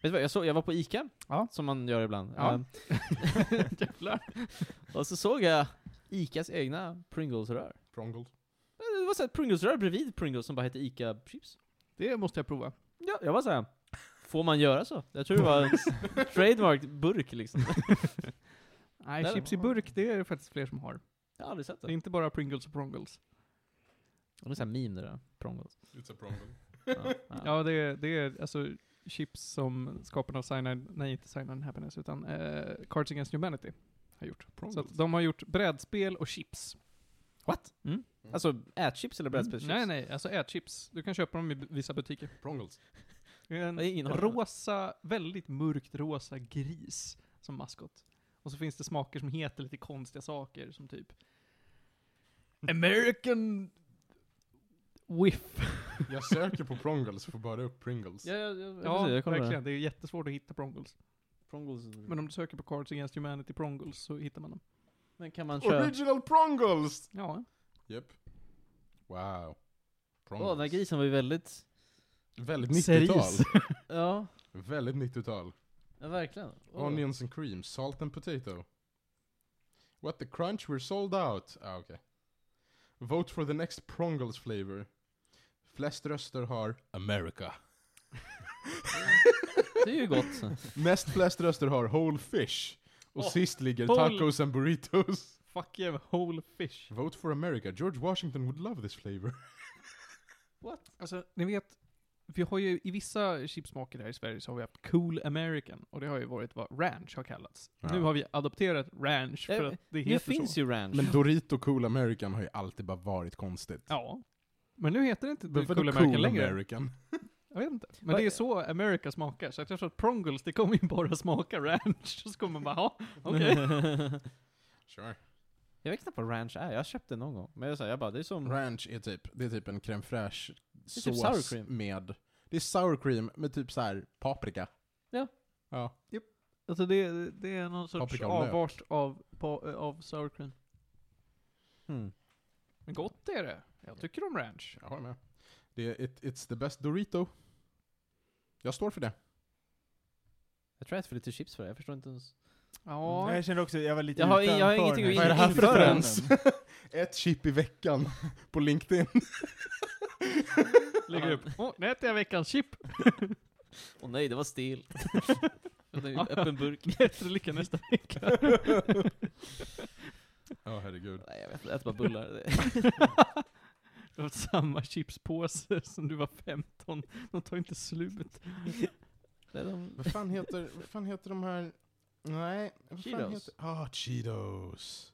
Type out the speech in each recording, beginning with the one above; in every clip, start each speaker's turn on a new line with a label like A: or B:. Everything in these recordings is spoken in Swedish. A: du vad, jag, såg, jag var på Ica,
B: Ja.
A: som man gör ibland.
B: Ja.
A: Ehm,
B: Jävlar.
A: och så såg jag Icas egna Pringles-rör. Eh,
C: Prongles.
A: Det var så här ett Pringles-rör bredvid Pringles som bara hette Ica-chips.
B: Det måste jag prova.
A: Ja, jag var såhär, får man göra så? Jag tror det var en s- trademark-burk liksom.
B: Nej,
A: Där-
B: chips i burk, det är det faktiskt fler som har.
A: Jag har aldrig sett
B: Det är
A: det.
B: inte bara Pringles och Prongles.
A: Det är såhär meme det där, Pringles.
C: It's a prongle.
A: Ja, ja.
B: Ja, det är, det är alltså chips som skaparna av Cyanide, nej inte Cyanide Happiness, utan eh, Cards Against Humanity har gjort. Så att de har gjort brädspel och chips.
A: What? Mm. Alltså, ätchips eller brädspelschips?
B: Nej, nej, alltså ätchips. Du kan köpa dem i b- vissa butiker.
C: Prongles.
B: Det är En
A: Nej, ingen har det.
B: rosa, väldigt mörkt rosa gris som maskot. Och så finns det smaker som heter lite konstiga saker, som typ American Whiff.
C: Jag söker på Prongles för att bara upp Pringles.
A: Ja, ja, ja,
B: Ja,
A: precis, jag kollar
B: verkligen. Det är jättesvårt att hitta Prongles.
A: det. Pringles.
B: Men
A: Men,
B: om du söker på Cards Against Humanity Prongles så hittar man dem.
A: kan man köra...
C: Original Prongles!
B: Ja.
C: Japp. Wow.
A: Åh, den här grisen var ju väldigt...
C: Väldigt
A: Seris.
C: 90-tal.
A: Ja,
C: Väldigt 90-tal.
A: ja verkligen. Åh.
C: Onions and cream, salt and potato. What the crunch, we're sold out. Ah, okej. Vote for the next Prongles flavor. Flest röster har America.
A: Det är ju gott.
C: Näst flest röster har Whole Fish. Och
B: Åh,
C: sist ligger
B: whole-
C: tacos and burritos.
B: Fuck you, whole fish.
C: Vote for America. George Washington would love this flavor.
B: Alltså, ni vet, vi har ju i vissa chipsmaker här i Sverige så har vi haft Cool American, och det har ju varit vad ranch har kallats.
C: Ja.
B: Nu har vi adopterat ranch för
A: Eh,
B: att det
A: Nu
B: heter
A: finns
B: så.
A: ju ranch.
C: Men Dorito Cool American har ju alltid bara varit konstigt.
B: Ja. Men nu heter det inte
C: Varför
B: Cool
C: då
B: American längre.
C: American?
B: Jag vet inte. Men
A: Vad-
B: det är så America smakar, så att jag tror att Prongles, det kommer ju bara smaka ranch. Så kommer man bara, ja, okej.
C: Sure.
A: jag vet knappt vad ranch är, jag köpte det någon gång. Men jag, sa, jag bara, det är som...
C: Ranch är typ, det är typ en crème fraîche
A: är typ
C: sås
A: sour cream.
C: med... Det är sour cream med typ så här paprika.
A: Ja.
C: Ja.
B: Alltså det, det är någon sorts
C: Paprika och lök.
B: avart av, på, av sour cream.
A: Hmm.
B: Men gott är det. Jag tycker om ranch.
C: Jag håller med. Det är it, It's the best Dorito. Jag står för det.
A: Jag tror jag äter för lite chips för det, jag förstår inte ens.
B: Ja.
D: Mm, Jag känner också, jag var lite
A: Jag har- jag har
D: utanför
A: ingenting att
C: Vad är det här för
A: Inför
C: referens? Ett chip i veckan på LinkedIn.
B: Lägger upp. Åh, nu äter jag veckans chip.
A: Åh nej, det var stelt. Öppen burk.
B: Jag äter lika nästa vecka.
C: Ja, herregud.
A: Nej, jag vet inte, jag äter bara bullar. Det-
B: Du har samma chipspåse som du var 15. De tar inte slut.
A: Det är de...
C: Vad fan heter, vad fan heter de här... Nej, vad fan
A: Cheetos.
C: heter... Ah, Cheetos.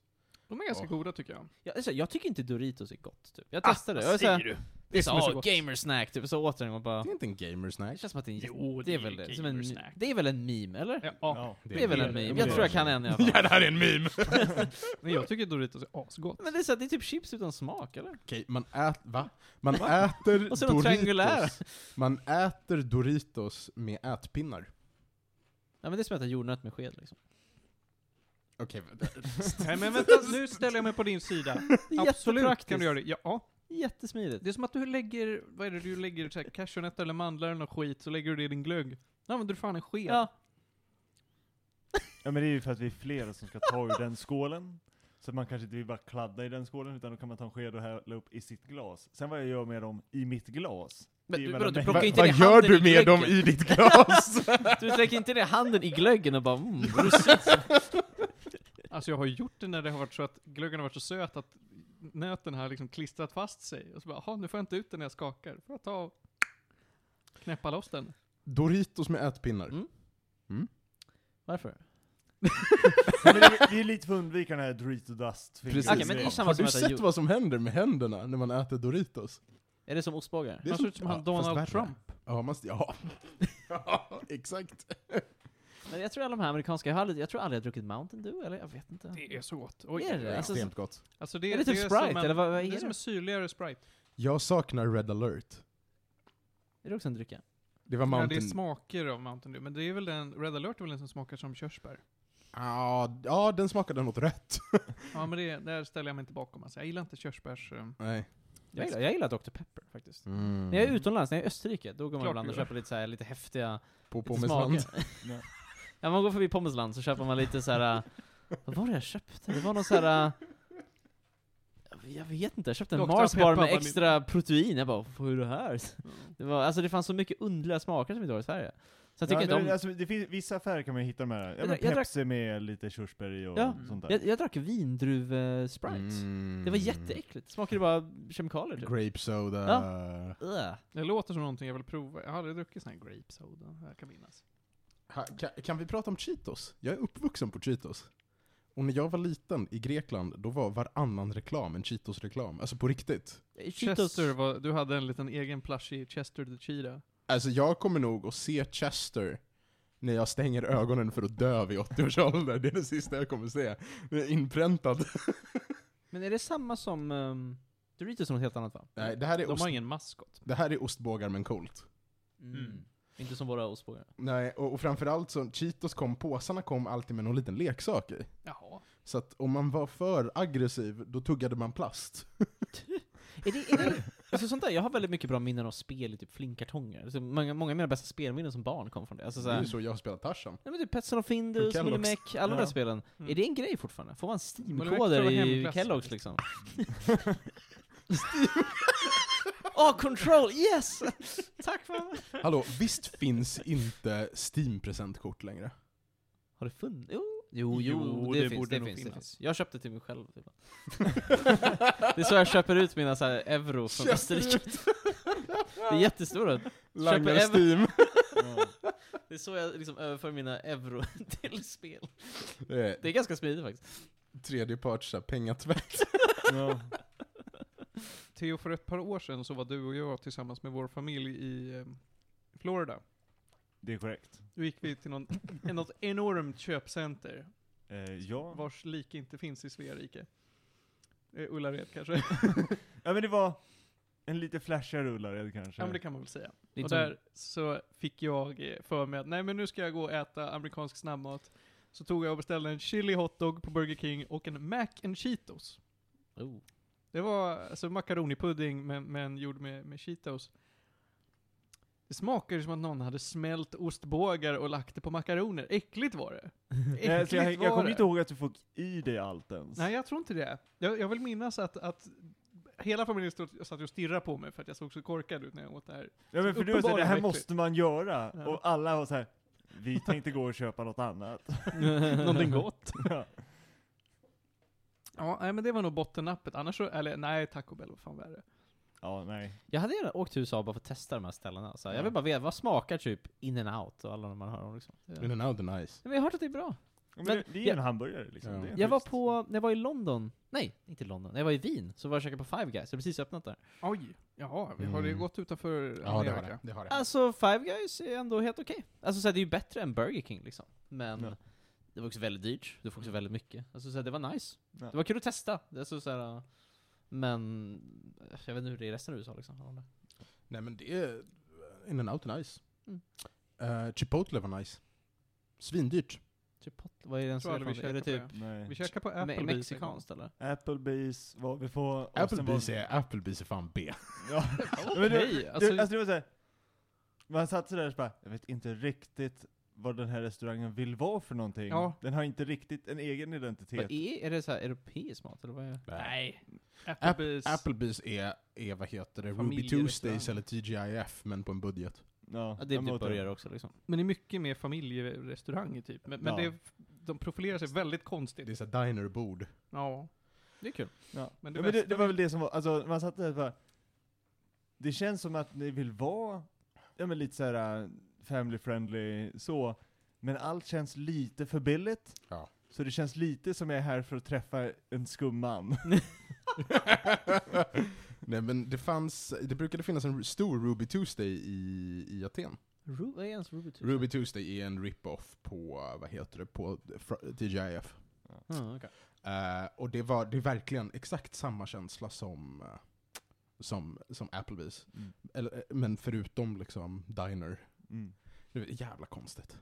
B: De är ganska
C: Åh.
B: goda tycker jag.
A: jag, alltså, jag tycker inte Doritos är gott, typ. Jag testade det. Jag var såhär,
B: du?
A: det är
B: som är så
A: så, åh,
B: gott."
A: gamersnack, typ. Så åt jag den och bara...
C: Det är inte en gamersnack.
A: Det känns som att det är en jätte-
B: Jo,
A: det är väl det. Som en,
B: gamersnack.
A: det är väl en meme, eller?
B: Ja, ja.
A: Det, är väl en
B: det.
A: meme?
B: Det
A: Jag
B: är
A: tror jag
B: det.
A: kan en i alla fall.
C: det här är en meme!
B: Men jag tycker Doritos är asgott.
A: Men det är, så, här, det är typ chips utan smak, eller?
C: Okej, man äter... Va? Man äter
A: Och så är de triangulära.
C: Doritos. Man äter Doritos med ätpinnar.
A: Ja, men det är som att äta jordnöt med sked, liksom.
C: Okej,
B: Nej men vänta, nu ställer jag mig på din sida.
A: Det är
B: Absolut
A: jättepraktiskt.
B: kan du göra det. Ja, Ja.
A: Jättesmidigt.
B: Det är som att du lägger, vad är det du lägger, så här, cashewnötter eller mandlar eller något skit, så lägger du det i din glögg. Då använder du fan en sked.
A: Ja.
D: Ja men det är ju för att vi är flera som ska ta ur den skålen. Så man kanske inte vill bara kladda i den skålen, utan då kan man ta en sked och hälla upp i sitt glas. Sen vad jag gör med dem i mitt glas, det är
A: Men du,
D: mellan
A: vadå, du
D: mig-
A: plockar
D: Va-
A: inte
C: vad
A: ner
C: gör
A: handen
C: du
A: i
C: med dem
A: glöggen.
C: i ditt glas?
A: Du släcker inte ner handen i glöggen och bara mm,
B: Alltså jag har gjort det när det har varit så att glöggen har varit så söt att nöten har liksom klistrat fast sig. Och så bara, "Jaha, nu får jag inte ut den när jag skakar. Får jag ta och knäppa loss den.
C: Doritos med ätpinnar.
A: Mm. Varför?
D: Men det är- det är lite för att undvika den här Dorito Dust.
C: Precis.
A: Okej, men det är samma
C: Har
A: som
C: du
A: att äta
C: sett
A: jord.
C: vad som händer med händerna när man äter Doritos?
A: Är det som ostbågar?
C: Det är
B: Han ser ut som han Donald
C: fast värre.
B: Trump.
C: Ja, man, ja. ja, exakt.
A: Men jag tror alla de här amerikanska, jag, har aldrig, jag tror aldrig jag druckit Mountain Dew, eller jag vet inte.
B: Det är så gott. Oj.
A: Är det? Alltså,
C: Extremt gott.
B: Alltså det,
A: är det typ
B: som
A: Sprite,
B: en-
A: eller vad, vad är
B: det? är
A: det?
B: som en syrligare Sprite.
C: Jag saknar Red alert.
A: Är det också en dricka?
C: Det var
B: Ja, det är
C: Mountain...
B: smaker av Mountain Dew, men det är väl den, Red alert är väl den som smakar som körsbär?
C: Ja, ja, den smakade något rött.
B: Ja men det, där ställer jag mig inte bakom alltså. Jag gillar inte körsbärs... eh,
C: Nej.
A: Jag gillar, jag gillar Dr Pepper faktiskt.
C: Mm.
A: När jag är utomlands, när jag är i Österrike, då går man
B: Klart
A: ibland
B: du
A: och
B: gör.
A: köper lite så här, lite häftiga
C: På
A: lite
C: pommesland.
A: smaker.
D: Nej.
A: ja, man går förbi Pommesland så köper man lite så här. äh, vad var det jag köpte? Det var någon så här. äh, Jag vet inte, jag köpte en
B: Dr.
A: Mars
B: Pepper
A: bar
B: var
A: med
B: lite-
A: extra protein, jag bara "Vad är det här?” det var, Alltså det fanns så mycket underliga smaker som vi inte har i Sverige. Så jag tycker
D: ja,
A: inte
D: men
A: om...
D: alltså, det finns, vissa affärer kan man ju hitta de här, ja,
A: Jag
D: men
A: drack- jag drack-
D: Pepsi med lite körsbär i och
A: Ja,
D: sånt där.
A: jag, jag drack vindruv-sprite.
C: Mm.
A: Det var jätteäckligt, det smakade bara kemikalier typ.
C: Grape soda.
A: Ugh.
B: Det låter som någonting jag vill prova. Jag har aldrig druckit sån här grape soda, vad jag kan minnas.
C: Ha, kan, kan vi prata om Cheetos? Jag är uppvuxen på Cheetos. Och när jag var liten i Grekland, då var varannan reklam en Cheetos-reklam. Alltså på riktigt.
A: Cheetos.
B: Chester, var, du hade en liten egen plushie, Chester the Cheetah.
C: Alltså jag kommer nog att se Chester när jag stänger ögonen för att dö vid 80 års ålder. Det är det sista jag kommer se. Det är inpräntat.
A: Men är det samma som... Um, Doritos är något helt annat va?
C: Nej, det här är,
B: De
C: ost,
B: har ingen maskot.
C: det här är ostbågar men coolt.
A: Mm. Inte som våra ostbågar.
C: Nej, och, och framförallt så, Cheetos kom, påsarna kom alltid med någon liten leksak i.
B: Jaha.
C: Så att om man var för aggressiv, då tuggade man plast.
A: Är det, är det, alltså sånt där, jag har väldigt mycket bra minnen av spel i typ flinkartonger. Alltså många, många av mina bästa spelminnen som barn kom från det. Alltså
C: Det är
A: såhär,
C: ju så jag har spelat Tarzan.
A: nej men typ Petson och Findus,
C: Kellogg's.
A: Millimec, alla de där
D: Ja.
A: spelen.
B: Mm.
A: Är det en grej fortfarande? Får man
B: Millimec tror
A: Steam-koder
B: jag var
A: i
B: hemklass.
A: Kellogg's liksom? Åh, Ah, control! Yes! Tack mamma!
C: Hallå, visst finns inte Steam-presentkort längre?
A: Har det funnits? Jo, jo,
B: Jo,
A: det,
B: det
A: finns,
B: borde
A: det
B: nog
A: finns, det
B: finnas.
A: finns. Jag köpte till mig själv. Typ. det är så jag köper ut mina så här euro från
C: Köper
A: Österrike. det är jättestora.
C: Langar
A: Köper
C: Steam.
D: Ja.
A: Det är så jag liksom överför mina euro till spel.
C: Det är
A: Det är ganska smidigt faktiskt.
C: tredjeparts så här pengatvätt.
D: Ja.
B: Theo, för ett par år sedan så var du och jag tillsammans med vår familj i eh, Florida.
D: Det är korrekt.
B: Då gick vi till någon, en- något enormt köpcenter,
D: Eh, ja.
B: vars like inte finns i Sverige. rike. Eh, Ullared kanske? ja
D: ja, men det var en lite flashigare rullare kanske.
B: men det kan man väl säga.
A: Det är
B: Och
A: inte
B: där så fick jag eh, för mig att nej men nu ska jag gå och äta amerikansk snabbmat. Så tog jag och beställde en chili hotdog på Burger King och en mac and cheetos.
A: som, oh.
B: Det var alltså makaronipudding men, men gjord med, med cheetos. Det smakade som att någon hade smält ostbågar och lagt det på makaroner. Äckligt var det.
D: Eh,
B: Äckligt
D: så jag, jag
B: var
D: kommer
B: det.
D: inte ihåg att du fick i dig allt ens.
B: Nej, jag tror inte det. Jag, jag vill minnas att, att hela familjen stod, satt och stirrade på mig för att jag såg så korkad ut när jag åt det här.
D: ja, men för du var såhär, det
B: uppenbarligen
D: här
B: äckligt.
D: måste man göra.
B: Ja.
D: Och alla var såhär, vi tänkte gå och köpa något annat.
B: Någonting gott.
D: Ja.
B: Ja, nej, men det var nog bottennappet. Annars så, eller nej, Taco Bell var fan värre.
D: ja, nej.
A: Jag hade gärna åkt till USA bara för att testa de här ställena. Så här, jag vill bara veta, vad smakar typ in and out och alla de man hör om liksom? Ja.
C: In and out är nice.
A: Men jag har hört att det är bra.
D: Men,
A: Men-
D: det, det är ju en hamburgare liksom.
C: Ja.
D: Det är
A: Jag var
D: schysst.
A: på, när jag var i London, nej, inte i London, när jag var i Wien, så var jag och käkade på Five Guys, det har precis öppnat där.
B: Oj, jaha, vi har det
C: Mm.
B: gått utanför
C: Ja, det har det. det, har det.
A: Alltså Five Guys är ändå helt okej. Alltså så här, det är ju bättre än Burger King liksom. Men
D: Ja.
A: det var också väldigt dyrt, du får också väldigt mycket. Alltså så här, det var nice.
D: Ja.
A: Det var kul att testa. Alltså, så här, men eh, jag vet inte hur det är i resten av USA liksom.
C: Nej men det är... uh, In and out är nice.
A: Mm.
C: Eh, Chipotle var nice. Svindyrt.
A: Typ, pot- vad är den som
B: tror
A: är
B: aldrig vi
A: fan- Är det typ
B: käkade Vi
D: Nej.
B: käkar på
A: me-
B: Applebee's.
A: mexikanskt eller?
D: Applebee's var vi på. och sen
C: Applebee's
D: var-
C: är, Applebee's är fan B.
D: Ja.
B: Okej,
D: Men det-
B: alltså,
D: du, alltså det var såhär, man satt sådär och så bara, jag vet inte riktigt vad den här restaurangen vill vara för någonting.
B: Ja.
D: Den har inte riktigt en egen
A: Vad
D: identitet.
A: är, är det så här europeisk mat eller vad är
B: nej.
C: App-
B: Applebee's.
C: Applebee's är, är, vad heter det, Ruby
B: Familjerestaurang.
C: Tuesdays eller TGIF men på en budget.
D: Ja,
A: Ja, det är
D: men
A: typ
D: åt
A: burgare också liksom.
B: Men det är mycket mer familjerestauranger typ. Men, men
D: Ja.
B: det, de profilerar sig väldigt konstigt.
C: Det är såhär dinerbord.
B: Ja.
A: Det är kul.
D: Ja.
B: Men det
D: Men, det, ja, men det,
B: bästa
D: det var
B: vi-
D: väl det som var, alltså man satt där och bara, det känns som att ni vill vara, ja men lite såhär äh, family friendly så, men allt känns lite för billigt.
C: Ja.
D: Så det känns lite som jag är här för att träffa en skum man.
C: Nej men det fanns, det brukade finnas en stor Ruby Tuesday i, i Aten.
A: Ru- vad är ens Ruby typ? Tuesday?
C: Ruby Tuesday är en rip-off på, vad heter det, på fr- TGIF.
A: Ah, okej.
C: Eh, och det var det är verkligen exakt samma känsla som, eh, som, som Applebee's.
D: Mm.
C: Eller, eh, men förutom liksom Diner.
D: Mm.
C: Det är jävla konstigt.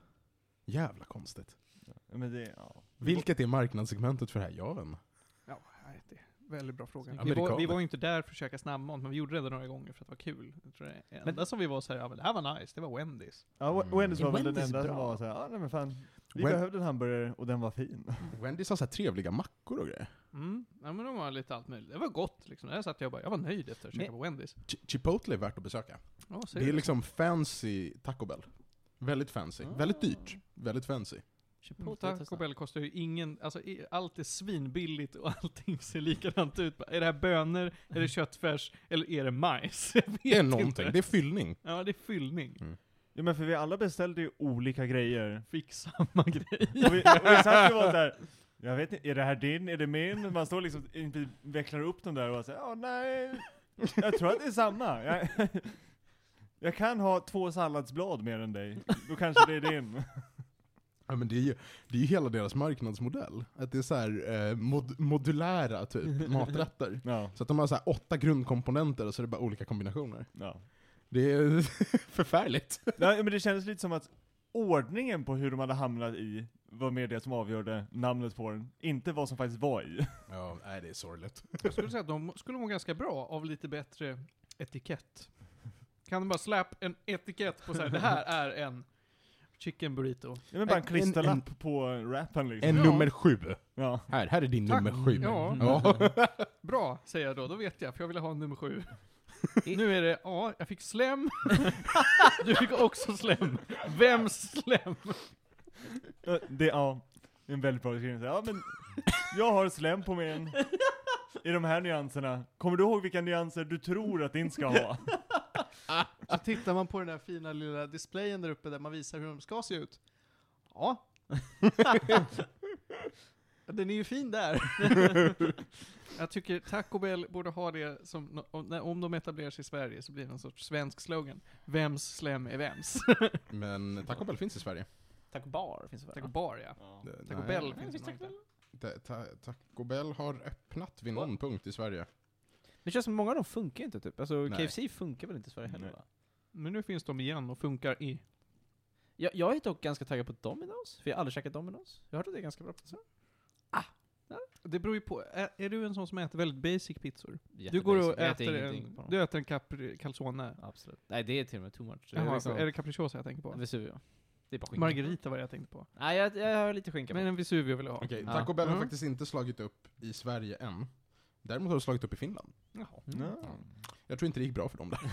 C: Jävla konstigt.
D: Ja, men det, ja.
C: Vilket är marknadssegmentet för det här? Jag vet inte.
B: ja nej, det, väldigt bra fråga.
C: Snyggt.
B: Vi var, vi
C: Amerikaner.
B: var ju inte där för att käka snabbmat, men vi gjorde det några gånger för att det var kul. Jag tror det enda
A: Men-
B: som vi var såhär, ja men det här var nice, det var Wendys.
D: Ja, Wen- Wendys var
A: Mm.
D: väl den
A: Wendys
D: enda
A: är
D: som
A: bra.
D: var såhär, ja nej men fan, vi
C: Wen-
D: behövde en hamburgare och den var fin.
C: Wendys har så här trevliga mackor och grejer.
B: Mm. Ja men de var lite allt möjligt. Det var gott liksom. Där satt jag och bara, jag var nöjd efter att käka
A: Men-
B: på Wendys.
C: Ch- Chipotle är värt att besöka.
B: Ja, ser
C: Det är
B: du.
C: liksom fancy Taco Bell. Väldigt fancy.
A: Ah.
C: Väldigt dyrt. Väldigt fancy.
B: Mm,
A: Chipotle
B: Taco Bell kostar ju ingen, alltså i- allt är svinbilligt och allting ser likadant ut. Är det här bönor, är det köttfärs, eller är det majs? Jag vet
C: Det är någonting.
B: inte.
C: Det är fyllning.
B: Ja, det är fyllning.
D: Ja men för vi alla beställde ju olika grejer.
B: Fick samma grej.
D: Och vi, och vi satt ju och var såhär, jag vet inte, är det här din, är det min? Man står liksom, inte vecklar upp dem där och säger ja nej, jag tror att det är samma. Jag, jag kan ha två salladsblad mer än dig, då kanske det är din.
C: Ja, men det, är ju, det är ju hela deras marknadsmodell. Att det är så här, eh, mod, modulära typ maträtter.
D: Ja,
C: Så att de har så här åtta grundkomponenter och så är det bara olika kombinationer.
D: ja.
C: Det är förfärligt.
D: ja men det kändes lite som att ordningen på hur de hade hamnat i var mer det som avgjorde namnet på den, inte vad som faktiskt var i.
C: Ja, nej, det är sorgligt.
B: Jag skulle säga att de skulle må ganska bra av lite bättre etikett. Kan de bara släppa en etikett på så här, det här är en chicken burrito.
D: Ja, men bara
C: En-
D: en
C: en-
D: klisterlapp på rappen liksom.
C: En
B: Ja.
C: nummer sju.
D: Ja.
C: Här, här är din
B: Tack.
C: nummer sju.
B: Ja.
C: Ja.
B: Bra, säger jag då. Då vet jag, för jag ville ha en nummer sju. nu är det, ja, jag fick slem. du fick också slem. Vems slem?
D: Ja, Det, ja, det är en väldigt bra beskrivning. Så, Ja, men jag har slem på min i de här nyanserna. Kommer du ihåg vilka nyanser du tror att din ska ha?
B: Så tittar man på den där fina lilla displayen där uppe där man visar hur de ska se ut. Ja. den är ju fin där. Jag tycker Taco Bell borde ha det som, nå- om- när- om de etablerar sig i Sverige så blir det någon sorts svensk slogan. Vems slem är vems?
C: Men Taco Bell finns i Sverige.
A: Taco Bar finns det väl?
B: Taco Bar ja. Taco
C: Nej.
B: Bell finns det nog inte.
C: Ta- ta- Taco Bell har öppnat vid någon punkt i Sverige.
A: Men det känns som många av dem funkar ju inte typ. Alltså
C: Nej.
A: KFC funkar väl inte i Sverige heller
D: Nej.
A: va?
B: Men nu finns de igen och funkar i.
A: Jag, jag är dock ganska taggad på Domino's, för jag har aldrig käkat Domino's. Jag har hört att det är ganska bra pizza.
B: Det beror ju på, är, är du en sån som äter väldigt basic pizzor? Du
A: Jättebasic.
B: går och
A: Jag äter
B: äter
A: ingenting
B: en,
A: på dem.
B: du äter en capri, calzone.
A: Absolut. Nej det är till och med too much. Det är
B: Jaha,
A: liksom-
B: är det capricciosa jag tänker på?
A: Vesuvio. Det är bara skinka.
B: Margarita var det jag tänkte på.
A: Nej jag, jag har lite skinka på.
B: Men en Vesuvio vill jag ha.
C: Okej,
A: Ja.
C: Taco Bell har
B: Mm.
C: faktiskt inte slagit upp i Sverige än. Däremot har de slagit upp i Finland.
B: Jaha.
A: Mm.
D: Ja.
C: Jag tror inte det gick bra för dem där.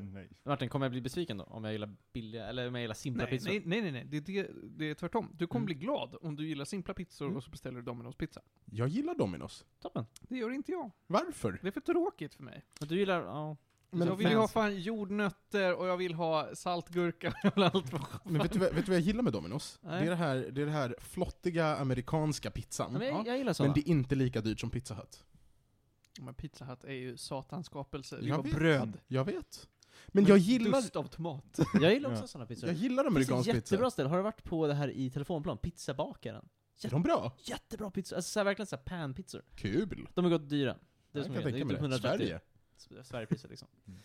D: Nej.
A: Martin, kommer jag bli besviken då? Om jag gillar billiga, eller om jag gillar simpla
B: Nej,
A: pizzor?
B: nej, nej, nej, nej. Det, är det, det är tvärtom. Du kommer
A: Mm.
B: bli glad om du gillar simpla pizzor
C: Mm.
B: och så beställer du Domino's pizza.
C: Jag gillar Domino's.
A: Toppen.
B: Det gör inte jag.
C: Varför?
B: Det är för tråkigt för mig.
A: Och du gillar, ja.
C: Men,
B: jag vill ju ha
A: fancy.
B: fan jordnötter och jag vill ha saltgurka och jag vill ha allt vad fan.
C: men vet, du, vad- vet du vad jag gillar med Domino's?
B: Nej.
C: Det är det, här, det är det här flottiga amerikanska pizzan.
A: Men
C: Ja.
A: jag, jag gillar
C: Men
A: sådana.
C: det är inte lika dyrt som Pizza Hut.
B: Men Pizza Hut är ju satans skapelse. Det är
C: Jag
B: bara
C: vet.
B: bröd.
C: Jag vet. Men jag gillar,
B: Dust av tomat.
A: Jag gillar också
D: Ja.
A: sådana pizzor.
C: jag gillar
A: det finns
C: amerikansk
A: ett jättebra
C: pizza.
A: ställe, har du varit på det här i telefonplan? Pizzabakaren.
C: Är de bra?
A: Jättebra pizza, alltså så här, verkligen såhär panpizzor.
C: Kul!
A: De är gott dyra. Det är
C: Jag
A: som
C: kan
A: är, det
C: tänka
A: är
C: mig
A: typ
C: det.
A: 130.
C: Sverige.
A: Sverigepriser liksom.
D: Mm.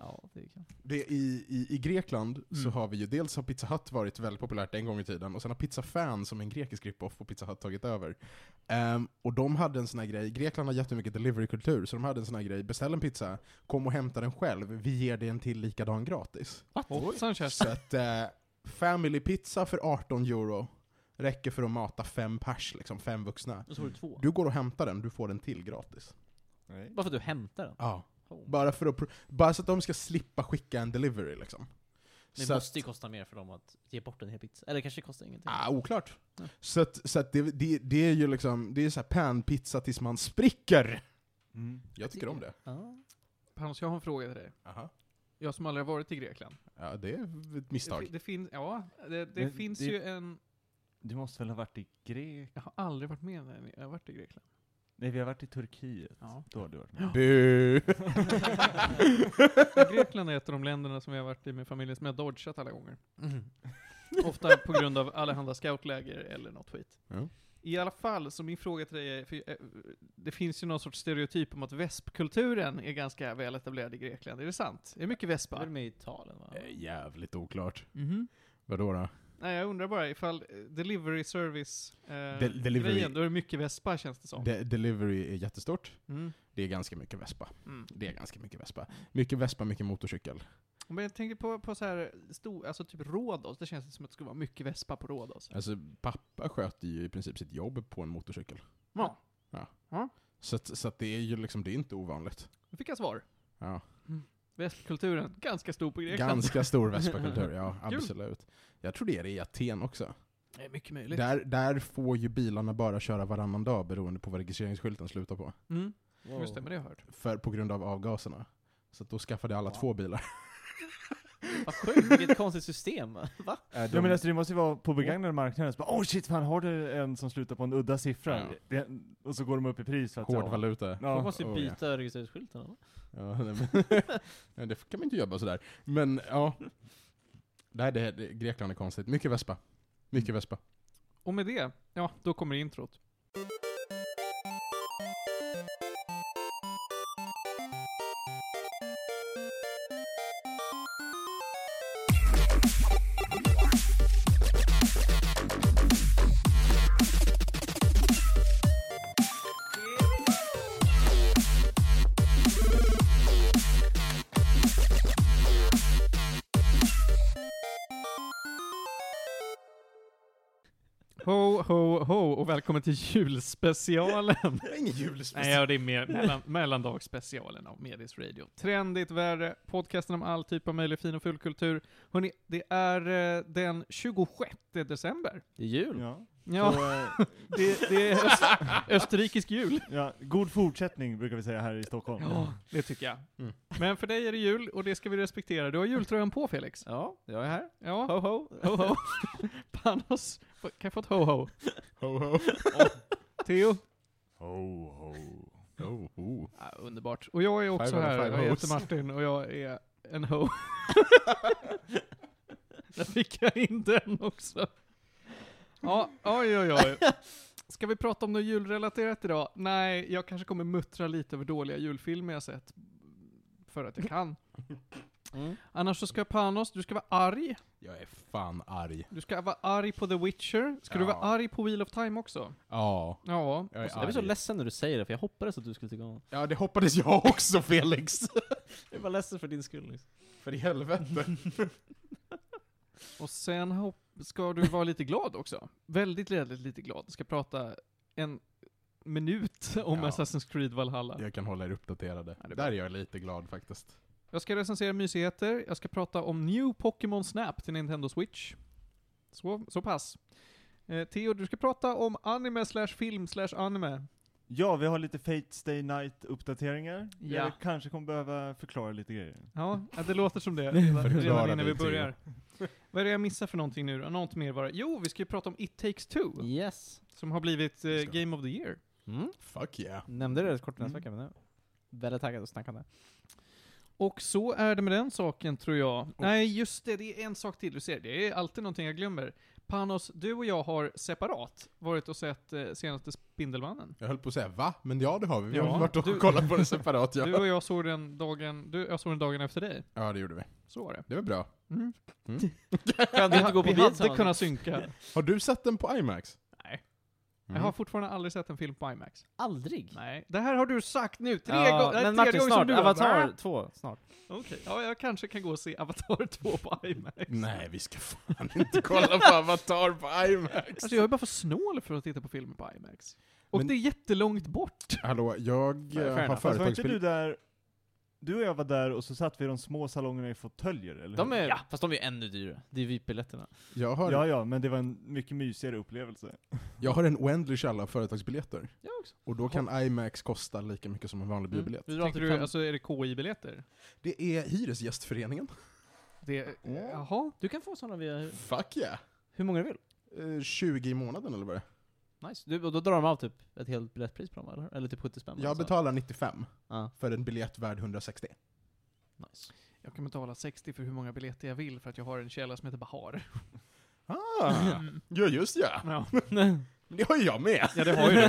A: Ja, det kan.
C: Det är i, i, I Grekland så
D: Mm.
C: har vi ju, dels har Pizza Hut varit väldigt populärt en gång i tiden, och sen har Pizza Fan som är en grekisk rip-off på Pizza Hut tagit över. Ehm, och de hade en sån här grej, Grekland har jättemycket delivery-kultur, så de hade en sån här grej, beställ en pizza, kom och hämta den själv, vi ger dig en till likadan gratis.
B: Hoppsan Kerstin.
C: Så att eh, family pizza för 18 euro räcker för att mata fem pers, liksom fem vuxna.
A: Och så har du två.
C: Du går och hämtar den, du får den till gratis.
D: Nej.
A: Bara för att du hämtar den.
C: Ja.
A: Oh.
C: Bara, för att, pro- bara så att de ska slippa skicka en delivery liksom.
A: Det
C: Så att-
A: måste ju kosta mer för dem att ge bort en hel pizza. Eller kanske kostar ingenting.
C: Ah, oklart.
A: Ja.
C: Så, att, så att det, det, det är ju liksom, det är så här panpizza tills man spricker.
D: Mm.
C: Jag tycker om det.
A: Ja.
B: Hans, jag har en fråga till dig.
C: Aha.
B: Jag som aldrig har varit i Grekland.
C: Ja, det är ett
B: Det,
C: misstag.
B: fi- det finns, ja, det, det
D: Men
B: finns
D: det-
B: ju en...
D: Du måste väl ha varit i Grek?
B: Jag har aldrig varit med när jag har varit i Grekland.
D: Nej, vi har varit i Turkiet.
B: Ja.
D: Då har du varit med.
C: Bu!
B: Men Grekland är ett av de länderna som jag har varit i med familjen som jag har dodgat alla gånger.
C: Mm.
B: Ofta på grund av allehanda scoutläger eller något skit.
C: Ja.
B: I alla fall, så min fråga till dig är, för eh, det finns ju någon sorts stereotyp om att vespkulturen är ganska väl etablerad i Grekland. Är det sant? Är det mycket
A: Det är väl
B: vespar?
A: med i Italien va?
C: Eh, Jävligt oklart.
B: Mhm.
C: Vadå då?
B: Nej, jag undrar bara ifall eh, delivery service eh,
C: Del- delivery-
B: grejen, då är det mycket Vespa känns det som.
C: De- delivery är jättestort.
B: Mm.
C: Det är ganska mycket vespa.
B: Mm.
C: Det är ganska mycket vespa. Mycket vespa, mycket motorcykel.
B: Men jag tänker på, på så här, stor, alltså typ Rhodos, det känns det som att det skulle vara mycket Vespa på Rhodos.
C: Alltså, pappa sköter ju i princip sitt jobb på en motorcykel.
B: Ja.
C: Så, att, så att det är ju liksom, det är inte ovanligt.
B: Nu fick jag svar.
C: Ja.
B: Västkulturen, ganska stor på Grekland.
C: Ganska stor vespakultur, ja
B: Kul.
C: absolut. Jag tror det är det i Aten också.
B: det är mycket möjligt.
C: Där, där får ju bilarna bara köra varannan dag beroende på vad registreringsskylten slutar på.
B: Mm.
A: Wow.
B: Just det, men det har jag hört.
C: För, på grund av avgaserna. Så att då skaffade alla
D: Wow.
C: två bilar.
A: Vad sjukt, vilket konstigt system. Va?
C: Äh,
D: Ja men alltså det måste ju vara på begagnade marknaden, så bara oh shit fan har du en som slutar på en udda siffra?
C: Ja.
D: Det, och så går de upp i pris för att
C: Hård
D: ja.
C: valuta.
A: Man
D: Ja.
A: måste ju
C: oh,
A: byta registreringsskylten eller?
C: Ja, nej, men, nej, det kan man inte jobba sådär. Men ja. Det här, det här det, Grekland är konstigt. Mycket vespa. Mycket vespa.
B: Och med det, ja, då kommer introt. Ho, ho, ho och välkommen till julspecialen.
C: Ingen julspecial.
B: Nej, ja, det är mer mellan, mellandagsspecialen av Medis Radio. Trendigt värre, podcasten om all typ av möjlig fin och full kultur. Hörrni, det är eh, den 26 december.
A: Det är jul.
D: Ja.
B: Ja,
D: Så, eh,
B: det, det är öst, österrikisk jul.
D: ja, god fortsättning brukar vi säga här i Stockholm.
B: Ja, det tycker jag.
C: Mm.
B: Men för dig är det jul och det ska vi respektera. Du har jultröjan på Felix.
A: Ja, jag är här.
B: Ja,
A: Ho ho.
B: ho ho. Panos, kan jag få ett ho ho?
C: Ho, ho.
B: Theo?
D: Ho, ho.
C: Oh, oh.
B: Ja, underbart. Och jag är också
C: Five out of
B: här.
C: five
B: Jag heter
C: hoes.
B: Martin och jag är en ho. Där fick jag in den också. Ja, oj oj oj. Ska vi prata om något julrelaterat idag? Nej, jag kanske kommer muttra lite över dåliga julfilmer jag sett. För att jag kan.
A: Mm.
B: Annars så ska Panos, du ska vara arg.
C: Jag är fan arg.
B: Du ska vara arg på The Witcher. Ska du
C: Ja.
B: vara arg på Wheel of Time också?
C: Ja.
B: Ja.
C: Jag är
A: Alltså, Jag blir så
C: arg.
A: ledsen när du säger det, för jag hoppades att du skulle tycka om det.
C: Ja, det hoppades jag också Felix.
A: Jag var ledsen för din skull liksom.
C: För i helvete.
B: Och sen hop- ska du vara lite glad också. Väldigt ledigt lite glad. Ska prata en minut om
C: Ja.
B: Assassin's Creed Valhalla.
C: Jag kan hålla er uppdaterade.
B: Ja, det är bra.
C: Där är jag lite glad faktiskt.
B: Jag ska recensera mysigheter. Jag ska prata om New Pokémon Snap till Nintendo Switch. Så, så pass. Eh, Theo, du ska prata om anime slash film slash anime.
D: Ja, vi har lite Fate Stay Night uppdateringar.
B: Ja.
D: Jag kanske kommer behöva förklara lite grejer.
B: Ja, ja, det låter som det. Redan redan
C: Förklara
B: innan
C: dig,
B: vi börjar. Vad är det jag missar för någonting nu då? Något mer bara. Jo, vi ska ju prata om It Takes Two.
A: Yes.
B: Som har blivit eh,
C: Det ska vi.
B: Game of the Year.
A: Mm.
C: Fuck yeah.
A: Nämnde det rätt kort nästa
D: Mm.
A: vecka, men nu. Väldigt taggad att snacka om det.
B: Och så är det med den saken tror jag. Nej, just det, det är en sak till. Du ser, det är alltid någonting jag glömmer. Panos, du och jag har separat varit och sett eh, senaste Spindelmannen.
C: Jag höll på att säga va? Men ja det har vi. Vi
B: Ja,
C: har varit och
B: du-
C: kollat på det separat
B: Du
C: ja.
B: och jag såg den dagen, du, jag såg den dagen efter dig.
C: Ja det gjorde vi.
B: Så var det.
C: Det var bra.
B: Mm.
C: Mm.
A: Kan du inte gå på
B: vi
A: bio
B: hade
A: tillsammans?
B: kunnat synka. Nej.
C: Har du sett den på IMAX?
B: Jag
C: Mm.
B: har fortfarande aldrig sett en film på IMAX.
A: Aldrig.
B: Nej. Det här har du sagt nu, tre
A: Ja,
B: gånger.
A: Men Martin, snart. Avatar 2, snart.
B: Okej, ja jag kanske kan gå och se Avatar 2 på IMAX.
C: Mm. Nej vi ska fan inte kolla på Avatar på IMAX.
B: Alltså jag är bara för snål för att titta på filmer på IMAX. Och
C: Men-
B: det är jättelångt bort.
C: Hallå, jag
A: Fair
C: eh, har
A: enough.
D: Fast var Alltså, inte du
C: företagsbil.
D: där, du och jag var där och så satt vi i de små salongerna i fåtöljer, eller
A: De
D: hur?
A: är, Fast de är ju ännu dyrare. Det är VIP-biljetterna.
C: Jag har,
D: Ja, ja, men det var en mycket mysigare upplevelse.
C: jag har en oändlig källa av företagsbiljetter.
B: Jag också.
C: Och då kan IMAX kosta lika mycket som en vanlig biobiljett.
A: Mm. Vi drar
B: Tänkte
A: till
B: du,
A: fem-
B: alltså är det KI-biljetter?
C: Det är Hyresgästföreningen.
B: Det,
C: Ja.
B: Jaha.
A: Du kan få sådana via
C: Fuck yeah!
A: hur många du vill.
C: Eh, 20 i månaden eller vad det är.
A: Nice. Du, och då drar de av typ ett helt biljettpris på dem, eller? Eller typ 70 spänn. eller
C: Jag
A: så.
C: betalar 95
A: Ja,
C: för en biljett värd 160.
A: nice.
B: Jag kan betala 60 för hur många biljetter jag vill för att jag har en källa som heter Bahar.
C: Ah, ja just ja!
B: Ja,
C: Men det har ju jag med!
B: ja det har ju du.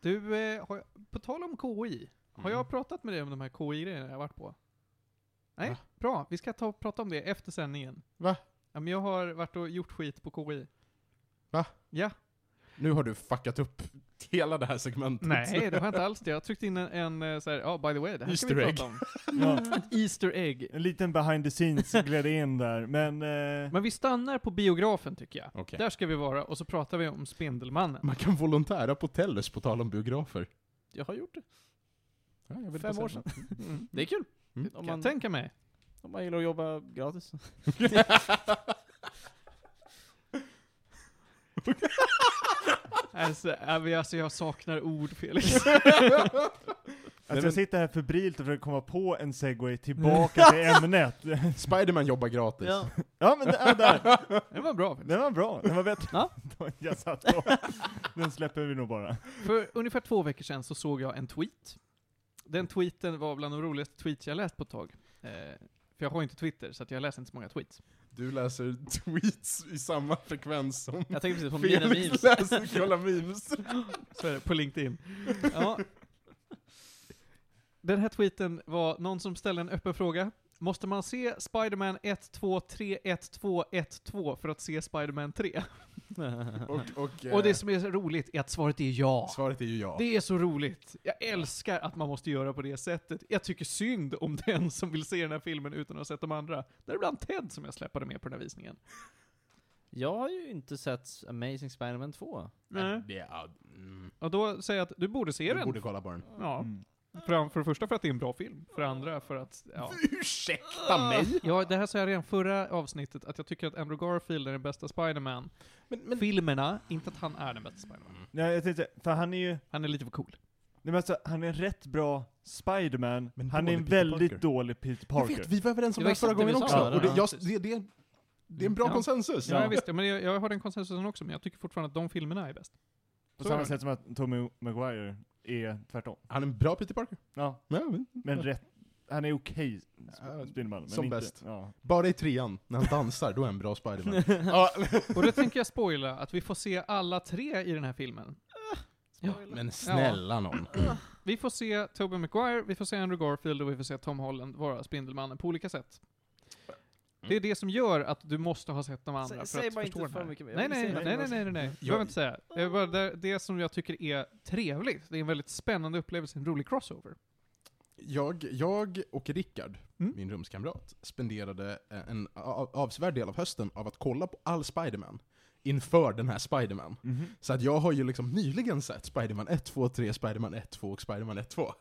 B: Du, eh, har jag, på tal om KI. Har
C: Mm.
B: jag pratat med dig om de här KI-grejerna jag har varit på? Nej,
C: Va?
B: bra. Vi ska ta och prata om det efter sändningen.
C: Va?
B: Ja, men jag har varit och gjort skit på KI.
C: Va?
B: Ja.
C: Nu har du fuckat upp hela det här segmentet.
B: Nej, det har jag inte alls det. Jag har tryckt in en, en eh, så här, ja by the way, det här
C: Easter
B: kan vi
C: egg.
B: prata om.
D: Ja,
B: Ett Easter egg.
D: en liten behind the scenes gled in där, men... Eh,
B: Men vi stannar på biografen tycker jag.
C: Okej.
B: Där ska vi vara och så pratar vi om Spindelmannen.
C: Man kan volontära på Tellus på tal om biografer.
A: Jag har gjort det.
C: Ja, jag vill
A: Fem
C: bara
A: år
C: säga
A: sedan. Det är kul.
C: Mm.
A: Om,
B: Kan
A: man,
B: jag tänka mig.
A: om man gillar att jobba gratis.
B: Alltså, ja, men alltså jag saknar ord Felix.
D: alltså
C: men-
D: jag sitter här febrilt och försöker komma på en segway tillbaka till ämnet.
C: det. Spiderman jobbar gratis.
D: Ja men det är där!
B: Det var bra.
D: Den var bra, den var bättre.
A: Ja.
D: än Jag satt på. Den släpper vi nog bara.
B: För ungefär två veckor sedan så såg jag en tweet. Den tweeten var bland de roligaste tweets jag läst på ett tag. Eh, för jag har ju inte Twitter, så att jag läser inte så många tweets.
C: Du läser tweets i samma frekvens som
A: Jag tänkte precis på mina
C: Felix
A: memes.
C: läser kolla memes.
B: Så är det på LinkedIn. Ja. Den här tweeten var någon som ställde en öppen fråga. Måste man se Spiderman 1, 2, 3, 1, 2, 1, 2 för att se Spiderman 3?
C: Och, och, eh,
B: Och det som är så roligt är att svaret är ja.
C: Svaret är ju ja.
B: Det är så roligt. Jag älskar att man måste göra på det sättet. Jag tycker synd om den som vill se den här filmen utan att ha sett de andra. Däribland Ted som jag släpade med på den här visningen.
A: Jag har ju inte sett Amazing Spider-Man 2.
C: Men det är- ja, mm.
B: Och då säger jag att du borde se
C: Du
B: den.
C: borde kolla på den.
B: Ja.
D: Mm.
B: Fram, för det första för att det är en bra film. För det andra för att, ja.
C: Ursäkta mig!
B: Ja, det här sa jag redan förra avsnittet, att jag tycker att Andrew Garfield är den bästa Spiderman.
C: Men, men,
B: Filmerna, inte att han är den bästa Spiderman.
D: Nej, jag tänkte, för han är ju, nej
B: Han är lite för cool.
D: men alltså, han är en rätt bra Spiderman,
C: Men
D: han är en
C: dålig Peter
D: väldigt
C: Parker.
D: dålig Peter
C: jag
D: Parker.
C: vet, vi var överens om
A: Det
C: det
A: var
C: här
A: exakt det
C: förra
A: vi
C: gången också.
A: sa,
C: och det,
A: ja.
C: jag, det, det, det är en bra
B: Ja.
C: konsensus.
B: Ja,
D: Ja.
B: visst. ja, Men jag, jag har den konsensusen också, men jag tycker fortfarande att de filmerna är bäst.
D: På
B: Så är
D: samma
B: det.
D: sätt som att Tommy Maguire är tvärtom.
C: Han är en bra Peter Parker.
D: Ja,
C: Ja, men-
D: men rätt, han är okej sp-
C: Ja,
D: Spindelmannen. men
C: som
D: inte-
C: bäst.
D: Ja.
C: Bara i trean, när han dansar, då är han en bra Spiderman. ja,
B: Och då tänker jag spoila att vi får se alla tre i den här filmen. Ja.
C: men snälla någon.
B: Vi får se Tobey Maguire, vi får se Andrew Garfield och vi får se Tom Holland vara Spindelmannen på olika sätt. Det är det som gör att du måste ha sett de andra
A: Sä-
B: för
A: säg
B: att
A: bara
B: förstå
A: inte
B: den
A: för
B: här.
A: mycket mer.
B: Nej
A: Jag vill
B: nej,
A: se den
B: nej,
A: här
B: nej, nej, nej, nej. Jag
C: Jag-
B: behöver inte säga. Det är bara det, det som jag tycker är trevligt. Det är en väldigt spännande upplevelse, en rolig crossover.
C: Jag, jag och Rickard,
B: Mm.
C: min rumskamrat, spenderade eh, en a- avsevärd del av hösten av att kolla på all Spiderman inför den här Spiderman.
D: Mm-hmm.
C: Så att jag har ju liksom nyligen sett Spiderman 1, 2, 3, Spiderman 1, 2 och Spiderman 1, 2.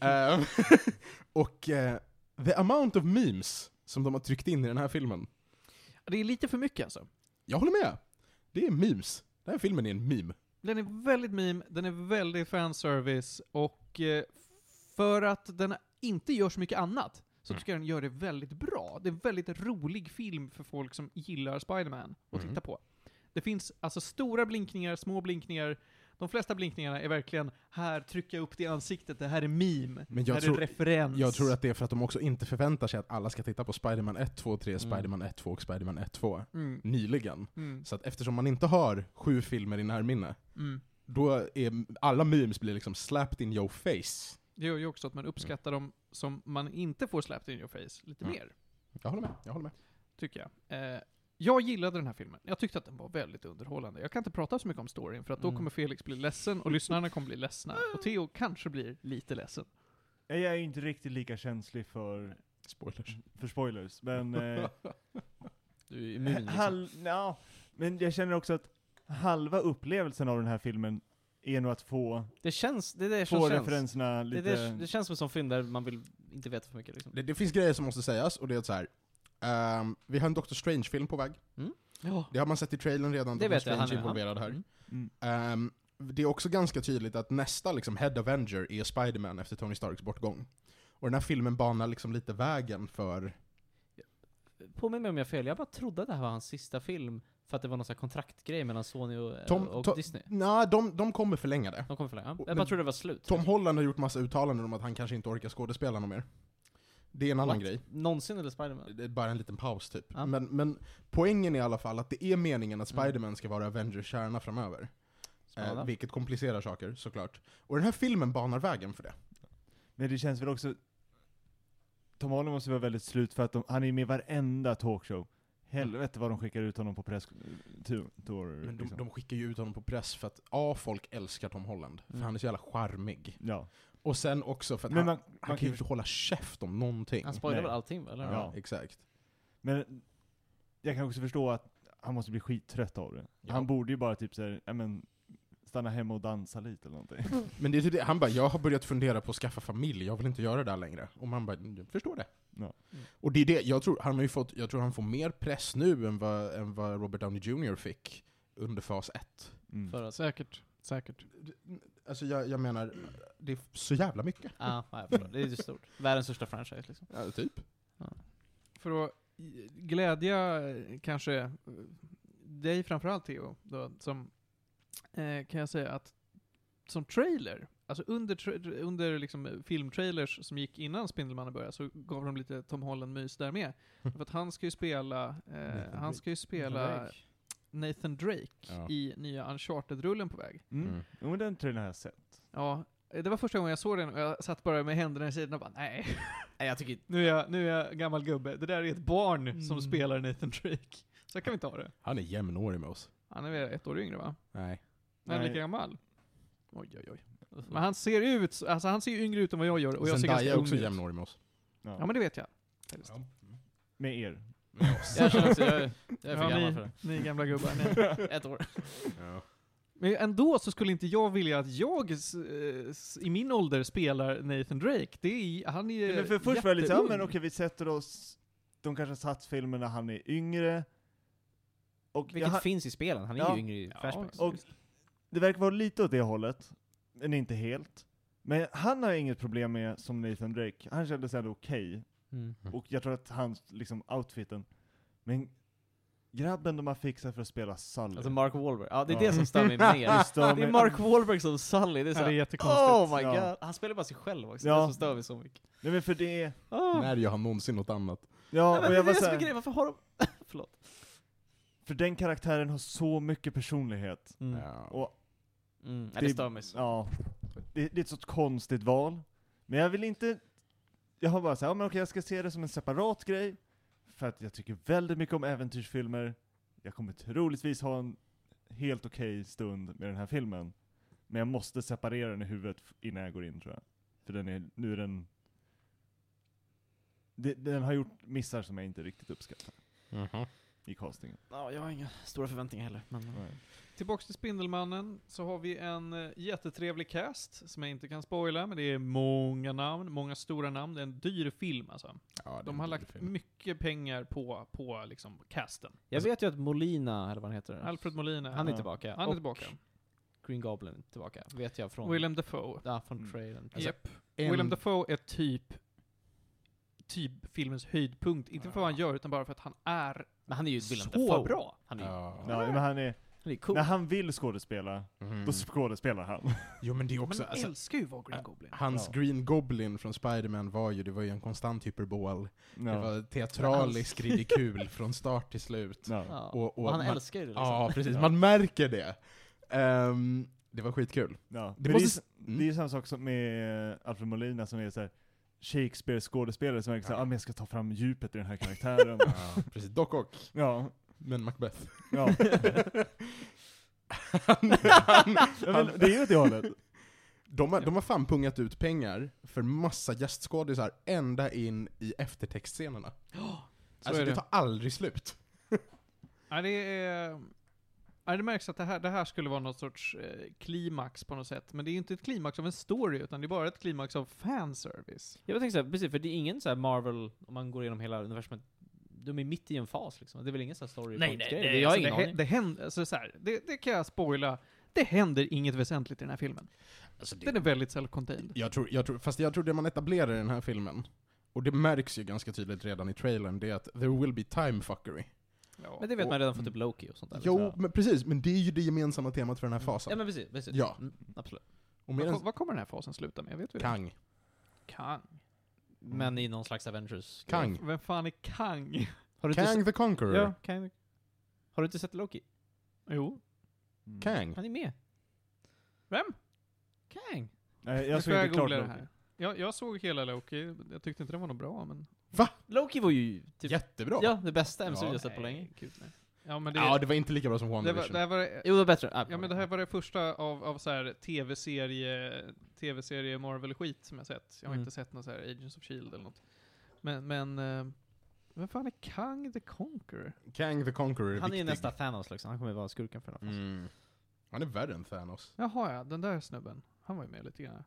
C: Ehm, och eh, the amount of memes som de har tryckt in i den här filmen.
B: Det är lite för mycket alltså.
C: Jag håller med! Det är memes. Den här filmen är en meme.
B: Den är väldigt meme, den är väldigt fanservice och eh, för att den inte gör så mycket annat
C: Mm.
B: så tycker jag den gör det väldigt bra. Det är en väldigt rolig film för folk som gillar Spider-Man att
C: Mm.
B: titta på. Det finns alltså stora blinkningar, små blinkningar. De flesta blinkningarna är verkligen här trycka upp det i ansiktet, det här är meme,
C: Men
B: det
C: jag
B: här
C: tror,
B: är
A: Mm.
B: referens.
C: Jag tror att det är för att de också inte förväntar sig att alla ska titta på Spiderman 1, 2,
A: Mm.
C: 3, Spiderman 1, 2 och Spiderman 1, 2
B: Mm,
C: nyligen.
B: mm,
C: Så att eftersom man inte har sju filmer i närminne,
B: mm.
C: då är alla memes blir liksom slapped in your face.
B: Det gör ju också att man uppskattar dem som man inte får slapped in your face lite
C: Mm.
B: mer.
C: Jag håller med, jag håller med.
B: tycker jag. Eh, jag gillade den här filmen. Jag tyckte att den var väldigt underhållande. Jag kan inte prata så mycket om storyn, för att då
A: Mm.
B: kommer Felix bli ledsen och lyssnarna kommer bli ledsna. Och Theo kanske blir lite ledsen.
D: Jag är ju inte riktigt lika känslig för,
A: Mm.
C: Spoilers.
D: för spoilers, men... Eh,
A: Du är immun liksom.
D: hal, ja, men jag känner också att halva upplevelsen av den här filmen är nog att få,
A: Det känns, det är det som
D: få
A: känns.
D: referenserna
A: Det,
D: lite...
A: det, det känns som en sån film där man vill inte veta för mycket liksom.
C: Det, det finns grejer som måste sägas, och det är så här. ehm, vi har en Doctor Strange-film på väg.
B: Ja.
C: Det har man sett i trailern redan,
A: Mm. Det
C: Doctor
A: vet jag,
C: Strange
A: han är
C: är involverad här.
A: han.
D: Mm.
C: Ehm, det är också ganska tydligt att nästa liksom, Head Avenger är Spiderman efter Tony Starks bortgång. Och den här filmen banar liksom lite vägen för
A: Påminn mig om jag har fel, jag bara trodde att det här var hans sista film för att det var någon sån här kontraktgrej mellan Sony och, eh,
C: Tom-
A: och
C: to-
A: Disney.
C: Nej, de, de kommer förlänga det.
A: De kommer förlänga. Ja. Jag
C: Men-
A: bara trodde det var slut.
C: Tom Holland har gjort massa uttalanden om att han kanske inte orkar skådespela något mer. Det är en annan
A: What?
C: grej. Eh,
A: Någonsin eller Spiderman?
C: Det är bara en liten paus typ.
A: Ja. Mm.
C: Men, men poängen är i alla fall att det är meningen att Spiderman ska vara Avengers kärna framöver. Eh,
A: Spännande.
C: vilket komplicerar saker såklart. Och den här filmen banar vägen för det.
D: Men det känns väl också... Tom Holland måste vara väldigt slut för att de, han är med i varenda talkshow. Helvete vad de skickar ut honom på presstur. tur,
A: Mm,
C: Men Mm, de,
D: liksom.
C: de skickar ju ut honom på press för att A. Folk älskar Tom Holland, för
A: Mm.
C: han är så jävla charmig.
D: Ja.
C: Och sen också för att
D: Men
C: han,
D: man,
C: han
D: man
C: kan ju
D: kan ju...
C: inte hålla käft om någonting.
A: Han spoilar
D: Nej.
A: väl allting va, eller?
D: Ja.
C: Exakt.
D: Men jag kan också förstå att han måste bli skittrött av det.
A: Ja.
D: Han borde ju bara typ såhär, ja men, stanna hemma och dansa lite eller någonting.
C: Men det är typ det, han bara 'Jag har börjat fundera på att skaffa familj, jag vill inte göra det där längre' Och man bara 'Jag förstår det'
D: Ja.
A: Mm.
C: Och det är det, jag tror, han har ju fått, jag tror han får mer press nu än vad, än vad Robert Downey Jr fick under fas 1
D: Mm.
A: För att...
B: Säkert, säkert.
C: Alltså jag, jag menar, det är så jävla mycket.
A: Ah, ja, jag förstår. Det är ju stort. Världens största franchise liksom.
C: Ja, typ.
B: För att i- glädja eh, kanske eh, dig framförallt Theo, då, som eh, kan jag säga att som trailer, alltså under, tra- under liksom eh, filmtrailers som gick innan Spindelmannen började så gav de lite Tom Holland-mys där med. För att han ska ju spela, eh, han
C: Drake.
B: ska ju spela Nathan Drake
C: Ja.
B: i nya Uncharted-rullen på väg.
D: Mm.
C: Mm.
D: Jo men den trailern har jag sett.
B: Ja, eh, det var första gången jag såg den och jag satt bara med händerna i sidorna och bara nej.
A: Nej jag tycker
B: Nu är, jag, nu är jag gammal gubbe. Det där är ett barn som
A: Mm.
B: spelar Nathan Drake. Så kan vi inte ha det.
C: Han är jämnårig med oss.
B: Han är väl ett år yngre va?
C: Nej.
B: Han är
D: Nej.
B: lika gammal. Oj, oj, oj. Men han ser ut, alltså han ser ju yngre ut än vad jag gör och jag ser
C: Zendaya
B: ganska
C: är också
B: ung ut.
C: jämnårig med oss.
D: Ja.
B: Ja men det vet jag. faktiskt.
C: Ja.
D: Med er.
A: Jag känner också, jag, är- jag är för
B: Ja,
A: gammal
B: ni,
A: för det.
B: ni gamla gubbar. Nej.
A: Ett år.
C: Ja.
B: Men ändå så skulle inte jag vilja att jag s- eh, s- i min ålder spelar Nathan Drake. Det är, han är
D: Men för först var jag lite, ja
B: jätteung.
D: men okej vi sätter oss, de kanske har satt filmen när han är yngre. Och jag
A: Vilket
D: ha-
A: finns i spelen, han är
D: Ja.
A: ju yngre i Flashbacks.
D: och det verkar vara lite åt det hållet, men inte helt. Men han har jag inget problem med som Nathan Drake, han kändes ändå okej.
A: Mm.
D: Och jag tror att hans, liksom, outfiten. Men grabben de har fixat för att spela Sully.
A: Alltså Mark Wahlberg, ja det är
D: Mm. Ja.
A: det som stör mig mer.
D: Det stör
A: Det är
D: mig-
A: Mark Wahlberg som Sully, det är
B: Ja, det är
A: såhär
B: jättekonstigt.
A: Oh my
D: Ja.
A: god, han spelar bara sig själv också,
D: Ja.
A: det är som stör mig så mycket.
D: Nej men för det,
A: Oh.
C: När gör han någonsin något annat?
A: Nej,
D: ja
A: men
D: och
A: det är
D: jag var
A: det som är
D: såhär,
A: grejen, varför har de... Förlåt.
D: för den karaktären har så mycket personlighet.
A: Mm.
C: Ja.
D: Och
A: Mm. Ja, det stör mig så.
D: ja, det, det är ett sånt konstigt val. Men jag vill inte, jag har bara såhär, ja men okej jag ska se det som en separat grej. För att jag tycker väldigt mycket om äventyrsfilmer. Jag kommer troligtvis ha en helt okej stund med den här filmen. Men jag måste separera den i huvudet f- innan jag går in tror jag. För den är, nu är den... Det- Den har gjort missar som jag inte riktigt uppskattar i castingen.
A: Ja, jag har inga stora förväntningar heller. Men...
C: Mm.
B: Tillbaks till Spindelmannen så har vi en eh, jättetrevlig cast som jag inte kan spoila, men det är många namn, många stora namn. Det är en dyr film alltså.
C: Ja, det är
B: De har
C: en
B: lagt
C: film.
B: mycket pengar på, på liksom casten.
A: Jag vet ju att Molina, eller vad han heter,
B: Alfred Molina.
A: han är
D: Ja.
A: tillbaka.
B: han är
A: och
B: tillbaka.
A: Green Goblin är tillbaka, vet jag från...
B: Willem Dafoe.
A: Ja, från
D: Mm.
A: trailern.
C: Alltså,
B: Japp.
C: En-
B: Willem Dafoe är typ, typ filmens höjdpunkt. Inte för vad han gör, utan bara för att han är
A: Men han är ju Willem
B: så
A: Dafoe.
B: bra.
A: Han är ju
C: Ja.
D: Ja, men han är,
A: han är cool.
D: när han vill skådespela,
C: Mm.
D: då skådespelar han.
C: Jo men det är
B: Man
C: också, alltså,
B: älskar ju att vara Green
C: Ja.
B: Goblin.
C: hans
D: Ja.
C: Green Goblin från Spider-Man var ju, det var ju en konstant hyperbol. Det var teatralisk ridikul från start till slut.
D: Ja.
A: ja. och,
C: Och, och
A: han
C: man,
A: älskar ju det liksom.
C: Ja, precis. Man märker det. Ehm, det var skitkul.
D: Ja.
C: Det
D: Det,
C: måste-
D: måste...
C: mm.
D: det är ju samma sak som med eh, Alfred Molina som är så här Shakespeare-skådespelare som verkar såhär, ah, men jag ska ta fram djupet i den här karaktären.
C: Ja, precis. Dock och,
D: ja,
C: men Macbeth.
D: ja.
C: Han- han-
D: ja men, det är ju åt det hållet.
C: de, har, de har fan pungat ut pengar för massa gästskådisar ända in i eftertextscenerna.
B: Så
C: Alltså
B: är
C: det.
B: det.
C: tar aldrig slut.
B: Ja, det är... Ja, det märks att det här, det här skulle vara något sorts eh, klimax på något sätt. Men det är ju inte ett klimax av en story, utan det är bara ett klimax av fanservice.
A: Jag tänkte såhär, precis, för det är ingen såhär Marvel, om man går igenom hela universumet, de är mitt i en fas liksom. Det är väl ingen sån här story point grej. Jag har
B: alltså,
A: ingen
B: det, hä-
A: aning.
B: det händer, alltså, så här, det, det kan jag spoila. Det händer inget väsentligt i den här filmen.
C: Alltså, det-
B: Den är väldigt self-contained.
C: Jag tror, jag tror, fast jag tror det man etablerar i den här filmen, och det märks ju ganska tydligt redan i trailern, det är att there will be time fuckery.
B: Ja.
A: Men det vet
C: Och-
A: man redan från typ Loki och sånt där.
C: Jo,
A: liksom. Mm.
C: men precis, men det är ju det gemensamma temat för den här
A: Ja
C: fasen.
A: men precis, precis.
C: Ja.
A: Mm, absolut.
C: Och
B: vad,
C: medan
B: kom- vad kommer den här fasen sluta med? Vet vi det?
C: Kang.
B: Kang.
A: Men i någon slags Avengers.
C: Kang.
B: Vem fan är Kang?
A: Har du inte
C: Kang the
A: sett...
C: Conqueror.
A: Ja, Kang. Har du inte sett Loki?
B: Jo.
D: Mm.
C: Kang.
A: Han är med.
B: Vem?
A: Kang.
D: Nej,
B: Nu
D: jag
B: får
D: såg inte klart
B: googla det
D: nog.
B: här. Jag, jag såg hela Loki, jag tyckte inte den var något bra, men...
C: Va?
A: Loki var ju typ,
C: Jättebra!
A: ja, det bästa MCU
C: Ja.
A: jag sett på länge.
B: Kul, nej. Ja men det,
C: Ja, det var inte lika bra som
B: det, var,
C: WandaVision.
B: det här var
A: Jo, det var bättre. Ah,
B: Ja men det här var det första av, av så här tv-serie, tv-serie Marvel-skit som jag sett. Jag har
A: Mm.
B: inte sett någon så här Agents of Shield E eller något. Men, men, eh, vem fan är Kang the Conqueror?
C: Kang the Conqueror
A: Han är ju
C: viktig.
A: nästa Thanos liksom, han kommer ju vara skurken för den här fasen.
C: Mm. Han är värre än Thanos.
B: Jaha ja, den där snubben. Han var ju med lite grann.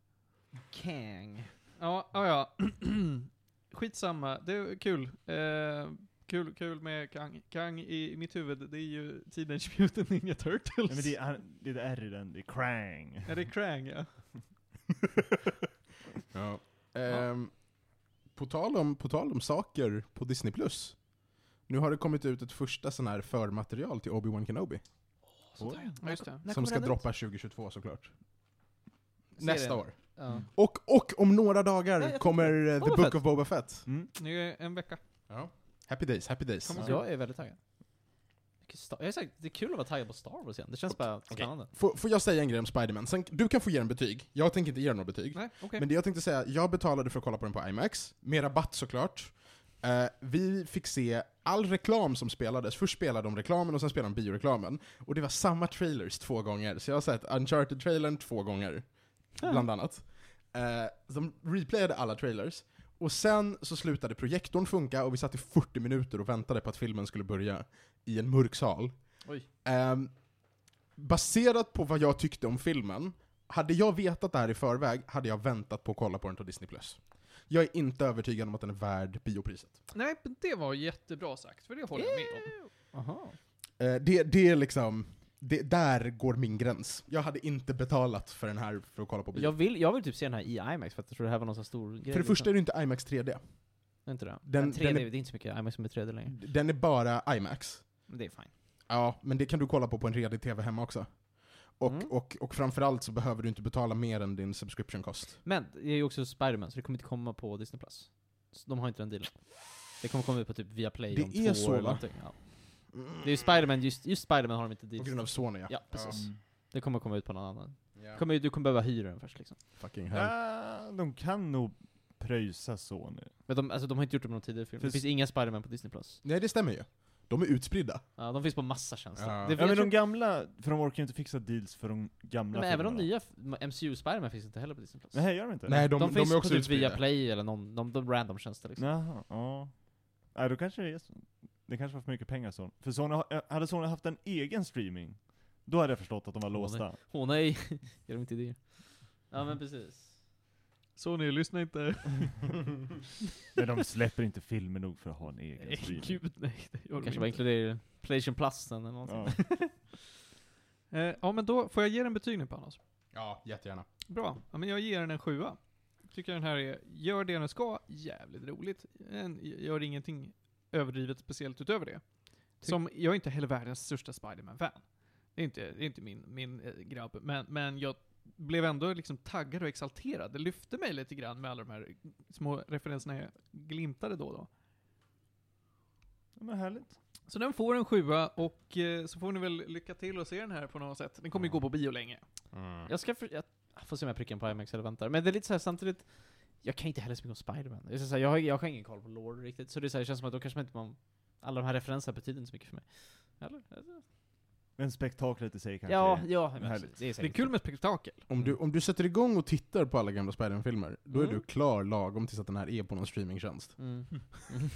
A: Kang.
B: Ja, ja, ja. Skitsamma, det är kul. Eh, kul, kul med Kang. Kang i mitt huvud, det är ju Teenage Mutant Ninja Turtles.
D: Nej, men det, är, han, det är ett R i den, det är Krang.
B: Ja, det är Krang ja.
C: Ja. Ehm, på, tal om, på tal om saker på Disney+. Plus. Nu har det kommit ut ett första sån här förmaterial till Obi-Wan Kenobi.
B: ja just det.
C: Som ska droppa 2022 såklart. Nästa år.
A: Ja.
C: Och, och om några dagar
A: Nej, jag
C: kommer eh, The
A: Boba
C: Book
A: Fett.
C: of Boba Fett.
D: Mm.
B: Nu är en vecka.
C: Ja. Happy days, happy days.
B: Kommer
C: Ja.
A: Så jag är väldigt taggad. Vilket Star- Jag är säkert, det är kul att vara taggad på Star Wars igen, det känns bara spännande.
C: Får, får jag säga en grej om Spiderman? Sen, du kan få ge den betyg, jag tänker inte ge den något betyg.
B: Nej, okej.
C: Men det jag tänkte säga, jag betalade för att kolla på den på IMAX, med rabatt såklart. Eh, vi fick se all reklam som spelades. Först spelade de reklamen och sen spelade de bioreklamen. Och det var samma trailers två gånger, så jag har sett Uncharted-trailern två gånger. Bland annat. Eh, de replayade alla trailers. Och sen så slutade projektorn funka och vi satt i 40 minuter och väntade på att filmen skulle börja i en mörk sal.
A: Oj.
C: Ehm, baserat på vad jag tyckte om filmen, hade jag vetat det här i förväg hade jag väntat på att kolla på den på Disney+. Jag är inte övertygad om att den är värd biopriset.
B: Nej, men det var jättebra sagt, för det håller jag med om.
A: Aha.
C: Eh, det, det är liksom... Det, där går min gräns. Jag hade inte betalat för den här för att kolla på bio.
A: Jag vill, jag vill typ se den här i IMAX för att jag tror det här var någon sån stor grej.
C: för det första
A: liksom.
C: är det inte IMAX 3D.
A: är inte det.
C: den-
A: Den, 3D,
C: den är-
A: det är inte så mycket IMAX som är 3D längre.
C: Den är bara IMAX.
A: Men det är fine.
C: Ja, men det kan du kolla på på en redig TV hemma också. Och,
A: Mm.
C: och, och framförallt så behöver du inte betala mer än din subscription cost.
A: Men det är ju också Spider-Man, så det kommer inte komma på Disney+. Plus. Så De har inte den dealen. Det kommer komma ut på typ Viaplay
C: Det
A: om
C: är
A: två
C: så,
A: år
C: va?
A: eller någonting. Ja. Det är ju Spider-Man, just, just Spider-Man har de inte
C: På
A: dit.
C: grund av Sony
A: Ja, precis. Det kommer komma ut på någon annan.
C: Ja.
A: Kommer, ju- du kommer behöva hyra den först liksom.
C: Fucking hell.
D: Ja, de kan nog pröjsa så nu.
A: Men de, alltså, de har inte gjort det med någon tidigare film.
D: För
A: Det finns inga Spider-Man på Disney+. Plus.
C: Nej, det stämmer ju. De är utspridda.
A: Ja, de finns på massa tjänster.
C: Ja.
A: Det,
D: Ja,
A: jag
D: men
A: tror-
D: de gamla, för de orkar ju inte fixa deals för de gamla
A: men även de
D: filmerna.
A: nya f- MCU Spider-Man finns inte heller på Disney+. Plus.
D: Nej, gör de inte?
C: Nej,
A: de,
C: de, de,
A: finns
C: är
A: på
C: också
A: typ
C: utspridda.
A: Viaplay eller någon, de, de random tjänster liksom.
D: Jaha, ja. Nej, då kanske det är så. Det kanske var för mycket pengar Sony. För Sony, har- eh, hade Sony haft en egen streaming, då hade jag förstått att de var
A: Sony.
D: låsta.
A: Åh nej, ger de inte idéer. Ja men precis.
B: Sony, lyssna inte.
D: Men de släpper inte filmer nog för att ha en egen streaming.
B: Gud nej, det gör de
A: Kanske bara
B: inte.
A: inkluderar Playstation Plus sen eller någonting.
D: Ja.
B: Eh, ja men då, får jag ge den betyg nu Panos?
C: Ja, jättegärna.
B: Bra, ja, men jag ger den en sjua. Tycker den här är, gör det den ska, jävligt roligt. En, gör ingenting överdrivet speciellt utöver det. Som, jag är inte heller världens största Spiderman-fan. Det är inte, det är inte min, min eh, grabb, men, men jag blev ändå liksom taggad och exalterad. Det lyfte mig lite grann med alla de här små referenserna jag glimtade då och då.
D: Ja, Men härligt.
B: Så den får en sjua och eh, så får ni väl lycka till och se den här på något sätt. Den kommer ju gå på bio länge.
A: Jag ska för, jag, jag får se om jag prickar den på IMAX eller väntar. Men det är lite så här samtidigt, jag kan inte heller så mycket om Spider-Man. Det är så här, jag, har, jag har ingen koll på lore riktigt, så det, är så här, det känns som att då kanske man inte man, alla de här referenserna betyder inte så mycket för mig. Eller?
D: Men spektaklet i sig kanske
A: Ja,
D: är-
A: ja, men
D: härligt.
A: precis. det är
B: Det är
A: säkert
B: kul med spektakel.
C: Om du, om du sätter igång och tittar på alla gamla Spiderman-filmer, då är
A: Mm.
C: du klar lagom tills att den här är på någon streamingtjänst.
A: Mm. Mm.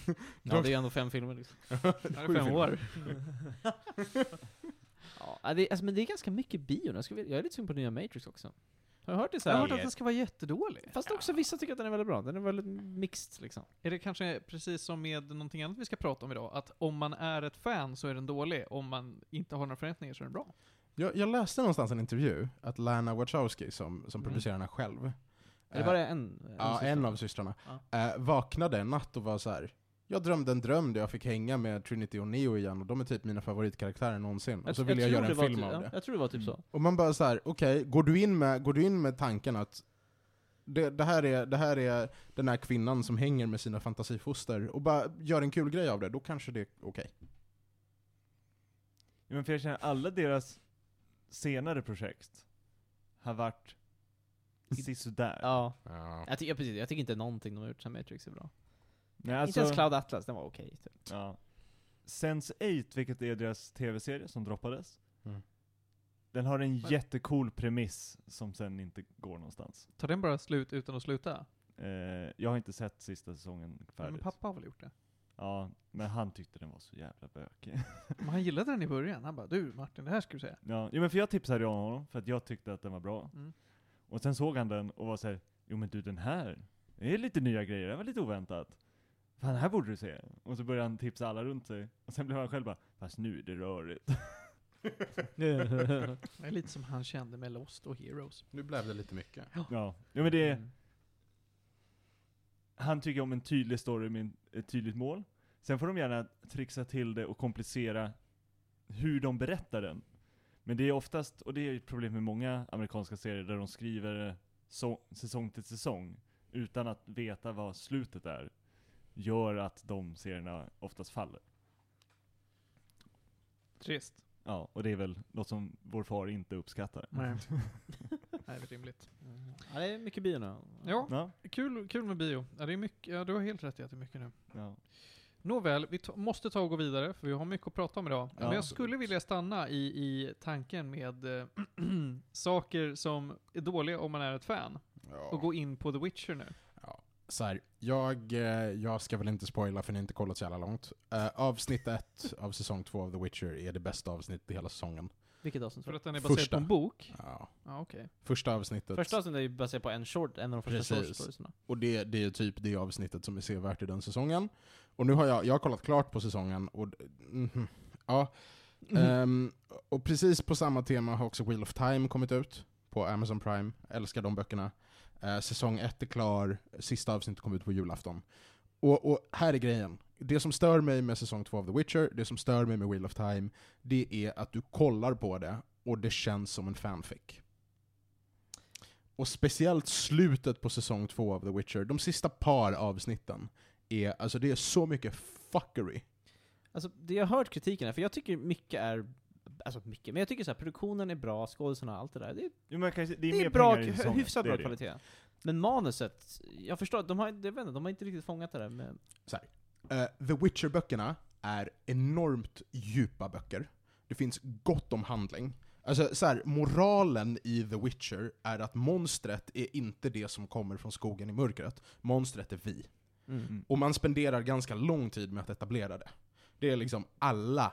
A: ja, det är ju ändå fem filmer liksom.
B: Det här är fem år.
A: Ja, det, alltså, men det är ganska mycket bio nu. Jag, ska, vilja- jag är lite sugen på nya Matrix också. Har du hört det så
B: Jag
A: här?
B: har hört att den ska vara jättedålig.
A: Fast också vissa tycker att den är väldigt bra. Den är väldigt mixed liksom.
B: Är det kanske precis som med någonting annat vi ska prata om idag? Att om man är ett fan så är den dålig, om man inte har några förväntningar så är den bra.
C: Jag, jag läste någonstans en intervju att Lana Wachowski, som, som
A: Mm.
C: producerar den här själv,
A: Är det
C: eh,
A: bara en?
C: ja,
A: syster?
C: en av systrarna, eh, vaknade en natt och var så här. Jag drömde en dröm där jag fick hänga med Trinity och Neo igen och de är typ mina favoritkaraktärer någonsin. Och så ville jag,
A: tror
C: göra en
A: var
C: film
A: typ-
C: av
A: ja,
C: det.
A: Jag tror det var typ
D: Mm.
A: så.
C: Och man bara så här: okej, går, du in med- går du in med tanken att det, det, här är, det här är den här kvinnan som hänger med sina fantasifoster och bara gör en kul grej av det, då kanske det är okej.
D: Ja, Men för jag känner alla deras senare projekt har varit sisådär.
A: Ja.
C: Ja.
A: Jag tycker, ja, precis, jag tycker inte någonting de har gjort sen Matrix är bra.
D: Nej,
C: Alltså-
D: alltså-
A: Inte ens Cloud Atlas, den var okej. typ.
D: Ja. Sense8, vilket är deras tv-serie som droppades.
C: Mm.
D: Den har en
B: Men-
D: jättecool premiss som sen inte går någonstans.
B: Tar den bara slut utan att sluta?
D: Eh, jag har inte sett sista säsongen
B: Men
D: färdigt.
B: pappa har väl gjort det?
D: ja, men han tyckte den var så jävla bökig.
B: Men han gillade den i början. Han bara du Martin, det här ska du säga.
D: ja, jo, men för jag tipsade ju om honom, för att jag tyckte att den var bra.
B: Mm.
D: Och sen såg han den och var såhär, jo men du den här, det är lite nya grejer, det var lite oväntat. Fan, den här borde du se. Och så började han tipsa alla runt sig. Och sen blev han själv bara, fast nu är det rörigt.
B: Det är lite som han kände med Lost och Heroes.
C: Nu blev det lite mycket.
D: Ja, jo, men det är,
A: Mm.
D: han tycker om en tydlig story med en- ett tydligt mål. Sen får de gärna trixa till det och komplicera hur de berättar den. Men det är oftast, och det är ett problem med många amerikanska serier, där de skriver så, säsong till säsong utan att veta vad slutet är. Gör att de serierna oftast faller.
B: Trist.
D: Ja, och det är väl något som vår far inte uppskattar.
B: Nej. Nej, det är rimligt.
A: Ja, det är mycket bio nu.
B: Ja.
D: Ja,
B: Kul, kul med bio. Ja, det är mycket, ja, du har helt rätt i att det är mycket nu.
D: ja.
B: Nåväl, vi ta- måste ta och gå vidare för vi har mycket att prata om idag.
D: Ja.
B: Men jag skulle vilja stanna i, i tanken med eh, saker som är dåliga om man är ett fan. Och
C: Ja.
B: gå in på The Witcher nu.
C: Ja. Så här, jag, eh, jag ska väl inte spoila för ni har inte kollat så jävla långt. Eh, avsnitt ett av säsong två av The Witcher är det bästa avsnittet i hela säsongen.
A: Vilket avsnitt
B: För
A: var det?
B: att den är baserad
C: Första.
B: på en bok.
C: Ja.
B: Ja, okej.
C: Första avsnittet.
A: Första avsnittet är ju baserat på en short, en av de första
C: Precis.
A: short storiesna.
C: Och det, det är typ det avsnittet som är sevärt i den säsongen. Och nu har jag, jag har kollat klart på säsongen och... mhm. ja. Ehm, och precis på samma tema har också Wheel of Time kommit ut på Amazon Prime. Älskar de böckerna. Eh, säsong ett är klar, sista avsnittet kom ut på julafton. Och, och här är grejen. Det som stör mig med säsong två av The Witcher, det som stör mig med Wheel of Time, det är att du kollar på det och det känns som en fanfic. Och speciellt slutet på säsong två av The Witcher, de sista par avsnitten, är, alltså det är så mycket fuckery.
A: Alltså, det jag har hört kritiken är, för jag tycker mycket är, alltså mycket, men jag tycker så här, produktionen är bra, skådisarna och allt det där. Det är,
D: Jo, men kanske, det
A: det
D: är,
A: är,
D: mer
A: bra,
D: pengar i
A: hö-
D: säsongen.
A: hyfsat
D: Det är
A: bra
D: det.
A: kvalitet. Men manuset, jag förstår att de har, jag vet inte, de har inte riktigt fångat det där med...
C: Eh, The Witcher-böckerna är enormt djupa böcker. Det finns gott om handling. Alltså så här, moralen i The Witcher är att monstret är inte det som kommer från skogen i mörkret. Monstret är vi.
D: Mm.
C: Och man spenderar ganska lång tid med att etablera det. Det är liksom alla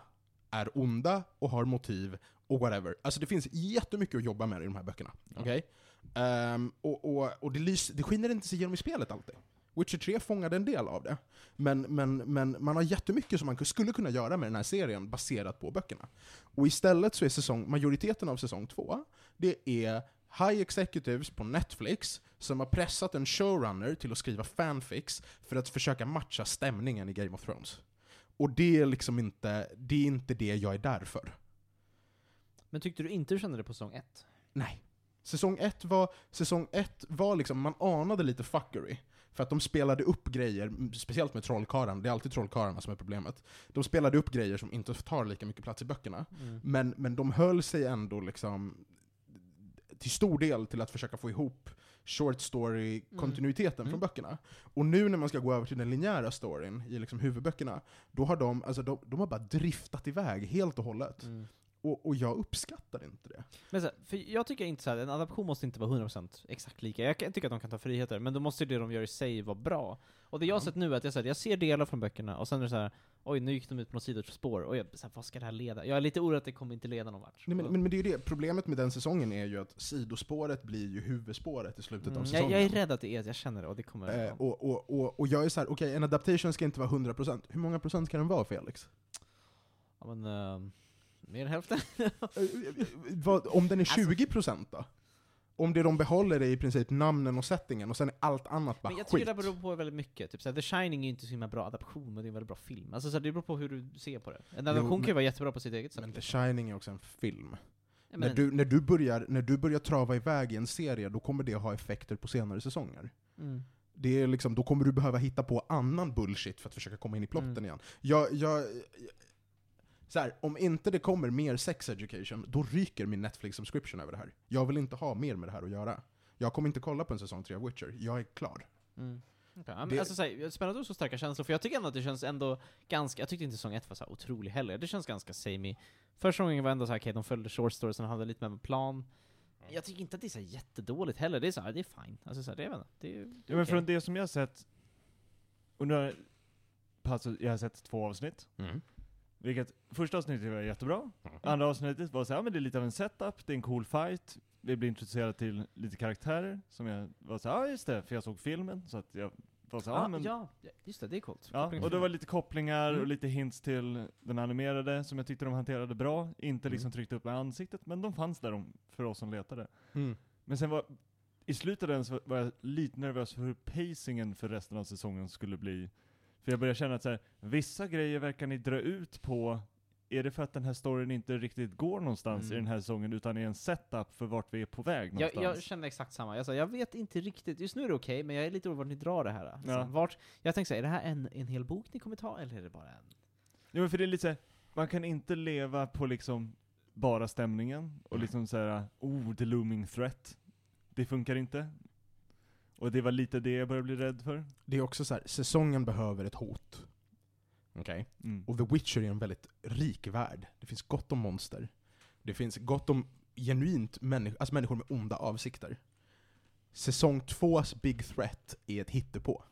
C: är onda och har motiv och whatever. Alltså det finns jättemycket att jobba med i de här böckerna.
D: Ja.
C: Okej? Ehm, och och, och det, lys, det skiner inte sig igenom i spelet alltid. Witcher 3 fångade en del av det. Men, men, men man har jättemycket som man skulle kunna göra med den här serien baserat på böckerna. Och istället så är säsong, majoriteten av säsong 2, det är high executives på Netflix som har pressat en showrunner till att skriva fanfics för att försöka matcha stämningen i Game of Thrones. Och det är liksom inte, det är inte det jag är där för.
A: Men tyckte du inte du kände det på säsong ett?
C: Nej. Säsong ett var, säsong ett var liksom, man anade lite fuckery. För att de spelade upp grejer, m- speciellt med trollkarlarna, det är alltid trollkarlarna som är problemet. De spelade upp grejer som inte tar lika mycket plats i böckerna. Men, men de höll sig ändå liksom till stor del till att försöka få ihop short story-kontinuiteten
A: Mm.
C: från böckerna. Och nu när man ska gå över till den linjära storyn i liksom huvudböckerna, då har de, alltså de, de har bara driftat iväg helt och hållet.
A: Mm.
C: Och, och jag uppskattar inte det.
A: Men så här, för jag tycker inte så här, en adaption måste inte vara 100% exakt lika. Jag kan- tycker att de kan ta friheter, men då måste ju det de gör i sig vara bra. Och det jag har
C: Ja.
A: sett nu är att jag, så här, jag ser delar från böckerna, och sen är det så här, oj nu gick de ut på något sidospår, och jag, så här, vad ska det här leda? Jag är lite orolig att det kommer inte leda någon vart.
C: Nej, men, men, men det är ju det, problemet med den säsongen är ju att sidospåret blir ju huvudspåret i slutet av
A: mm, jag,
C: säsongen.
A: jag är rädd att det är, jag känner det, och det kommer...
C: Eh, och, och, och, och jag är så här, okej en adaptation ska inte vara 100%. Hur många procent kan den vara Felix?
A: ja, men, ehm, mer än hälften?
C: Eh, eh, vad, om
A: Alltså-
C: den är 20% då? Om det de behåller är i princip namnen och settingen och sen är allt annat bara
A: Men jag
C: skit.
A: tycker det beror på väldigt mycket. Typ såhär, The Shining är ju inte så himla bra adaption, men det är en väldigt bra film. Alltså såhär, det beror på hur du ser på det. En adaption kan ju
C: men-
A: vara jättebra på sitt eget sätt. Mm,
C: Men The Shining är också en film.
A: Ja,
C: När, du, när, du börjar, när du börjar trava iväg i en serie, då kommer det ha effekter på senare säsonger.
A: mm.
C: Det är liksom, då kommer du behöva hitta på annan bullshit för att försöka komma in i plotten
A: Mm.
C: igen. Jag, jag, så här, om inte det kommer mer sex education, då ryker min Netflix subscription över det här. Jag vill inte ha mer med det här att göra. Jag kommer inte kolla på en säsong 3 av Witcher, jag är klar.
A: Mm. Ja, men
C: Det-
A: alltså, så här, spännande och så starka känslor, för jag tycker ändå att det känns ändå ganska, jag tyckte inte säsong ett var så här otrolig heller, det känns ganska samey. Första säsongen var ändå så här, okej de följde short storiesen och hade lite mer med plan.
C: Mm.
A: Jag tycker inte att det är så här jättedåligt heller, det är så här, det är fine. Alltså så här, det är väl, det är, det
D: Ja,
A: är
D: men
A: okej.
D: från det som jag har sett, och nu har jag, alltså, jag har sett två avsnitt,
C: Mm.
D: vilket första avsnittet var jättebra,
C: Mm.
D: andra avsnittet var så här, ja, men det är lite av en setup, det är en cool fight, vi blir introducerade till lite karaktärer som jag var så här, ja just det, för jag såg filmen, så att jag var så här, ja,
A: Ah, ja,
D: men, ja.
A: ja, just det, det är coolt.
D: och det var lite kopplingar
A: Mm.
D: och lite hints till den animerade som jag tyckte de hanterade bra. Inte liksom tryckte upp med ansiktet, men de fanns där de, för oss som letade.
C: Mm.
D: Men sen var, i slutet av den så var jag lite nervös för hur pacingen för resten av säsongen skulle bli. För jag började känna att så här, vissa grejer verkar ni dra ut på, är det för att den här storyn inte riktigt går någonstans
A: Mm.
D: i den här säsongen, utan är en setup för vart vi är på väg
A: Jag,
D: någonstans?
A: jag känner exakt samma, jag, sa, jag vet inte riktigt, just nu är det okej, men jag är lite orolig vart ni drar det här. Alltså,
D: Ja.
A: vart, jag tänker såhär, är det här en, en hel bok ni kommer ta, eller är det bara en?
D: Ja, men för det är lite så här, man kan inte leva på liksom bara stämningen och liksom så här, oh, the looming threat. Det funkar inte. Och det var lite det jag började bli rädd för.
C: Det är också så här, säsongen behöver ett hot. Okej.
D: Mm.
C: Och The Witcher är en väldigt rik värld. Det finns gott om monster. Det finns gott om genuint människor, alltså människor med onda avsikter. Säsong tvås Big Threat är ett hittepå.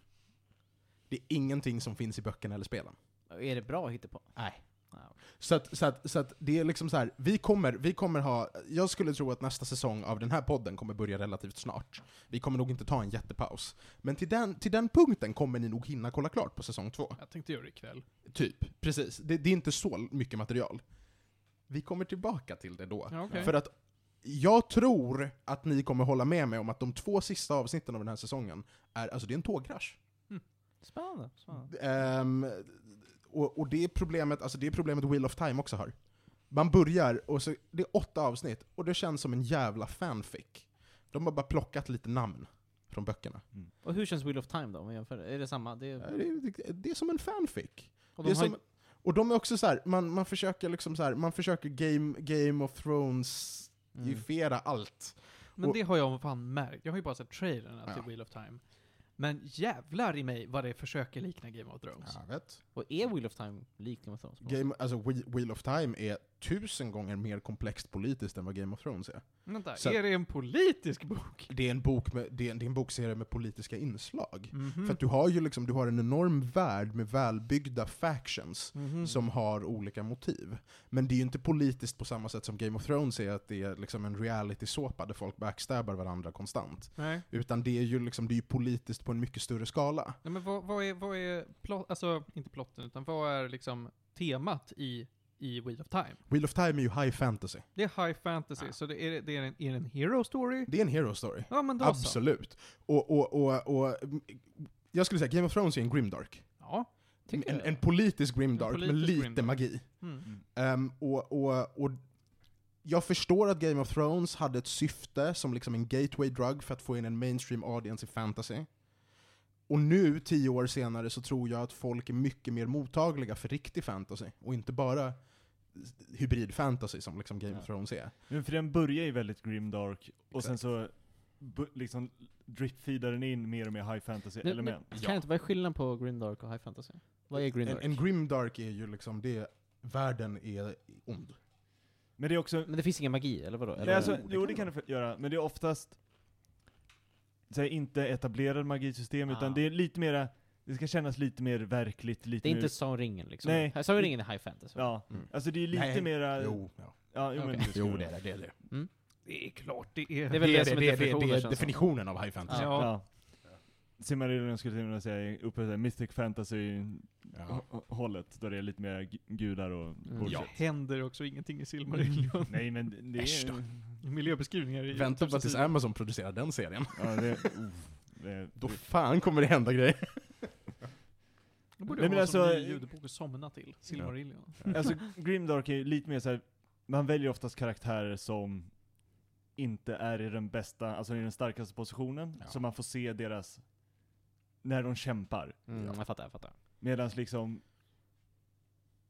C: Det är ingenting som finns i böckerna eller spelen.
A: Och Är det bra att hitta på?
C: Nej.
A: Ja.
C: Så att, så att, så att det är liksom så här, vi kommer, vi kommer ha, jag skulle tro att nästa säsong av den här podden kommer börja relativt snart. Vi kommer nog inte ta en jättepaus. Men till den, till den punkten kommer ni nog hinna kolla klart på säsong två.
B: Jag tänkte göra det ikväll.
C: Typ, precis. Det, det är inte så mycket material. Vi kommer tillbaka till det då.
B: Ja, okej.
C: För att jag tror att ni kommer hålla med mig om att de två sista avsnitten av den här säsongen är, alltså det är en tågkrasch.
A: Spännande. spännande.
C: Ehm, och, och det är problemet, alltså det är problemet Wheel of Time också har. Man börjar, och så, det är åtta avsnitt, och det känns som en jävla fanfic. De har bara plockat lite namn från böckerna.
A: Och hur känns Wheel of Time då, om vi jämför det? Är det samma? Det
C: Det
A: är,
C: är, det är som en fanfic.
A: och
C: det är
A: de har
C: som, och de är också så här, man, man försöker liksom så här, man försöker Game, game of Thrones-ifiera
A: ju- mm.
C: allt.
B: Men
C: Och-
B: det har jag fan märkt. Jag har ju bara sett trailern till
C: Ja.
B: Wheel of Time. Men jävlar i mig vad det försöker likna Game of Thrones.
C: vet.
A: Och är Wheel of Time lik Game of Thrones? på något
C: Alltså. Game, alltså Whe- Wheel of Time är tusen gånger mer komplext politiskt än vad Game of Thrones är.
B: Vänta,
C: Så-
B: är det en politisk bok?
C: Det är en, bok med, det är en, det är en bokserie med politiska inslag.
B: Mm.
C: För att du har ju liksom, du har en enorm värld med välbyggda factions
B: Mhm. Mm.
C: som har olika motiv. Men det är ju inte politiskt på samma sätt som Game of Thrones är, att det är liksom en reality-såpa där folk backstabbar varandra konstant.
B: Nej.
C: Utan det är ju liksom, det är ju politiskt på en mycket större skala.
B: Nej men vad, vad är, vad är plot, alltså inte plotten, utan vad är liksom temat i, i Wheel of Time?
C: Wheel of Time är ju high fantasy.
B: Det är high fantasy,
C: Ja.
B: så det är, det är, en, är det en hero story?
C: Det är en hero story.
B: Ja men då så.
C: Absolut. Och, och, och, och, mm, jag skulle säga Game of Thrones är en grimdark.
B: Ja.
A: sätt? Tycker
C: En,
A: jag.
C: en politisk grimdark
B: En
C: med
B: politisk
C: lite
B: grimdark.
C: magi.
B: Mm.
C: Ehm, och, och, och jag förstår att Game of Thrones hade ett syfte som liksom en gateway drug för att få in en mainstream audience i fantasy. Och nu, tio år senare, så tror jag att folk är mycket mer mottagliga för riktig fantasy. Och inte bara hybrid fantasy som liksom Game
D: Ja.
C: of Thrones är.
D: Men för den börjar ju väldigt grimdark, och sen
C: Exakt.
D: så bu- liksom dripfeedar den in mer och mer high
A: Nu, men,
D: fantasy-element.
A: kan jag inte, vad är skillnaden på Grimdark och High Fantasy? Vad är
C: En,
A: Grimdark?
C: en grimdark är ju liksom det, världen är ond.
D: Men det är också,
A: men det finns ingen magi, eller vadå?
D: Nej,
A: eller?
D: alltså,
C: det
D: jo
C: kan
D: det
C: det
D: kan det för- göra, men det är oftast så här, inte etablerad magisystem, utan
A: Ah.
D: det är lite mera, det ska kännas lite mer verkligt, lite
A: det är
D: mer,
A: inte Sagan om ringen liksom?
D: Nej.
A: Nej. Sagan om ringen är High Fantasy.
D: ja.
C: Mm.
D: Alltså det är lite
C: Nej.
D: mera,
C: Jo, ja.
D: ja, jo, men
A: Okej.
D: ska det.
C: det. är det.
B: Det är klart det är.
A: Det är väl det, som är
C: det,
A: definitionen
C: är
A: känns som.
C: definitionen av high fantasy.
B: Ja.
D: Ja. Silmarillion skulle jag vilja säga är uppe i mythic fantasy-hållet,
C: Ja.
D: där det är lite mer gu- gudar och
A: Mm.
D: bullshit.
B: Ja. händer också ingenting i Silmarillion.
D: Nej men det- det
C: Äsch
D: är...
C: då.
B: Miljöbeskrivningar i
C: Vänta bara tills
B: tusen
C: Amazon producerar den serien.
D: Ja, det, oh, det,
C: Då fan kommer det hända grejer.
B: sidor. Då borde
D: Nej,
B: jag
D: men
B: ha en sån
D: alltså-
B: ny ljudbok och somna till. Silmarillion.
D: Alltså Grimdark är ju lite mer såhär, man väljer oftast karaktärer som inte är i den bästa, alltså i den starkaste positionen,
C: Ja.
D: så man får se deras, när de kämpar.
A: Mm, jag fattar, jag fattar.
D: Medan liksom,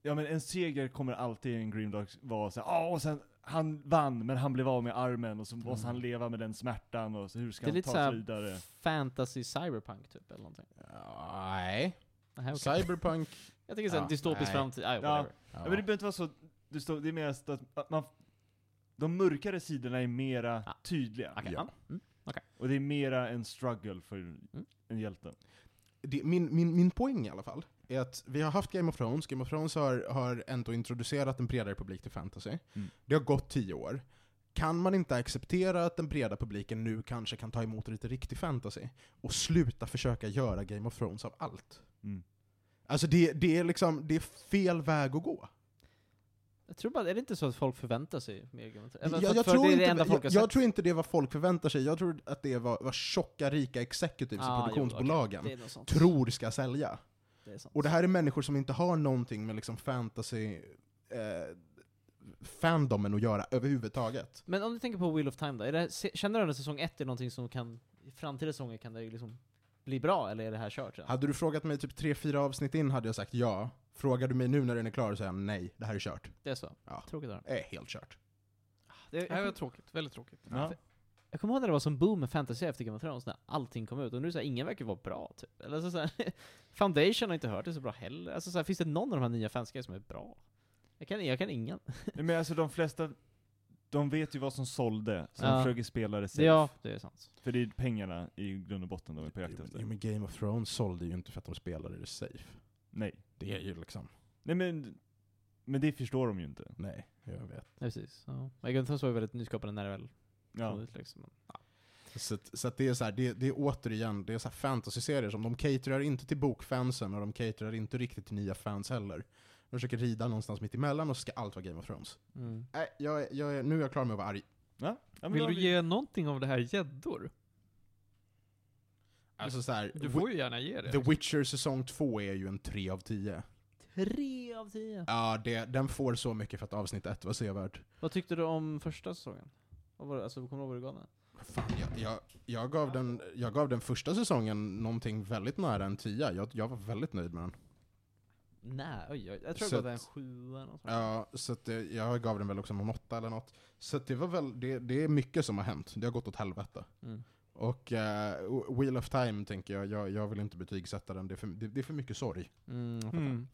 D: Ja men en seger kommer alltid i en Grimdark vara så här, "Åh, och sen han vann men han blev av med armen och så måste han leva med den smärtan och så hur ska
A: Det är
D: han
A: lite
D: ta sig
A: såhär
D: vidare?
A: fantasy cyberpunk typ eller någonting.
C: Ja, Nej.
A: Nej, okej.
C: Cyberpunk.
A: Jag tänker såhär
C: Ja,
A: dystopisk
C: nej.
A: framtid, ah,
D: Ja.
A: whatever.
C: Ja.
D: Ja. Men det behöver inte vara så, du står, det är mest att att man, de mörkare sidorna är mera
A: Ja.
D: tydliga.
A: Okej,
C: Ja.
A: ja. mm.
D: Och det är mera en struggle för en hjälte.
C: det, min, min, min poäng i alla fall är att vi har haft Game of Thrones, Game of Thrones har, har ändå introducerat en bredare publik till fantasy.
D: Mm.
C: Det har gått tio år. Kan man inte acceptera att den breda publiken nu kanske kan ta emot lite riktig fantasy? Och sluta försöka göra Game of Thrones av allt?
D: Mm.
C: Alltså det, det är liksom, det är fel väg att gå.
A: Jag tror bara, är det inte så att folk förväntar sig mer Game of Thrones? Eller
C: jag,
A: för-
C: jag,
A: för
C: tror
A: det är
C: inte,
A: det enda folk har
C: jag,
A: sett.
C: jag tror inte det är vad folk förväntar sig, jag tror att det är vad, vad tjocka, rika executives
A: Ah,
C: i
A: jo,
C: produktionsbolagen
A: okej. Det är något sånt.
C: tror ska sälja.
A: Det är sant.
C: Och det här är människor som inte har någonting med liksom fantasy eh, fandomen att göra överhuvudtaget.
A: Men om du tänker på Wheel of Time då, är det, här- se- känner du att säsong ett är någonting som kan, i framtida säsonger kan det ju liksom bli bra, eller är det här kört redan?
C: Hade du frågat mig typ 3-4 avsnitt in hade jag sagt ja. Frågar du mig nu när den är klar så säger jag nej, det här är kört.
A: Det är så?
C: Ja.
A: Tråkigt att höra.
C: Det är helt kört.
A: Det- jag
B: Det här var
A: kom-
B: tråkigt, väldigt tråkigt.
D: Ja.
A: Jag kommer ihåg när det var som boom med fantasy efter Game of Thrones, när allting kom ut, och nu så här, ingen verkar vara bra typ. Eller så, så här, Foundation har inte hört det så bra heller. Alltså så här, finns det någon av de här nya fansgrejerna som är bra? Jag kan, jag kan ingen.
D: Nej, Men alltså de flesta, de vet ju vad som sålde, så de
A: Ja.
D: försöker spela det safe.
A: Ja, det är sant.
D: För det är pengarna i grund och botten de är på jakt efter.
C: Jo men Game of Thrones sålde ju inte för att de spelade det safe.
D: Nej.
C: Det är ju liksom,
D: Nej men, men det förstår de ju inte.
C: nej, jag vet.
A: Ja, precis. Ja. Men Game of Thrones var ju väldigt nyskapande när det väl kom
D: Ja.
A: ut liksom.
C: Så, att- så att det är så här, det, det är återigen, det är så här fantasy-serier som de caterar inte till bokfansen och de caterar inte riktigt till nya fans heller. De försöker rida någonstans mitt emellan och så ska allt vara Game of Thrones.
A: Mm.
C: Nej, jag, är- jag, är- nu är jag klar med att vara arg.
D: Ja, ja men
B: Vill
D: då har
B: du
D: vi-
B: ge någonting av det här gäddor?
C: Alltså så här,
B: Du får ju gärna ge det.
C: The Witcher säsong 2 är ju en 3 av 10.
A: Tre av tio!
C: Ja, det, den får så mycket för att avsnitt 1 var sevärt.
A: Vad tyckte du om första säsongen? Vad var det, alltså, kommer du ihåg vad du gav den?
C: Fan, jag, jag, jag, gav den, jag gav den första säsongen någonting väldigt nära en 10. Jag, jag var väldigt nöjd med den.
A: Nej, oj, oj. Jag tror
C: Så
A: jag gav den en
C: att-
A: sjua eller något sånt.
C: Ja, så att det, jag gav den väl också någon 8 eller något. Så att det var väl, det, det är mycket som har hänt. Det har gått åt helvete.
A: Mm.
C: Och eh, Wheel of Time tänker jag, jag, jag vill inte betygsätta den. Det är för, det, det är för mycket sorg.
A: Mm, jag fattar.
B: Mm.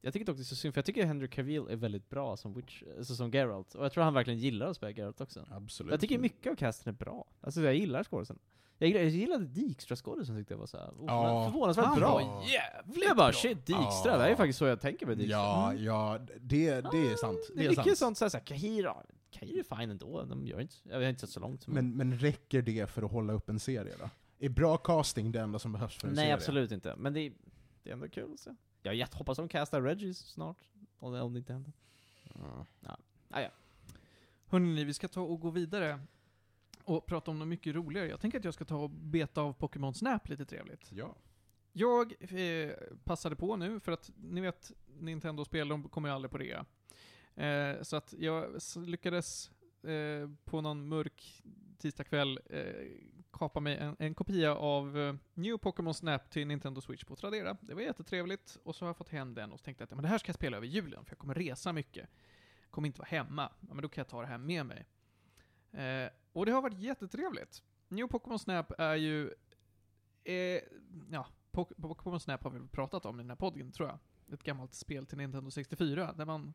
A: Jag tycker dock det är så synd, för jag tycker Henry Cavill är väldigt bra som, Witch, alltså som Geralt. Och jag tror han verkligen gillar att spela Geralt också.
C: Absolut.
A: Jag tycker mycket av casten är bra. Alltså jag gillar skådisen. Jag gillade, jag gillade Dijkstra skådisen tyckte jag var såhär, oh,
C: Ja.
A: förvånansvärt
B: Han
A: bra.
B: var
A: Var jävligt jag bara shit Dijkstra,
C: Ja.
A: det här är faktiskt så jag tänker med Dijkstra. Mm.
C: Ja, ja, det, det är sant.
A: Det är Ah, mycket sånt såhär, såhär Kahira, Kahira är fine ändå, de gör inte, jag har inte sett så långt.
C: Men, men räcker det för att hålla upp en serie då? Är bra casting det enda som behövs för en
A: Nej
C: serie?
A: absolut inte, men det är, det är ändå kul att se. Jag jätte- hoppas de castar Reggie snart, om det, om det inte händer.
C: Ja.
B: Hörrni, vi ska ta och gå vidare och prata om något mycket roligare. Jag tänker att jag ska ta och beta av Pokémon Snap lite trevligt.
C: Ja.
B: Jag eh, passade på nu, för att ni vet, Nintendo-spel de kommer ju aldrig på rea. Eh, så att jag s- lyckades eh, på någon mörk tisdagkväll eh, kapa mig en, en kopia av eh, New Pokémon Snap till Nintendo Switch på Tradera. Det var jättetrevligt, och så har jag fått hem den och så tänkte jag att "Ja, men det här ska jag spela över julen, för jag kommer resa mycket. Kommer inte vara hemma. Ja, men då kan jag ta det här med mig. Eh, och det har varit jättetrevligt. New Pokémon Snap är ju... Eh, ja, Pok- Pokémon Snap har vi väl pratat om i den här podden, tror jag. Ett gammalt spel till Nintendo 64, där man...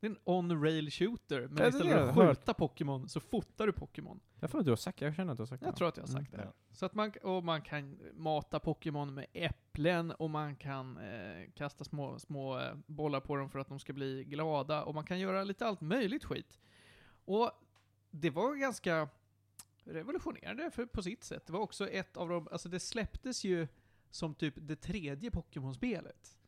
B: Det är en on-rail shooter, men
A: det
B: istället
A: har
B: för att
A: jag hört.
B: skjuta Pokémon så fotar du Pokémon.
A: Jag får att du har sagt jag känner att du har sagt
B: Jag tror att jag har sagt det.
D: Mm,
B: Så att man, och man kan mata Pokémon med äpplen och man kan eh, kasta små, små eh, bollar på dem för att de ska bli glada och man kan göra lite allt möjligt skit. Och det var ganska revolutionerande för, på sitt sätt. Det var också ett av de, alltså det släpptes ju som typ det tredje Pokémon-spelet.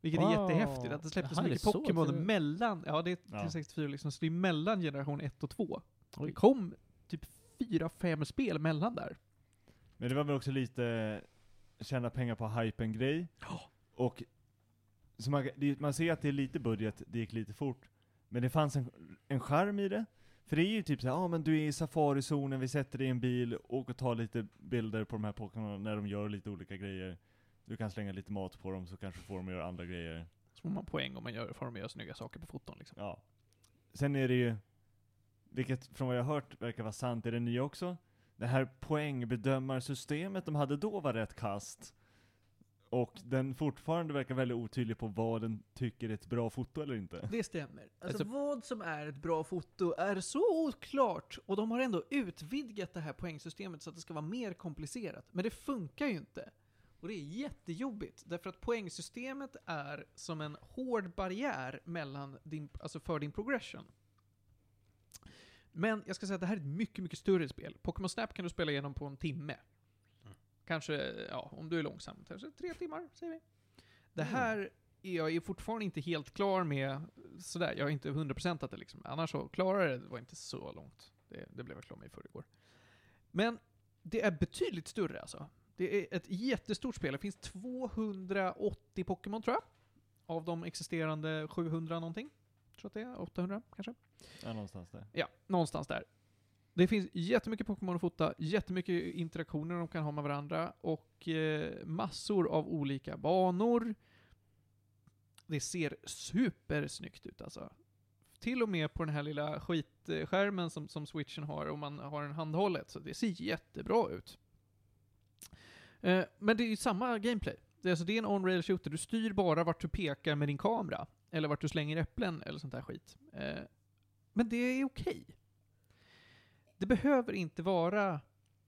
B: Vilket är
A: Wow.
B: jättehäftigt, att det släpptes
A: Jaha, är det
B: mycket
A: så
B: Pokémon
A: tidigt?
B: mellan, ja det är
D: Ja.
B: till 64 liksom, så det är mellan generation 1 och 2.
A: Oj.
B: Det kom typ fyra, fem spel mellan där.
D: Men det var väl också lite tjäna pengar på hypen grej. Och så man, det, man ser att det är lite budget, det gick lite fort. Men det fanns en, en charm i det. För det är ju typ såhär, ja ah, men du är i safarizonen, vi sätter dig i en bil, åk och tar lite bilder på de här Pokémonerna när de gör lite olika grejer. Du kan slänga lite mat på dem så kanske får de att göra andra grejer.
B: Så får man poäng om man gör, får de göra snygga saker på foton liksom.
D: Ja. Sen är det ju, vilket från vad jag har hört verkar vara sant, är det nya också? Det här poängbedömarsystemet de hade då var rätt kast. Och den fortfarande verkar väldigt otydlig på vad den tycker är ett bra foto eller inte.
B: Det stämmer. Alltså,
A: Alltså-
B: vad som är ett bra foto är så oklart. Och de har ändå utvidgat det här poängsystemet så att det ska vara mer komplicerat. Men det funkar ju inte. Och det är jättejobbigt. Därför att poängsystemet är som en hård barriär mellan din, alltså för din progression. Men jag ska säga att det här är ett mycket, mycket större spel. Pokémon Snap kan du spela igenom på en timme. Kanske, ja, om du är långsam, kanske tre timmar, säger vi. Det här är jag är fortfarande inte helt klar med sådär, jag har inte hundraprocentat det liksom. Annars så klarade jag det, det var inte så långt. Det, det blev jag klar med i förrgår. Men det är betydligt större alltså. Det är ett jättestort spel, det finns 280 Pokémon tror jag. Av de existerande 700 någonting. Tror att det är 800 kanske.
D: Ja, någonstans där.
B: Ja, någonstans där. Det finns jättemycket Pokémon att fota, jättemycket interaktioner de kan ha med varandra och eh, massor av olika banor. Det ser supersnyggt ut alltså. Till och med på den här lilla skitskärmen som, som switchen har, om man har den handhållet, så det ser jättebra ut. Eh, men det är ju samma gameplay. Det är, alltså, det är en on-rail shooter, du styr bara vart du pekar med din kamera. Eller vart du slänger äpplen eller sånt där skit. Eh, men det är okej. Det behöver inte vara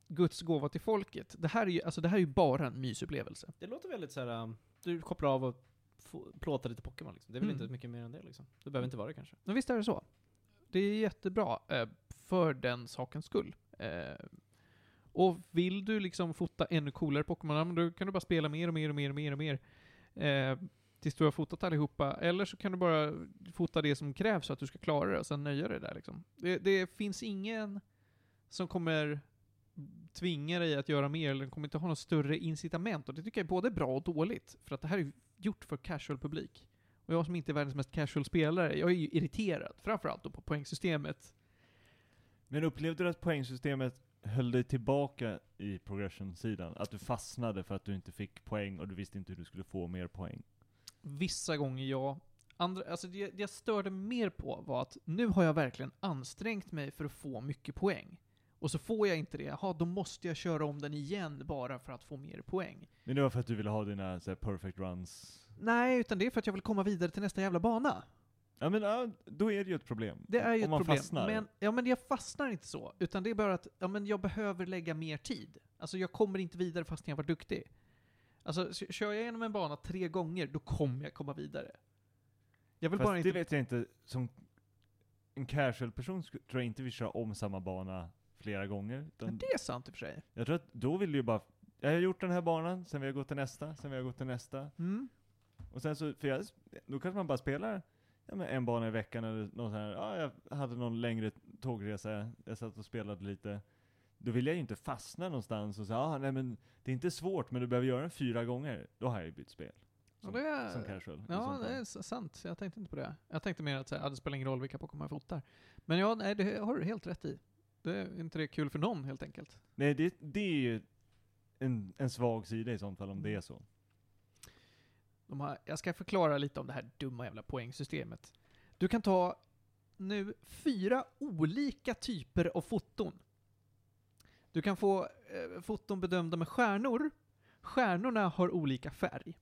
B: Guds gåva till folket. Det här är ju, alltså, det här är ju bara en mysupplevelse.
A: Det låter väldigt så här. um, du kopplar av och få- plåtar lite Pokémon liksom. Det är väl
B: Mm.
A: inte mycket mer än det liksom. Det behöver inte vara det kanske.
B: Men visst är det så. Det är jättebra eh, för den sakens skull. Eh, och vill du liksom fota ännu coolare Pokémon, ja, men då kan du bara spela mer och mer och mer och mer och mer. Eh, tills du har fotat allihopa. Eller så kan du bara fota det som krävs så att du ska klara det och sen nöja dig där liksom. Det, det finns ingen som kommer tvinga dig att göra mer, eller den kommer inte ha något större incitament. Och det tycker jag är både bra och dåligt. För att det här är ju gjort för casual publik. Och jag som inte är världens mest casual spelare, jag är ju irriterad. Framförallt då på poängsystemet.
D: Men upplevde du att poängsystemet höll dig tillbaka i progression-sidan? Att du fastnade för att du inte fick poäng och du visste inte hur du skulle få mer poäng?
B: Vissa gånger jag... Andra, alltså det, det jag störde mer på var att nu har jag verkligen ansträngt mig för att få mycket poäng. Och så får jag inte det, jaha, då måste jag köra om den igen bara för att få mer poäng.
D: Men det var för att du ville ha dina så här, perfect runs?
B: Nej, utan det är för att jag vill komma vidare till nästa jävla bana.
D: Ja men ja, då är det ju ett problem.
B: Det är ju
D: Om
B: ett
D: man
B: problem.
D: fastnar.
B: Men, ja, men jag fastnar inte så. Utan det är bara att ja, men jag behöver lägga mer tid. Alltså jag kommer inte vidare fastän jag var duktig. Alltså k- kör jag igenom en bana tre gånger, då kommer jag komma vidare. Jag vill
D: Fast
B: bara
D: det
B: inte...
D: vet jag inte, som en casual person sku- tror jag inte vill köra om samma bana flera gånger.
B: Men
D: Utan
B: det är sant i och för sig.
D: jag tror att då vill du ju bara, jag har gjort den här banan, sen vill jag gå till nästa, sen vill jag gå till nästa.
B: Mm.
D: Och sen så, för jag, då kanske man bara spelar ja, men en bana i veckan eller något sånt här. Ja, jag hade någon längre tågresa, jag satt och spelade lite. Då vill jag ju inte fastna någonstans och säga, ah, nej men det är inte svårt men du behöver göra den fyra gånger. Då har jag ju bytt spel.
B: Ja, det är...
D: Som casual. liksom. i
B: Ja,
D: sånt
B: det
D: fall.
B: är s- sant. Jag tänkte inte på det. Jag tänkte mer att så här, ja, det spelar ingen roll vilka Pokémon jag fotar. Men ja, nej, det har du helt rätt i. Det är inte det kul för någon helt enkelt.
D: Nej, det, det är ju en, en svag sida i sånt fall om det är så.
B: De har, jag ska förklara lite om det här dumma jävla poängsystemet. Du kan ta nu fyra olika typer av foton. Du kan få eh, foton bedömda med stjärnor. Stjärnorna har olika färg.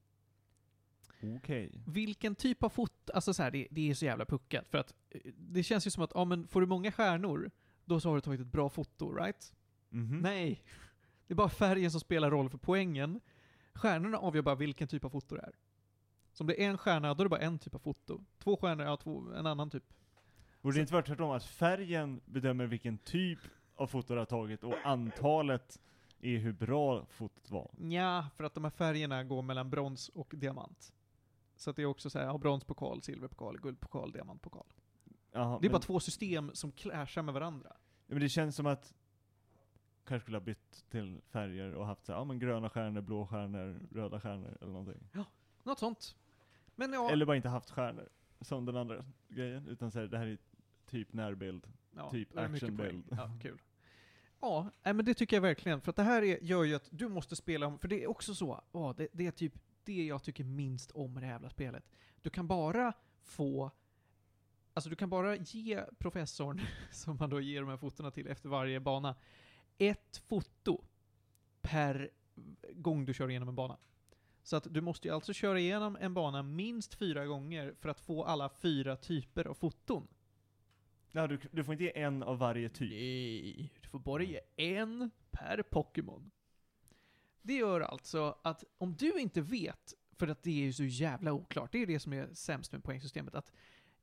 D: Okej.
B: Vilken typ av foto... Alltså så här, det, det är så jävla puckat. För att eh, det känns ju som att, ja men får du många stjärnor, då så har du tagit ett bra foto, right?
D: Mhm. Mm.
B: Nej! Det är bara färgen som spelar roll för poängen. Stjärnorna avgör bara vilken typ av foto det är. Så om det är en stjärna, då är det bara en typ av foto. Två stjärnor, ja, två, en annan typ.
D: Borde det inte vara tvärtom att färgen bedömer vilken typ av foto du har tagit och antalet är hur bra fotot var?
B: Nja, för att de här färgerna går mellan brons och diamant. Så att det är också så här, ja, bronspokal, silverpokal, guldpokal, diamantpokal.
D: Jaha,
B: Det är
D: men,
B: bara två system som clashar med varandra.
D: ja, men det känns som att kanske skulle ha bytt till färger och haft så här, ja, men gröna stjärnor, blå stjärnor, röda stjärnor eller någonting.
B: Något sånt. Men ja,
D: Eller bara inte haft stjärnor, som den andra grejen, utan så här, det här är typ närbild.
B: Ja,
D: Typ
B: då är det mycket
D: actionbild.
B: poäng. Ja, kul. Ja, nej, men det tycker jag verkligen. För att det här är, gör ju att du måste spela om, för det är också så, åh, det, det är typ det jag tycker minst om med det här jävla spelet. Du kan bara få... Alltså du kan bara ge professorn, som man då ger de här fotona till efter varje bana, ett foto per gång du kör igenom en bana. Så att du måste ju alltså köra igenom en bana minst fyra gånger för att få alla fyra typer av foton.
D: Ja, du, du får inte ge en av varje typ.
B: Nej, du får bara ge en per Pokémon. Det gör alltså att om du inte vet, för att det är ju så jävla oklart, det är det som är sämst med poängsystemet, att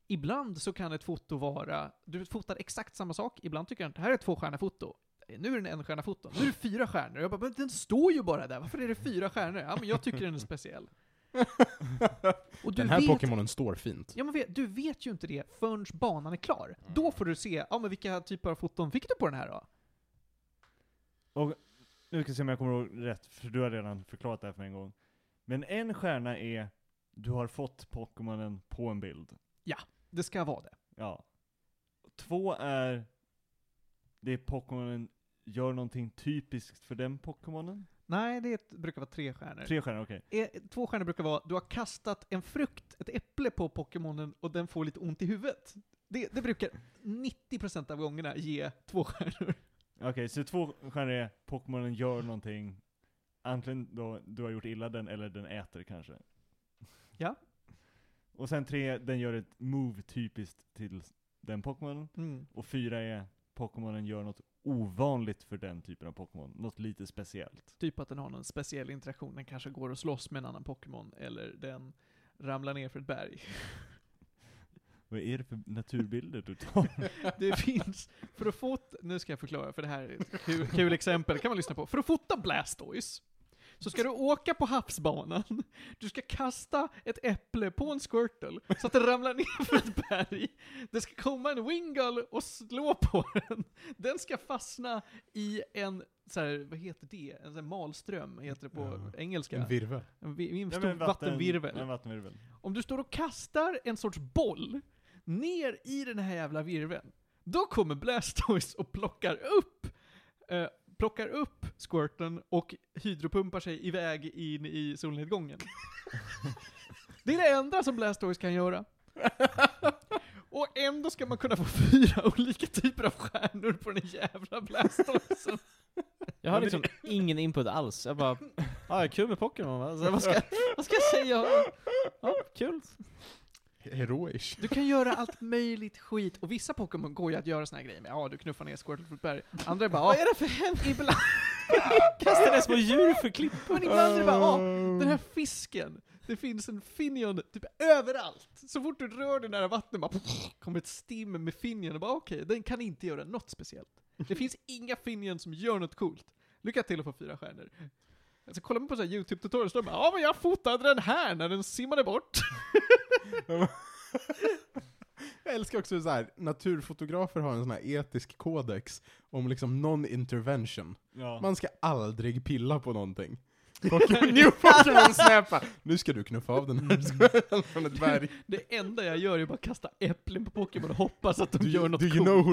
B: ibland så kan ett foto vara, du fotar exakt samma sak, ibland tycker den det här är ett tvåstjärna-foto. Nu är det en enstjärna-foto, nu är det fyra stjärnor. Jag bara, men den står ju bara där, varför är det fyra stjärnor? Ja, men jag tycker den är speciell. Och du
C: Den här
B: vet-
C: Pokémonen står fint.
B: Ja, men vet- du vet ju inte det förrän banan är klar.
C: Mm.
B: Då får du se, ja men vilka typer av foton fick du på den här då?
D: Och nu ska vi se om jag kommer ihåg rätt, för du har redan förklarat det här för mig en gång. Men en stjärna är, du har fått Pokémonen på en bild.
B: Det ska vara det.
D: Ja. Två är, det är Pokémonen gör någonting typiskt för den Pokémonen.
B: Nej, det brukar vara tre stjärnor.
D: Tre stjärnor, okej.
B: Eh, Två stjärnor brukar vara, du har kastat en frukt, ett äpple på Pokémonen och den får lite ont i huvudet. Det, det brukar 90% av gångerna ge två stjärnor.
D: Okej, så två stjärnor är, Pokémonen gör någonting, antingen då du har gjort illa den eller den äter kanske.
B: Ja.
D: Och sen tre, den gör ett move typiskt till den Pokémonen.
B: Mm.
D: Och fyra är Pokémonen gör något ovanligt för den typen av Pokémon. Något lite speciellt.
B: Typ att den har någon speciell interaktion, den kanske går och slåss med en annan Pokémon, eller den ramlar ner för ett berg.
D: Vad är det för naturbilder du tar?
B: Det finns, för att fota, nu ska jag förklara för det här är ett kul, kul exempel, kan man lyssna på. För att fota Blastoise, så ska du åka på havsbanan, du ska kasta ett äpple på en squirtle så att det ramlar ner för ett berg. Det ska komma en wingull och slå på den. Den ska fastna i en, så här, vad heter det? En sån här malström, heter det på
C: Ja.
B: engelska.
C: En virvel.
B: En vi- en
D: Ja,
B: stor
D: men vatten-
B: vattenvirvel.
D: En vattenvirvel.
B: Om du står och kastar en sorts boll ner i den här jävla virveln, då kommer Blastoise och plockar upp eh, plockar upp squirten och hydropumpar sig iväg in i solnedgången. det är det enda som Blastoise kan göra. Och ändå ska man kunna få fyra olika typer av stjärnor på den jävla Blastoisen.
A: Jag har liksom ingen input alls. Jag bara, ja ah, kul med Pokémon va? Så vad, ska, vad ska jag säga? Ja, kul.
C: Heroish.
B: Du kan göra allt möjligt skit, och vissa Pokémon går ju att göra såna här grejer med. Ja, du knuffar ner Squirtle för ett berg. Andra är bara
A: Vad
B: ja,
A: är det för hemskt?
B: ibland,
A: Kastar det små djur för klipp.
B: men ibland är det bara
A: "Ah,
B: ja, den här fisken. Det finns en Finion typ överallt. Så fort du rör dig nära vattnet bara kommer ett stim med Finion och bara okej, den kan inte göra något speciellt. Det finns inga Finion som gör något coolt. Lycka till att få fyra stjärnor. Alltså kollar man på så här YouTube-tutorials, då bara ja men jag fotade den här när den simmade bort.
C: Jag älskar också så här, naturfotografer har en sån här etisk kodex om liksom non-intervention.
D: Ja.
C: Man ska aldrig pilla på någonting. Pokémon- New Pokémon snäppa! Nu ska du knuffa av den
B: Mm.
C: här skölden från ett berg.
B: Det enda jag gör är bara kasta äpplen på Pokémon och hoppas att de
C: Do
B: gör
C: you,
B: något
C: do you
B: coolt.
C: know who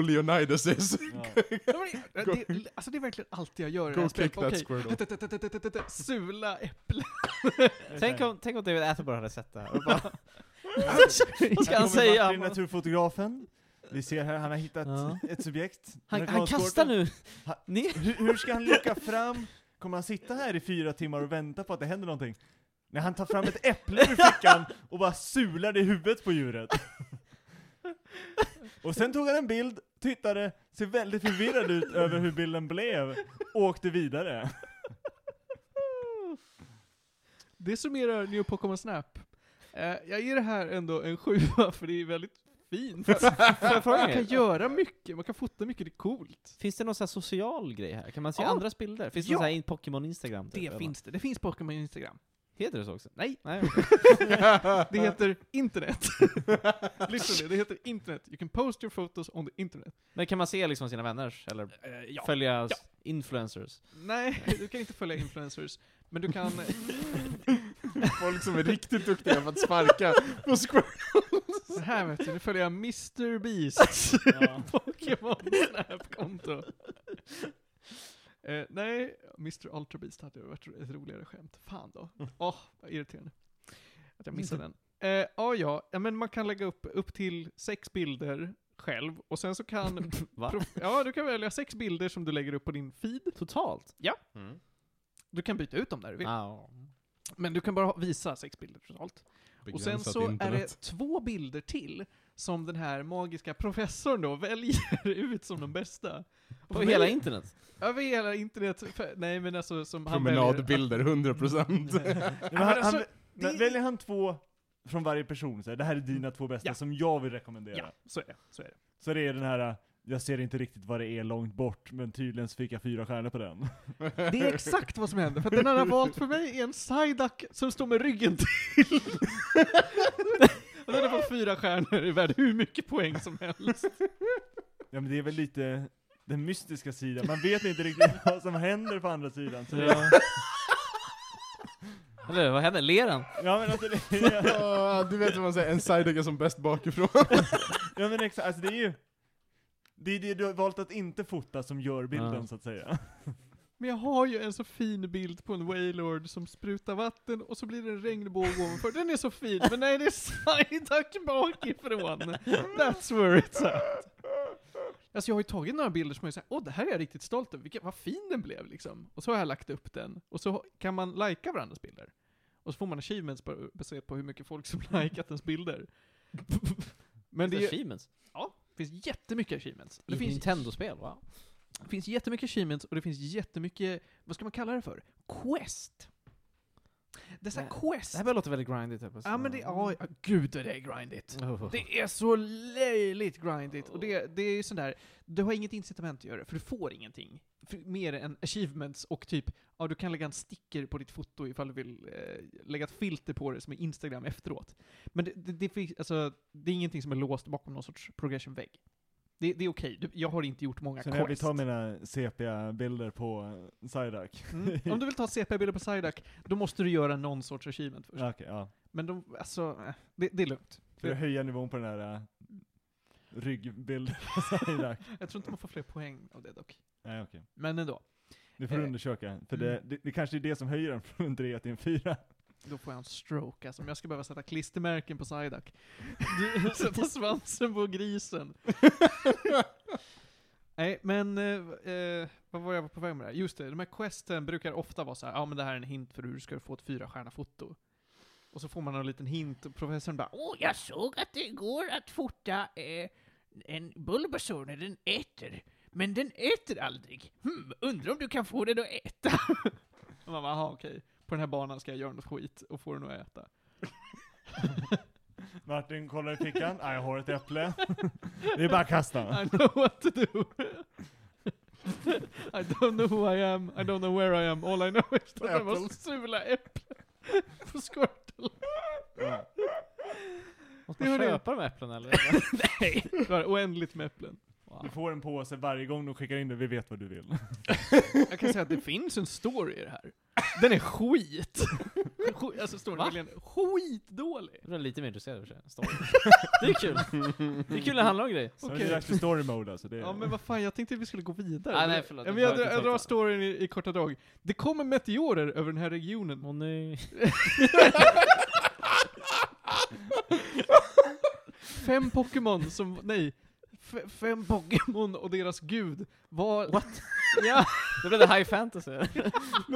C: Leonidas is?
D: Ja.
B: Ja, men det, det, alltså det är verkligen allt jag gör i det
C: Go
B: här
C: kick
B: spelet.
C: that
B: Okej,
C: squirtle.
B: t-t-t-t-t-t-t-t-t, sula äpplen.
A: Tänk om, tänk om David Attenborough hade sett det här och bara,
D: Här
A: vad ska han
D: kommer
A: säga?
D: Martin,
A: Han, bara,
D: naturfotografen. Vi ser här, han har hittat
A: Ja.
D: ett subjekt.
A: han,
D: Den
A: han kastar nu.
D: Han-
A: Ner.
D: Hur, hur ska han locka fram? Kommer han sitta här i fyra timmar och vänta på att det händer någonting? När han tar fram ett äpple ur fickan och bara sular det i huvudet på djuret. Och sen tog han en bild, tittade, ser väldigt förvirrad ut över hur bilden blev, och åkte vidare.
B: Det summerar New Pokémon Snap. Eh, jag ger det här ändå en sjua för det är väldigt fint. Man kan göra mycket, man kan fota mycket, det är coolt.
A: Finns det någon sån här social grej här? Kan man se
B: Ja.
A: andras bilder? Finns det
B: Ja.
A: någon sån här in- Pokémon-instagram? typ, eller?
B: Det finns det, det finns Pokémon Instagram.
A: Heter det så också?
B: Nej.
A: Nej.
B: Det heter internet. Literally, det heter internet. You can post your photos on the internet.
A: Men kan man se liksom sina vänners? Eller
B: Eh, ja.
A: följa
B: Ja.
A: influencers?
B: Nej, du kan inte följa influencers. Men du kan...
C: Folk som är riktigt duktiga på att sparka på squirrel.
B: Så här vet du, nu följer jag Mr. Beasts
D: Ja.
B: Pokémon Snap-konto. Eh, nej, Mr. Ultra Beast hade ju varit ett roligare skämt. Fan då.
C: Mm.
B: Åh, vad irriterande. Att jag missade den. Eh, ja, ja, Ja, men man kan lägga upp upp till sex bilder själv och sen så kan...
A: Va?
B: prof- ja, du kan välja sex bilder som du lägger upp på din feed.
A: Totalt?
C: Mm.
B: Du kan byta ut dem där du vill.
A: Ja.
B: Men du kan bara ha- visa sex bilder totalt. Och sen
C: Begränsat
B: så är
C: internet.
B: det två bilder till som den här magiska professorn då väljer ut som de bästa. Och
A: På
B: för
A: hela
B: mig-
A: internet?
B: Över hela internet. för- Nej men alltså som han väljer.
C: Promenadbilder, 100%.
D: Men han,
B: alltså,
D: han,
B: det-
D: vä- Väljer han två från varje person, så här, det här är dina två bästa
B: Ja.
D: som jag vill rekommendera.
B: Ja, så är det. Så är det.
D: Så det är den här, jag ser inte riktigt vad det är långt bort, men tydligen så fick jag fyra stjärnor på den.
B: Det är exakt vad som händer, för att den han har valt för mig är en Psyduck som står med ryggen till. Och den har fått fyra stjärnor, är värd hur mycket poäng som helst.
D: Ja men det är väl lite den mystiska sidan, man vet inte riktigt vad som händer på andra sidan. Så det, ja.
A: Eller vad hände? Ler han?
D: men alltså det, ja,
C: Åh, Ah, du vet vad man säger, en sidekick är som bäst bakifrån.
D: men exakt, alltså det är ju det är det du har valt att inte fota som gör bilden
A: Ja.
D: så att säga.
B: Men jag har ju en så fin bild på en Wailord som sprutar vatten och så blir det en regnbåge ovanför. Den är så fin, men nej det är Psyduck bakifrån. That's where it's at. Alltså jag har ju tagit några bilder som jag är såhär, åh det här är jag riktigt stolt över, Vilken, vad fin den blev liksom. Och så har jag lagt upp den, och så kan man lajka varandras bilder. Och så får man achievements på- baserat på hur mycket folk som likat ens bilder. Men det, är, ju-
A: achievements.
B: ja, det finns jättemycket achievements.
A: Det
B: Det
A: finns
B: finns
A: Nintendo-spel, wow.
B: det finns jättemycket achievements och det finns jättemycket, vad ska man kalla det för? Quest. Dessa
A: Nej,
B: quest.
A: Det här börjar låta väldigt grindigt. helt plötsligt.
B: ja men det, typ. ja, ja, gud det är grindigt.
A: Oh.
B: Det är så löjligt grindigt. Och det, det är ju sån där, du har inget incitament att göra det, för du får ingenting. För, mer än achievements och typ, ja du kan lägga en sticker på ditt foto ifall du vill eh, lägga ett filter på det som är Instagram efteråt. Men det, det, det, finns, alltså, det är ingenting som är låst bakom någon sorts progression-vägg. Det, det är okej, Du- jag har inte gjort många
D: Så när jag vill
B: quest.
D: ta mina sepia-bilder på eh, Psyduck.
B: Mm. Om du vill ta CP-bilder på Psyduck, då måste du göra någon sorts achievement först.
D: Ja, Okej, ja.
B: Men de, alltså, eh, det, det är lugnt.
D: För att höja nivån på den här eh, ryggbilden på Psyduck.
B: Jag tror inte man får fler poäng av det dock.
D: Nej okej.
B: Men ändå,
D: Det får du
B: Eh,
D: undersöka, för
B: mm.
D: det, det, det kanske är det som höjer den från en 3 till en 4.
B: då får jag en stroke alltså. Om jag ska behöva sätta klistermärken på Psyduck. sätta svansen på grisen. Nej, men eh, eh, vad var jag på väg med det här? Just det, de här questen brukar ofta vara så här, ja ah, men det här är en hint för hur du ska få ett fyra foto. Och så får man en liten hint och professorn bara
E: Åh, jag såg att det går att fota eh, en Bulbasaur när den äter. Men den äter aldrig.
B: Hm,
E: Hmm, undrar om du kan få den att äta?
B: Och man bara, aha, okej. På den här banan ska jag göra något skit och få den att äta.
D: Martin kollar i fickan, ah, jag har ett äpple. Det är bara att kasta.
B: I know what to do. I don't know who I am, I don't know where I am, all I know is that I
C: Apple.
B: must sula äpplen på Squirtle.
A: Måste
B: det
A: man
B: var det.
A: köpa de äpplena eller?
B: Nej! Du har oändligt med äpplen.
D: Du får en påse varje gång de skickar in det, vi vet vad du vill.
B: Jag kan säga att det finns en story i det här. Den är skit! Skit- alltså storyn
A: Va?
B: är verkligen skitdålig.
A: Jag är lite mer intresserad av sig. Story. Det är kul. Det är kul när det handlar om grejer.
D: Så
B: Okej.
D: Det är dags för story mode alltså. Det är,
B: Ja men vad fan, jag tänkte att vi skulle gå vidare.
A: Ah, Nej, nej, förlåt.
B: ja, men jag,
A: Jag har
B: drar-
A: inte
B: jag drar
A: tänkt på
B: storyn i, i korta drag. Det kommer meteorer över den här regionen
A: Åh nej.
B: 5 Pokémon som, nej, f- fem Pokémon och deras gud var... What? Ja,
A: Det blev det high fantasy.
D: Nej, men det,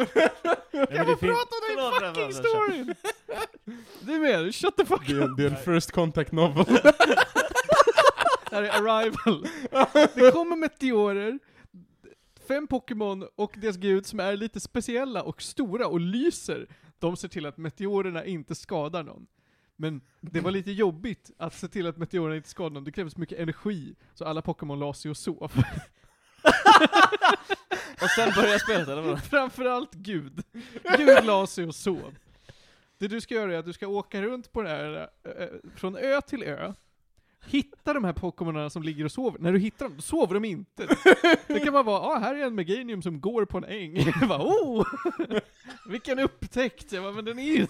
D: fin-
A: Förlåt,
B: prata om den fucking
A: förlåt,
B: storyn! Du är med, shut the fuck
C: Det
B: up!
C: är, det är en first contact novel.
B: Det här är Arrival. Det kommer meteorer, fem Pokémon och deras gud som är lite speciella och stora och lyser. De ser till att meteorerna inte skadar någon. Men det var lite jobbigt att se till att meteorerna inte skadade någon. Det krävdes mycket energi, så alla Pokémon la sig och sov.
A: Och sen börjar spelet eller vadå?
B: Framförallt Gud. Gud la sig och sov. Det du ska göra är att du ska åka runt på det här, eh, eh, från ö till ö. Hitta de här Pokémonerna som ligger och sover. När du hittar dem, då sover de inte. Det kan bara vara, ah, här är en Meganium som går på en äng. Jag bara, oh! Vilken upptäckt! Jag bara, men den är ju...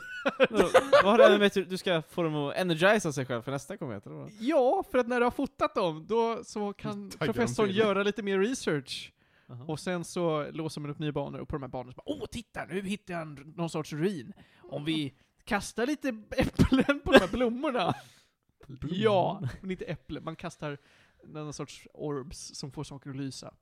A: Vad har det med att du ska få dem att energisa sig själv för nästa komet eller vadå?
B: Ja, för att när du har fotat dem, då så kan
C: Taggar de
B: professorn
C: till.
B: göra lite mer research.
A: Aha.
B: Och sen så låser man upp nya banor och på de här banorna så bara Åh, titta! Nu hittar jag någon sorts ruin. Om vi kastar lite äpplen på de här blommorna. Ja, men inte äpple. Man kastar någon sorts orbs som får saker att lysa.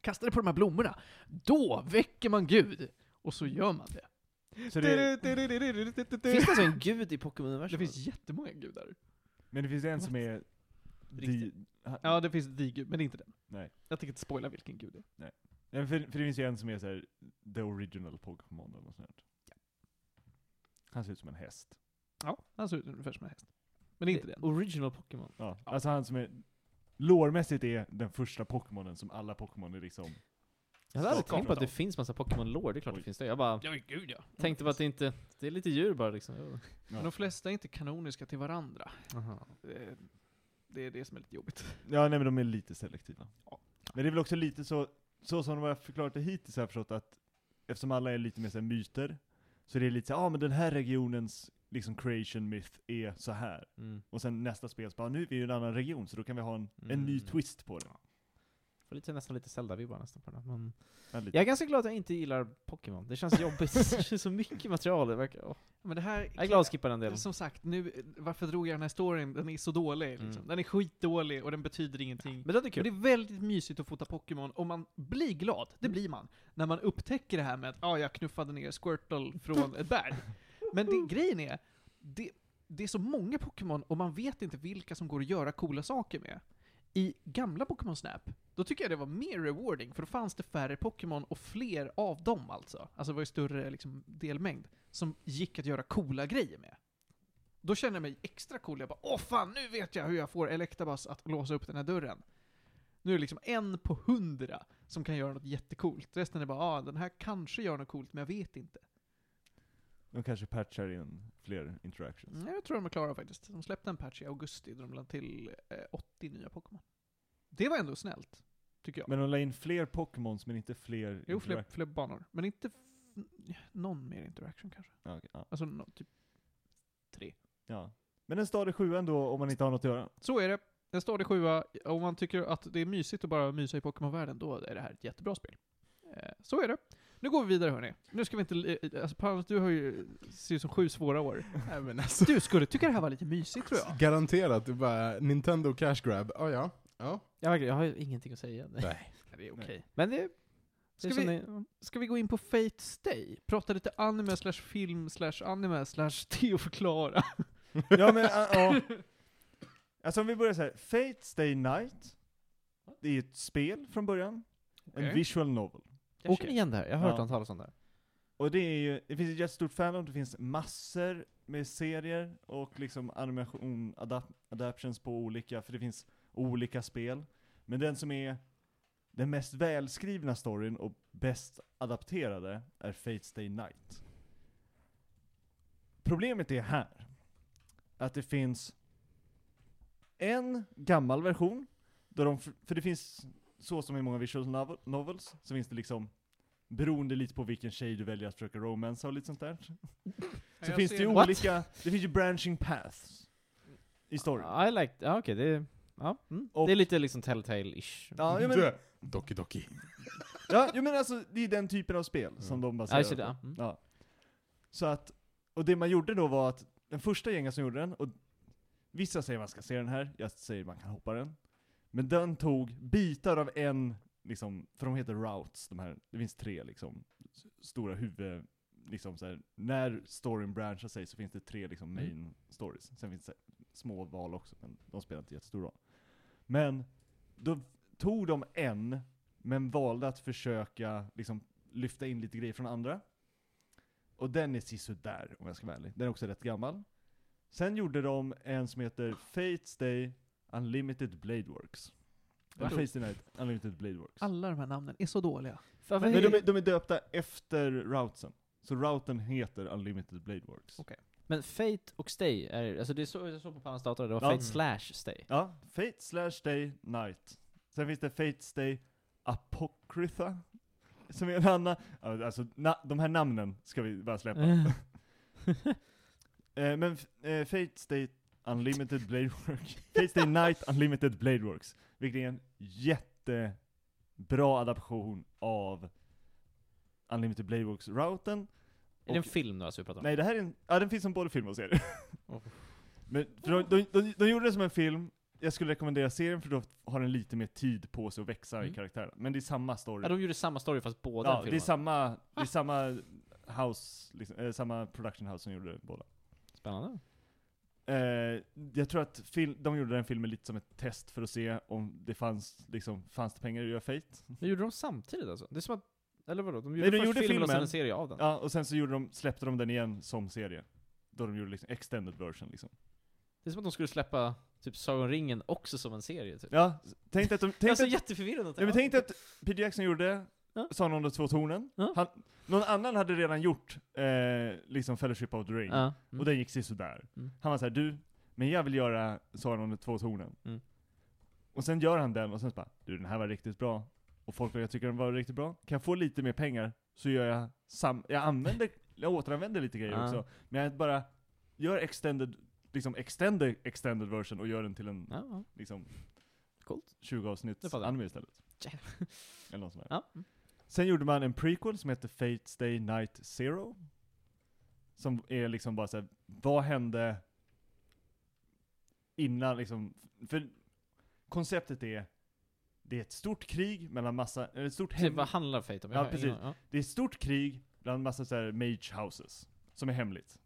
B: Kastar det på de här blommorna. Då väcker man Gud. Och så gör man det.
D: Så det,
A: Finns det alltså en gud i Pokémon-universum?
B: Det finns jättemånga gudar.
D: men det finns en som är... Di,
A: Riktigt.
D: ha,
B: Ja, det finns The Gud, men inte den.
D: Nej.
B: Jag tänker inte spoila vilken gud det är.
D: nej, för, för det finns ju en som är såhär, the original Pokémon eller något sånt. där. Han ser ut som en häst.
B: Ja, han ser ut ungefär som en häst. Men inte den.
A: Original Pokémon.
D: Ja. Alltså han som är... Lårmässigt är den första Pokémonen som alla Pokémon är liksom...
A: Jag hade aldrig
D: Skakar
A: tänkt på att det
D: dem.
A: finns massa Pokémon-lore, det är klart
D: Oj.
A: det finns det. Jag bara
B: Ja, gud ja.
A: tänkte bara att det inte, det är lite djur bara liksom.
B: Mm. Men de flesta är inte kanoniska till varandra.
A: Aha.
B: Eh, Det är det som är lite jobbigt.
D: Ja, nej men de är lite selektiva.
B: Ja.
D: Men det är väl också lite så, så som de har förklarat det hittills har jag förstått att eftersom alla är lite mer så här myter, så det är lite så ja ah, men den här regionens liksom creation myth är så här.
A: Mm.
D: Och sen nästa spel så bara, nu är vi i en annan region så då kan vi ha en, en ny
A: Mm.
D: twist på det.
A: Får lite, nästan lite Zelda-vibbar nästan på den. Men
D: Ja, lite.
A: jag är ganska glad att jag inte gillar Pokémon. Det känns jobbigt. det känns så mycket material. Det verkar, åh.
B: Men det här...
A: Jag är glad att skippa den delen.
B: Som sagt, nu, varför drog jag den här storyn? Den är så dålig liksom.
A: Mm.
B: Den är skitdålig och den betyder ingenting.
A: Men det är
B: Men
A: kul. Mm.
B: det är väldigt mysigt att fota Pokémon och man blir glad, det blir man, när man upptäcker det här med att ah, jag knuffade ner Squirtle från ett berg. Men det, grejen är, det, det är så många Pokémon och man vet inte vilka som går att göra coola saker med. I gamla Pokémon Snap, då tycker jag det var mer rewarding, för då fanns det färre Pokémon och fler av dem alltså. Alltså det var ju större liksom, delmängd, som gick att göra coola grejer med. Då känner jag mig extra cool, jag bara åh fan, nu vet jag hur jag får Electabuzz att låsa upp den här dörren. Nu är det liksom en på hundra som kan göra något jättecoolt. Resten är bara, ah, den här kanske gör något coolt, men jag vet inte.
D: De kanske patchar in fler interactions.
B: Nej, Mm, jag tror de är klara faktiskt. De släppte en patch i augusti där de lade till eh, 80 nya Pokémon. Det var ändå snällt, tycker jag.
D: Men de la in fler Pokémons men inte fler
B: jo, fler,
D: interac-
B: fler banor. Men inte f- någon mer interaction kanske.
D: Ja, okej, ja.
B: Alltså, nå- typ.
D: ja. Men en stadig sjua ändå om man inte har något att göra.
B: Så är det. En stadig sjua. Om man tycker att det är mysigt att bara mysa i Pokémon-världen, då är det här ett jättebra spel. Eh, så är det. Nu går vi vidare hörni. Nu ska vi inte... li- Alltså Paulus, du har ju... Ser ut som sju svåra år.
C: Nej, men alltså,
B: Du skulle tycka det här var lite mysigt tror jag.
C: Garanterat, det är bara Nintendo cash grab. Ah, ja, ja.
A: Jag, verkligen- jag har ju ingenting att säga.
C: Nej.
B: Det är
D: okej.
A: Men det,
B: Ska
A: det
B: vi-
A: som ni-
B: Ska vi gå in på Fate Stay? Prata lite anime slash film slash anime slash Theo förklara.
D: Ja men, ja, ja. Alltså om vi börjar så här. Fate Stay Night. Det är ett spel från början.
B: Okej.
D: En visual novel.
A: jag
B: Okej.
A: känner igen det här. Jag har hört
D: Ja.
A: ja. talas om det här.
D: Och det är ju, det finns ett jättestort fandom, det finns massor med serier och liksom animation, adap- adaptions på olika, för det finns olika spel. Men den som är den mest välskrivna storyn och bäst adapterade är Fate Stay Night. Problemet är här, att det finns en gammal version, där de, f- för det finns, så som i många visual novel- novels, så finns det liksom Beroende lite på vilken tjej du väljer att försöka romansa och lite sånt där. Så finns det ju olika, det finns ju branching paths. I storyn.
A: I like, ja okej, det, ja, mm.
D: Och-
A: det är lite liksom Telltale-ish.
D: Ja, jag men,
C: Du, Doki Doki.
D: ja, jag men alltså det är den typen av spel som
C: Mm.
D: de
A: Ja,
D: baserar
A: just det,
D: på.
A: ja. Mm.
D: Ja. Så att, och det man gjorde då var att den första gängen som gjorde den, och vissa säger man ska se den här, jag säger man kan hoppa den. Men den tog bitar av en, liksom, för de heter routes, de här, det finns tre liksom, s- stora huvud, liksom så här, när storyn branchar sig så finns det tre liksom main stories. Sen finns det små val också, men de spelar inte jättestor roll. Men, då tog de en, men valde att försöka liksom lyfta in lite grejer från andra. Och den är sisådär om jag ska vara ärlig. Den är också rätt gammal. Sen gjorde de en som heter Fates Day Unlimited Blade Works. Eller
B: Va?
D: Fates Day Night Unlimited Blade Works.
B: Alla de här namnen är så dåliga.
A: Fan,
D: Men
A: vad-
D: de är, de är döpta efter routsen. Så routen heter Unlimited Blade Works.
A: Men Fate och Stay, är, alltså det är så, jag såg på Pallas dator, det var
D: Ja.
A: Fate
D: Mm.
A: slash Stay.
D: Ja, Fate slash Day Night. Sen finns det Fates Day Apocrypha. Som är en annan, ja, alltså na, de här namnen ska vi bara släppa.
A: Mm.
D: Eh, men f- eh, Fate State Unlimited Blade Works. Fate State Night Unlimited Blade Works. Vilket är en jätte bra adaption av Unlimited Playworks-routen.
A: Är det en film nu alltså vi pratar om?
D: Nej, det här är en, ja, den finns som både film och serie.
A: Oh.
D: Men för de, de, de, de gjorde det som en film, jag skulle rekommendera serien för då har den lite mer tid på sig att växa i
A: Mm.
D: karaktären. Men det är samma story.
A: Ja, de gjorde samma story fast båda
D: ja, det är
A: filmerna.
D: samma, det är samma house, liksom, eh, samma production house som gjorde båda.
A: Spännande.
D: Eh, jag tror att fil- de gjorde den filmen lite som ett test för att se om det fanns, liksom, fanns det pengar i att göra Fate.
A: Det gjorde de samtidigt alltså? Det är som att, eller vadå? De
D: Nej,
A: gjorde
D: de
A: först
D: gjorde
A: filmen, och sen
D: filmen.
A: en serie av den?
D: Ja, och sen så gjorde de, släppte de den igen som serie. Då de gjorde liksom extended version liksom.
A: Det är som att de skulle släppa typ Sagan om ringen också som en serie typ.
D: Ja, tänk dig att de...
A: Det är
D: Tänk
A: alltså
D: dig att,
A: jätteförvirrande.
D: ja, men tänk dig att Peter Jackson gjorde
A: Ja.
D: Sagan om de två tornen.
A: Ja.
D: Han, någon annan hade redan gjort eh, liksom Fellowship of the Ring.
A: Ja.
D: Och den gick sådär.
A: Mm.
D: Han var såhär, du, men jag vill göra Sagan om de två tornen.
A: Mm.
D: Och sen gör han den, och sen så bara, du den här var riktigt bra. Och folk verkar tycka den var riktigt bra. Kan jag få lite mer pengar så gör jag sam... Jag använder, jag återanvänder lite grejer
A: Ah.
D: också. Men jag bara gör extended, liksom extended, extended version och gör den till en
A: Ja, ja.
D: liksom
A: Coolt. Typ,
D: 20 avsnitt
A: Det fattar jag.
D: anime istället.
A: Jävlar.
D: Eller något sånt där.
A: Ja.
D: Sen gjorde man en prequel som heter Fate's Day Night Zero. Som är liksom bara såhär, vad hände innan liksom, för konceptet är, det är ett stort krig mellan massa, eller ett stort
A: Typ,
D: hem,
A: vad handlar Fate om? Jag
D: Ja,
A: har ingen
D: precis.
A: aning. Ja.
D: det är ett stort krig bland massa såhär mage houses, som är hemligt.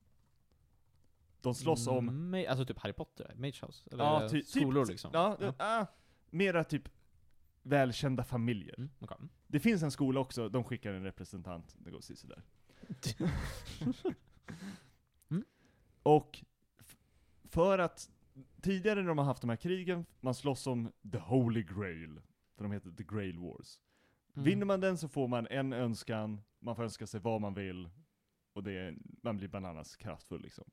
D: De slåss om
A: Ma- alltså typ Harry Potter, Mage House? Eller
D: Ja, ty- typ-
A: skolor liksom?
D: Ja, det- Ah, mera typ välkända familjer.
A: Mm, okej. Mm.
D: Det finns en skola också, de skickar en representant, det går sisådär.
A: Mm.
D: Och f- för att, tidigare när de har haft de här krigen, man slåss om the holy grail, för de heter the grail wars. Vinner man den så får man en önskan, man får önska sig vad man vill, och det är, man blir bananas kraftfull liksom.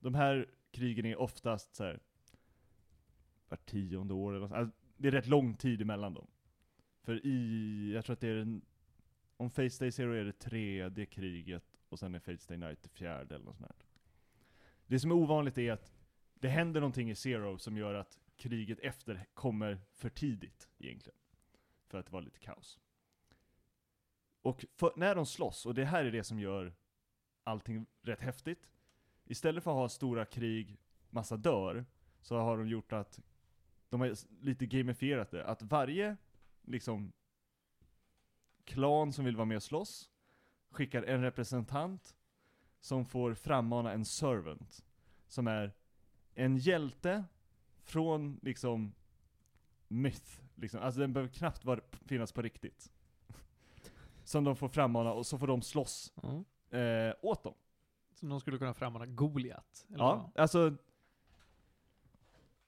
D: De här krigen är oftast så här var tionde år eller något sånt. alltså, Det är rätt lång tid emellan dem. För i, jag tror att det är en, om Face Day Zero är det tredje kriget, och sen är Face Day Night det fjärde eller något sånt där. Det som är ovanligt är att det händer någonting i Zero som gör att kriget efter kommer för tidigt egentligen. För att det var lite kaos. Och för, när de slåss, och det här är det som gör allting rätt häftigt. Istället för att ha stora krig, massa dör, så har de gjort att de har s- lite gamifierat det. Att varje liksom klan som vill vara med och slåss skickar en representant som får frammana en servant. Som är en hjälte från liksom myth. Liksom. Alltså den behöver knappt vara, finnas på riktigt. Som de får frammana och så får de slåss
A: Ja.
D: eh, åt dem.
B: Som någon skulle kunna frammana Goliat. Eller
D: Ja, alltså...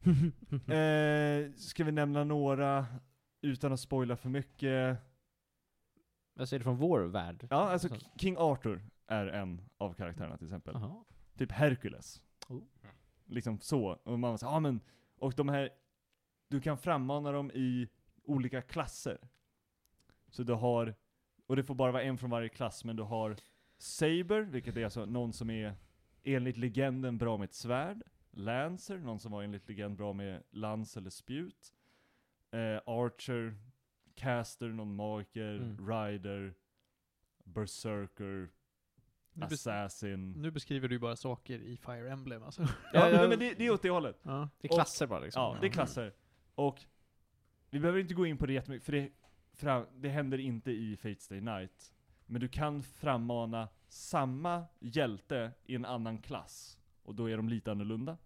A: Mm.
D: eh, ska vi nämna några utan att spoila för mycket?
A: Alltså är det från vår värld?
D: Ja, alltså
A: Så-
D: K- King Arthur är en av karaktärerna till exempel.
A: Jaha.
D: Typ Hercules.
A: Oh.
D: Liksom så. Och man var så, ja men, och de här, du kan frammana dem i olika klasser. Så du har, och det får bara vara en från varje klass, men du har Saber, vilket är alltså någon som är enligt legenden bra med ett svärd. Lancer, någon som var enligt legend bra med lans eller spjut. Eh, Archer, Caster, någon magiker,
A: Mm.
D: Rider, Berserker,
B: Nu, bes
A: Mm.
D: Assassin.
B: nu beskriver du ju bara saker i Fire Emblem alltså.
D: Ja,
A: Ja, ja.
D: men det, det är åt det hållet.
B: Ja.
A: Det är klasser bara liksom?
D: Ja, det är klasser. Och vi behöver inte gå in på det jättemycket, för det, fram, det händer inte i Fates Day Night. Men du kan frammana samma hjälte i en annan klass. Och då är de lite annorlunda.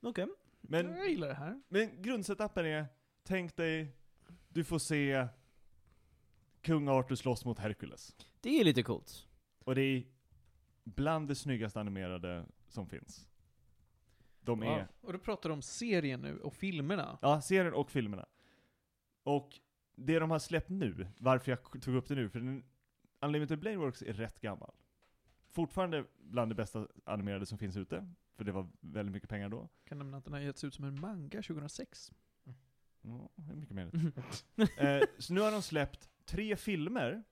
A: Okej.
D: Men,
B: Jag gillar det här.
D: men grundsetupen är, tänk dig, du får se kung Arthur slåss mot Herkules.
A: Det är lite coolt.
D: Och det är bland det snyggaste animerade som finns. De är
A: Wow.
B: Och då pratar du om serien nu och filmerna.
D: Ja, serien och filmerna. Och det de har släppt nu, varför jag tog upp det nu, för den, Unlimited Blade Works är rätt gammal. Fortfarande bland det bästa animerade som finns ute, för det var väldigt mycket pengar då.
B: Kan nämna att den har getts ut som en manga 2006.
D: Ja, hur mycket mer? eh, så nu har de släppt tre filmer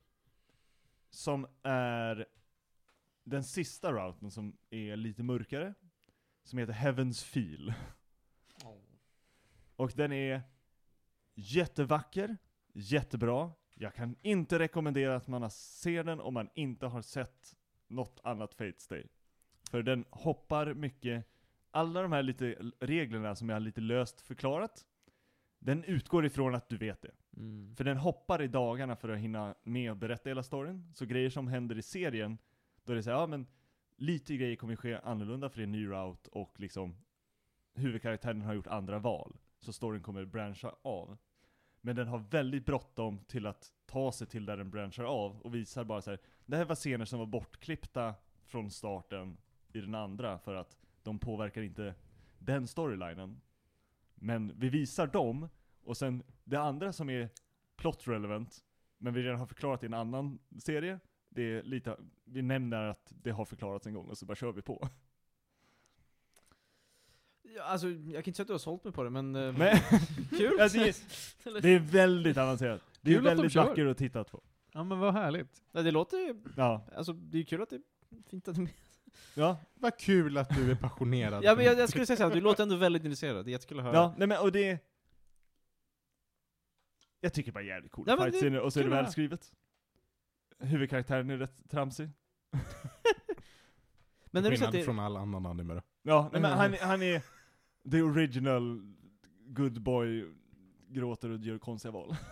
D: som är den sista routen som är lite mörkare, som heter Heaven's Feel. Och den är Jättevacker, jättebra. Jag kan inte rekommendera att man har- ser den om man inte har sett något annat Fates Day. För den hoppar mycket, alla de här lite reglerna som jag lite löst förklarat, den utgår ifrån att du vet det.
A: Mm.
D: För den hoppar i dagarna för att hinna med att berätta hela storyn. Så grejer som händer i serien, då är det såhär, ja men lite grejer kommer ske annorlunda för det är en ny route och liksom huvudkaraktären har gjort andra val. Så storyn kommer branscha av. Men den har väldigt bråttom till att ta sig till där den branchar av och visar bara så här. det här var scener som var bortklippta från starten i den andra för att de påverkar inte den storylinen. Men vi visar dem, och sen det andra som är plot relevant, men vi redan har förklarat i en annan serie. Det är lite, vi nämner att det har förklarats en gång och så bara kör vi på.
A: Ja, alltså, jag kan inte säga att du har sålt mig på det, men... eh,
D: Men
A: Kul!
D: Ja, det, är, det är väldigt avancerat. Det är
B: Kul att de
D: väldigt
B: kör.
D: vackert att titta på.
B: Ja men vad härligt.
A: Nej, det låter ju...
D: Ja.
A: Alltså, det är kul att det är fint att du
D: Ja,
C: Vad kul att du är passionerad.
A: Ja, men jag, jag skulle säga såhär, du låter ändå väldigt intresserad. Det är jättekul att höra.
D: ja, nej men och det... Jag tycker bara jävligt coolt.
A: Ja, men det är
D: Fightscener och så är det
A: kul att höra.
D: välskrivet. Huvudkaraktären är rätt tramsig.
A: men när du säger
C: Skillnad
A: att det,
C: från all annan anime då.
D: Ja, nej, men
C: Mm.
D: han, han är the original good boy, gråter och gör konstiga val.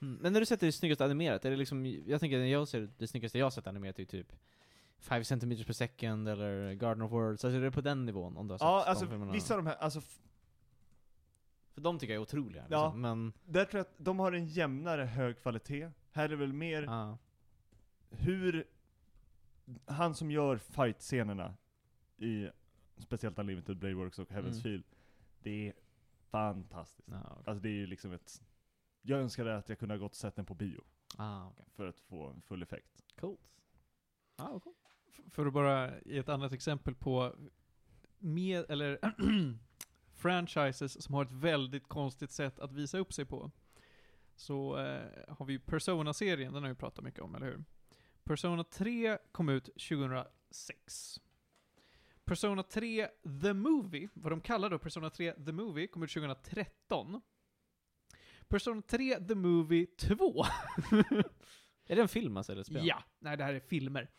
A: Mm. Men när du sätter det snyggast animerat, är det liksom, jag tänker när jag ser det snyggaste jag har sett animerat är ju typ 5 cm per second eller Garden of Worlds, alltså är det på den nivån om du har sett
D: Ja,
A: de
D: alltså
A: filmerna?
D: vissa av de här, alltså, f-
A: För de tycker jag är otroliga
D: Ja.
A: liksom, men...
D: där tror jag att de har en jämnare hög kvalitet. Här är det väl mer
A: Ja.
D: hur han som gör fight-scenerna i speciellt Unlimited Blade Works och Heaven's
A: Mm.
D: Feel, det är fantastiskt.
A: Ja, okej.
D: Alltså det är ju liksom ett, jag önskar att jag kunde ha gått och sett den på bio
A: Ah, okej.
D: för att få en full effekt.
A: Coolt. Ah, vad coolt.
B: F- För att bara ge ett annat exempel på med, eller franchises som har ett väldigt konstigt sätt att visa upp sig på. Så eh, har vi ju Persona-serien, den har vi pratat mycket om, eller hur? Persona 3 kom ut 2006. Persona 3 The Movie, vad de kallar då Persona 3 The Movie, kom ut 2013. Persona 3 The Movie 2
A: Är det en film alltså, eller ett spel?
B: Ja, nej det här är filmer.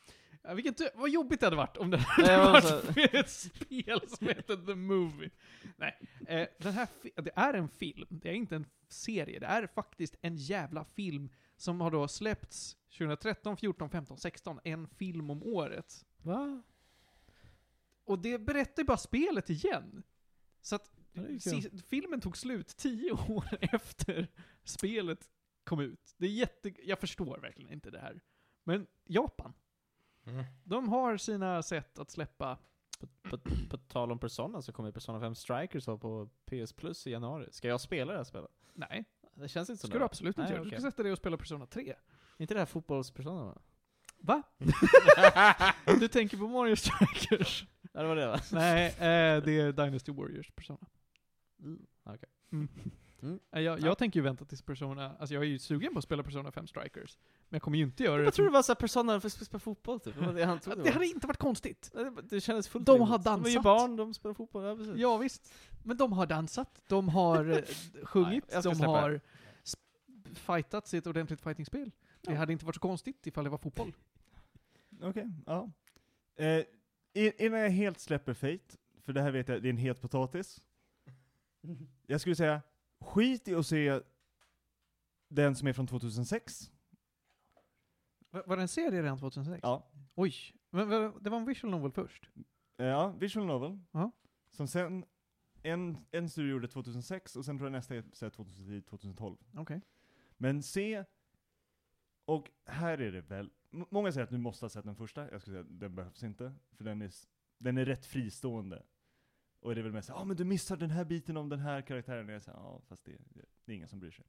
B: Ja, vilken tu- vad jobbigt det hade varit om det
A: Nej, jag
B: hade varit
A: måste-
B: ett spel som heter The Movie. Nej, eh, den här fi- det är en film, det är inte en serie, det är faktiskt en jävla film som har då släppts 2013, 14, 15, 16, en film om året.
A: Va?
B: Och det berättar ju bara spelet igen. Så att
A: Ja, det är ju kul.
B: si- filmen tog slut tio år efter spelet kom ut. Det är jätte... Jag förstår verkligen inte det här. Men Japan.
C: Mm.
B: De har sina sätt att släppa.
A: På, på tal om Persona så kommer Persona 5 Strikers vara på PS Plus i januari. Ska jag spela det här spelet?
B: Nej,
A: Det känns inte
B: det
A: som
B: ska du absolut inte
A: Nej,
B: göra. Du
A: okej.
B: ska sätta dig och spela Persona 3.
A: Inte det här fotbollspersona va?
B: Va? du tänker på Mario Strikers?
A: Ja, det var det va?
B: Nej, eh, det är Dynasty Warriors Persona.
A: Mm. Okej.
B: Mm.
A: Mm.
B: Eh, Jag,
A: Ja.
B: jag tänker ju vänta tills Persona... Alltså jag är ju sugen på att spela Persona 5 Strikers. Men jag kommer ju inte göra det.
A: Jag tror det var såhär Persona för att spela fotboll typ, det var det han trodde
B: det hade inte varit konstigt.
A: det, det kändes fullt
B: De
A: rimligt.
B: har
A: De är ju
B: dansat.
A: barn, de spelar fotboll, ja precis.
B: Ja visst. Mm. Men de har dansat, de har eh, sjungit,
A: Nej, jag ska
B: de
A: släppa
B: har sp- fightats i ett ordentligt fightingspel. Det
A: Ja.
B: hade inte varit så konstigt ifall det var fotboll.
D: Okej, ja. Eh, in- innan jag helt släpper Fate, för det här vet jag, det är en het potatis. Jag skulle säga, skit i att se den som är från 2006.
B: Var, var det en serie redan 2006?
D: Ja.
B: Oj. Men var, det var en visual novel först?
D: Eh, Ja, Visual Novel.
B: Ja.
D: Som sen, en, en studio gjorde 2006 och sen tror jag nästa är så här 2010, 2012.
B: Okej.
D: Men se, och här är det väl, m- många säger att du måste ha sett den första, jag skulle säga att den behövs inte, för den är, s- den är rätt fristående. Och det är väl mest såhär, ja ah, men du missar den här biten om den här karaktären, och jag säger, ja fast det, det, det är ingen som bryr sig.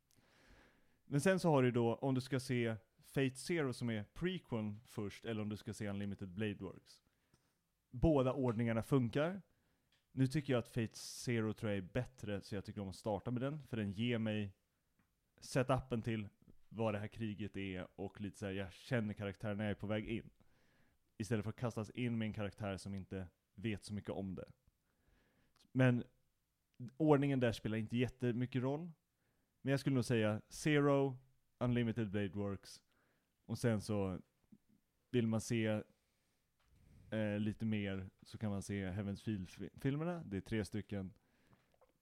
D: Men sen så har du då, om du ska se Fate Zero som är prequeln först, eller om du ska se Unlimited Blade Works. Båda ordningarna funkar. Nu tycker jag att Fate Zero tror jag är bättre, så jag tycker om att starta med den, för den ger mig setupen till vad det här kriget är och lite så här, jag känner karaktären när jag är på väg in. Istället för att kastas in med en karaktär som inte vet så mycket om det. Men ordningen där spelar inte jättemycket roll. Men jag skulle nog säga Zero, Unlimited Blade Works, och sen så vill man se eh, lite mer så kan man se Heavens Feel-filmerna, det är tre stycken.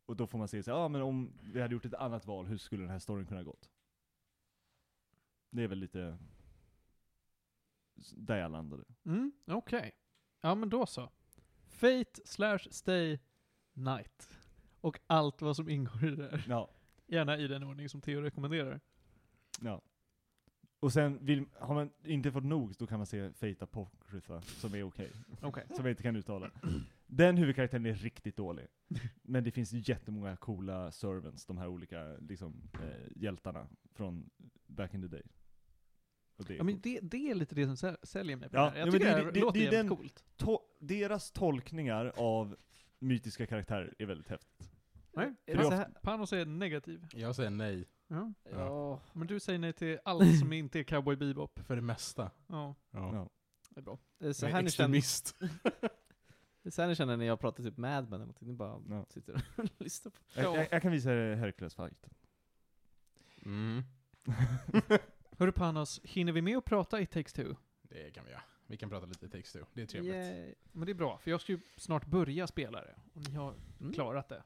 D: Och då får man se så här, ah, men om vi hade gjort ett annat val, hur skulle den här storyn kunna gått? Det är väl lite s- där jag landade.
B: Mm, okej. Ja, men då så. Fate slash Stay Night. Och allt vad som ingår i det här.
D: Ja.
B: Gärna i den ordning som Theo rekommenderar.
D: Ja. Och sen vill, har man inte fått nog, då kan man se Fate Apocrypha, som är okej.
B: Okej.
D: Som jag inte kan uttala. Den huvudkaraktären är riktigt dålig. Men det finns jättemånga coola servants, de här olika liksom, eh, hjältarna från back in the day. Och det är
B: Ja, men
D: coolt.
B: det, det är lite det som säl- säljer mig på
D: Ja,
B: det här. Jag
D: ja, men
B: tycker
D: det-
B: det, här
D: det-
B: låter
D: det är
B: jävligt
D: den-
B: coolt.
D: to- deras tolkningar av mytiska karaktärer är väldigt häftigt.
B: Nej,
A: Är det
B: Pan-
A: så här-
B: Alltså, Panos är negativ.
C: Jag säger nej.
B: Ja.
A: Ja.
B: Men du säger nej till allt som inte är cowboy bebop.
C: För det mesta.
B: Ja.
C: Ja.
D: Ja.
A: Det är bra. Det är så
C: Jag
A: här
C: är
A: ni känner,
C: extremist.
A: det är så här ni känner när jag pratar typ Mad Men eller någonting. Ni bara
D: Ja.
A: sitter och lyssnar på.
D: Jag, jag, jag kan visa er Hercules fight.
C: Mm.
B: Hörru Panos, hinner vi med att prata i Takes Two?
C: Det kan vi göra. Vi kan prata lite text då. Det är trevligt.
A: Yay.
B: Men det är bra, för jag ska ju snart börja spela det. Och ni har
A: Mm.
B: klarat det.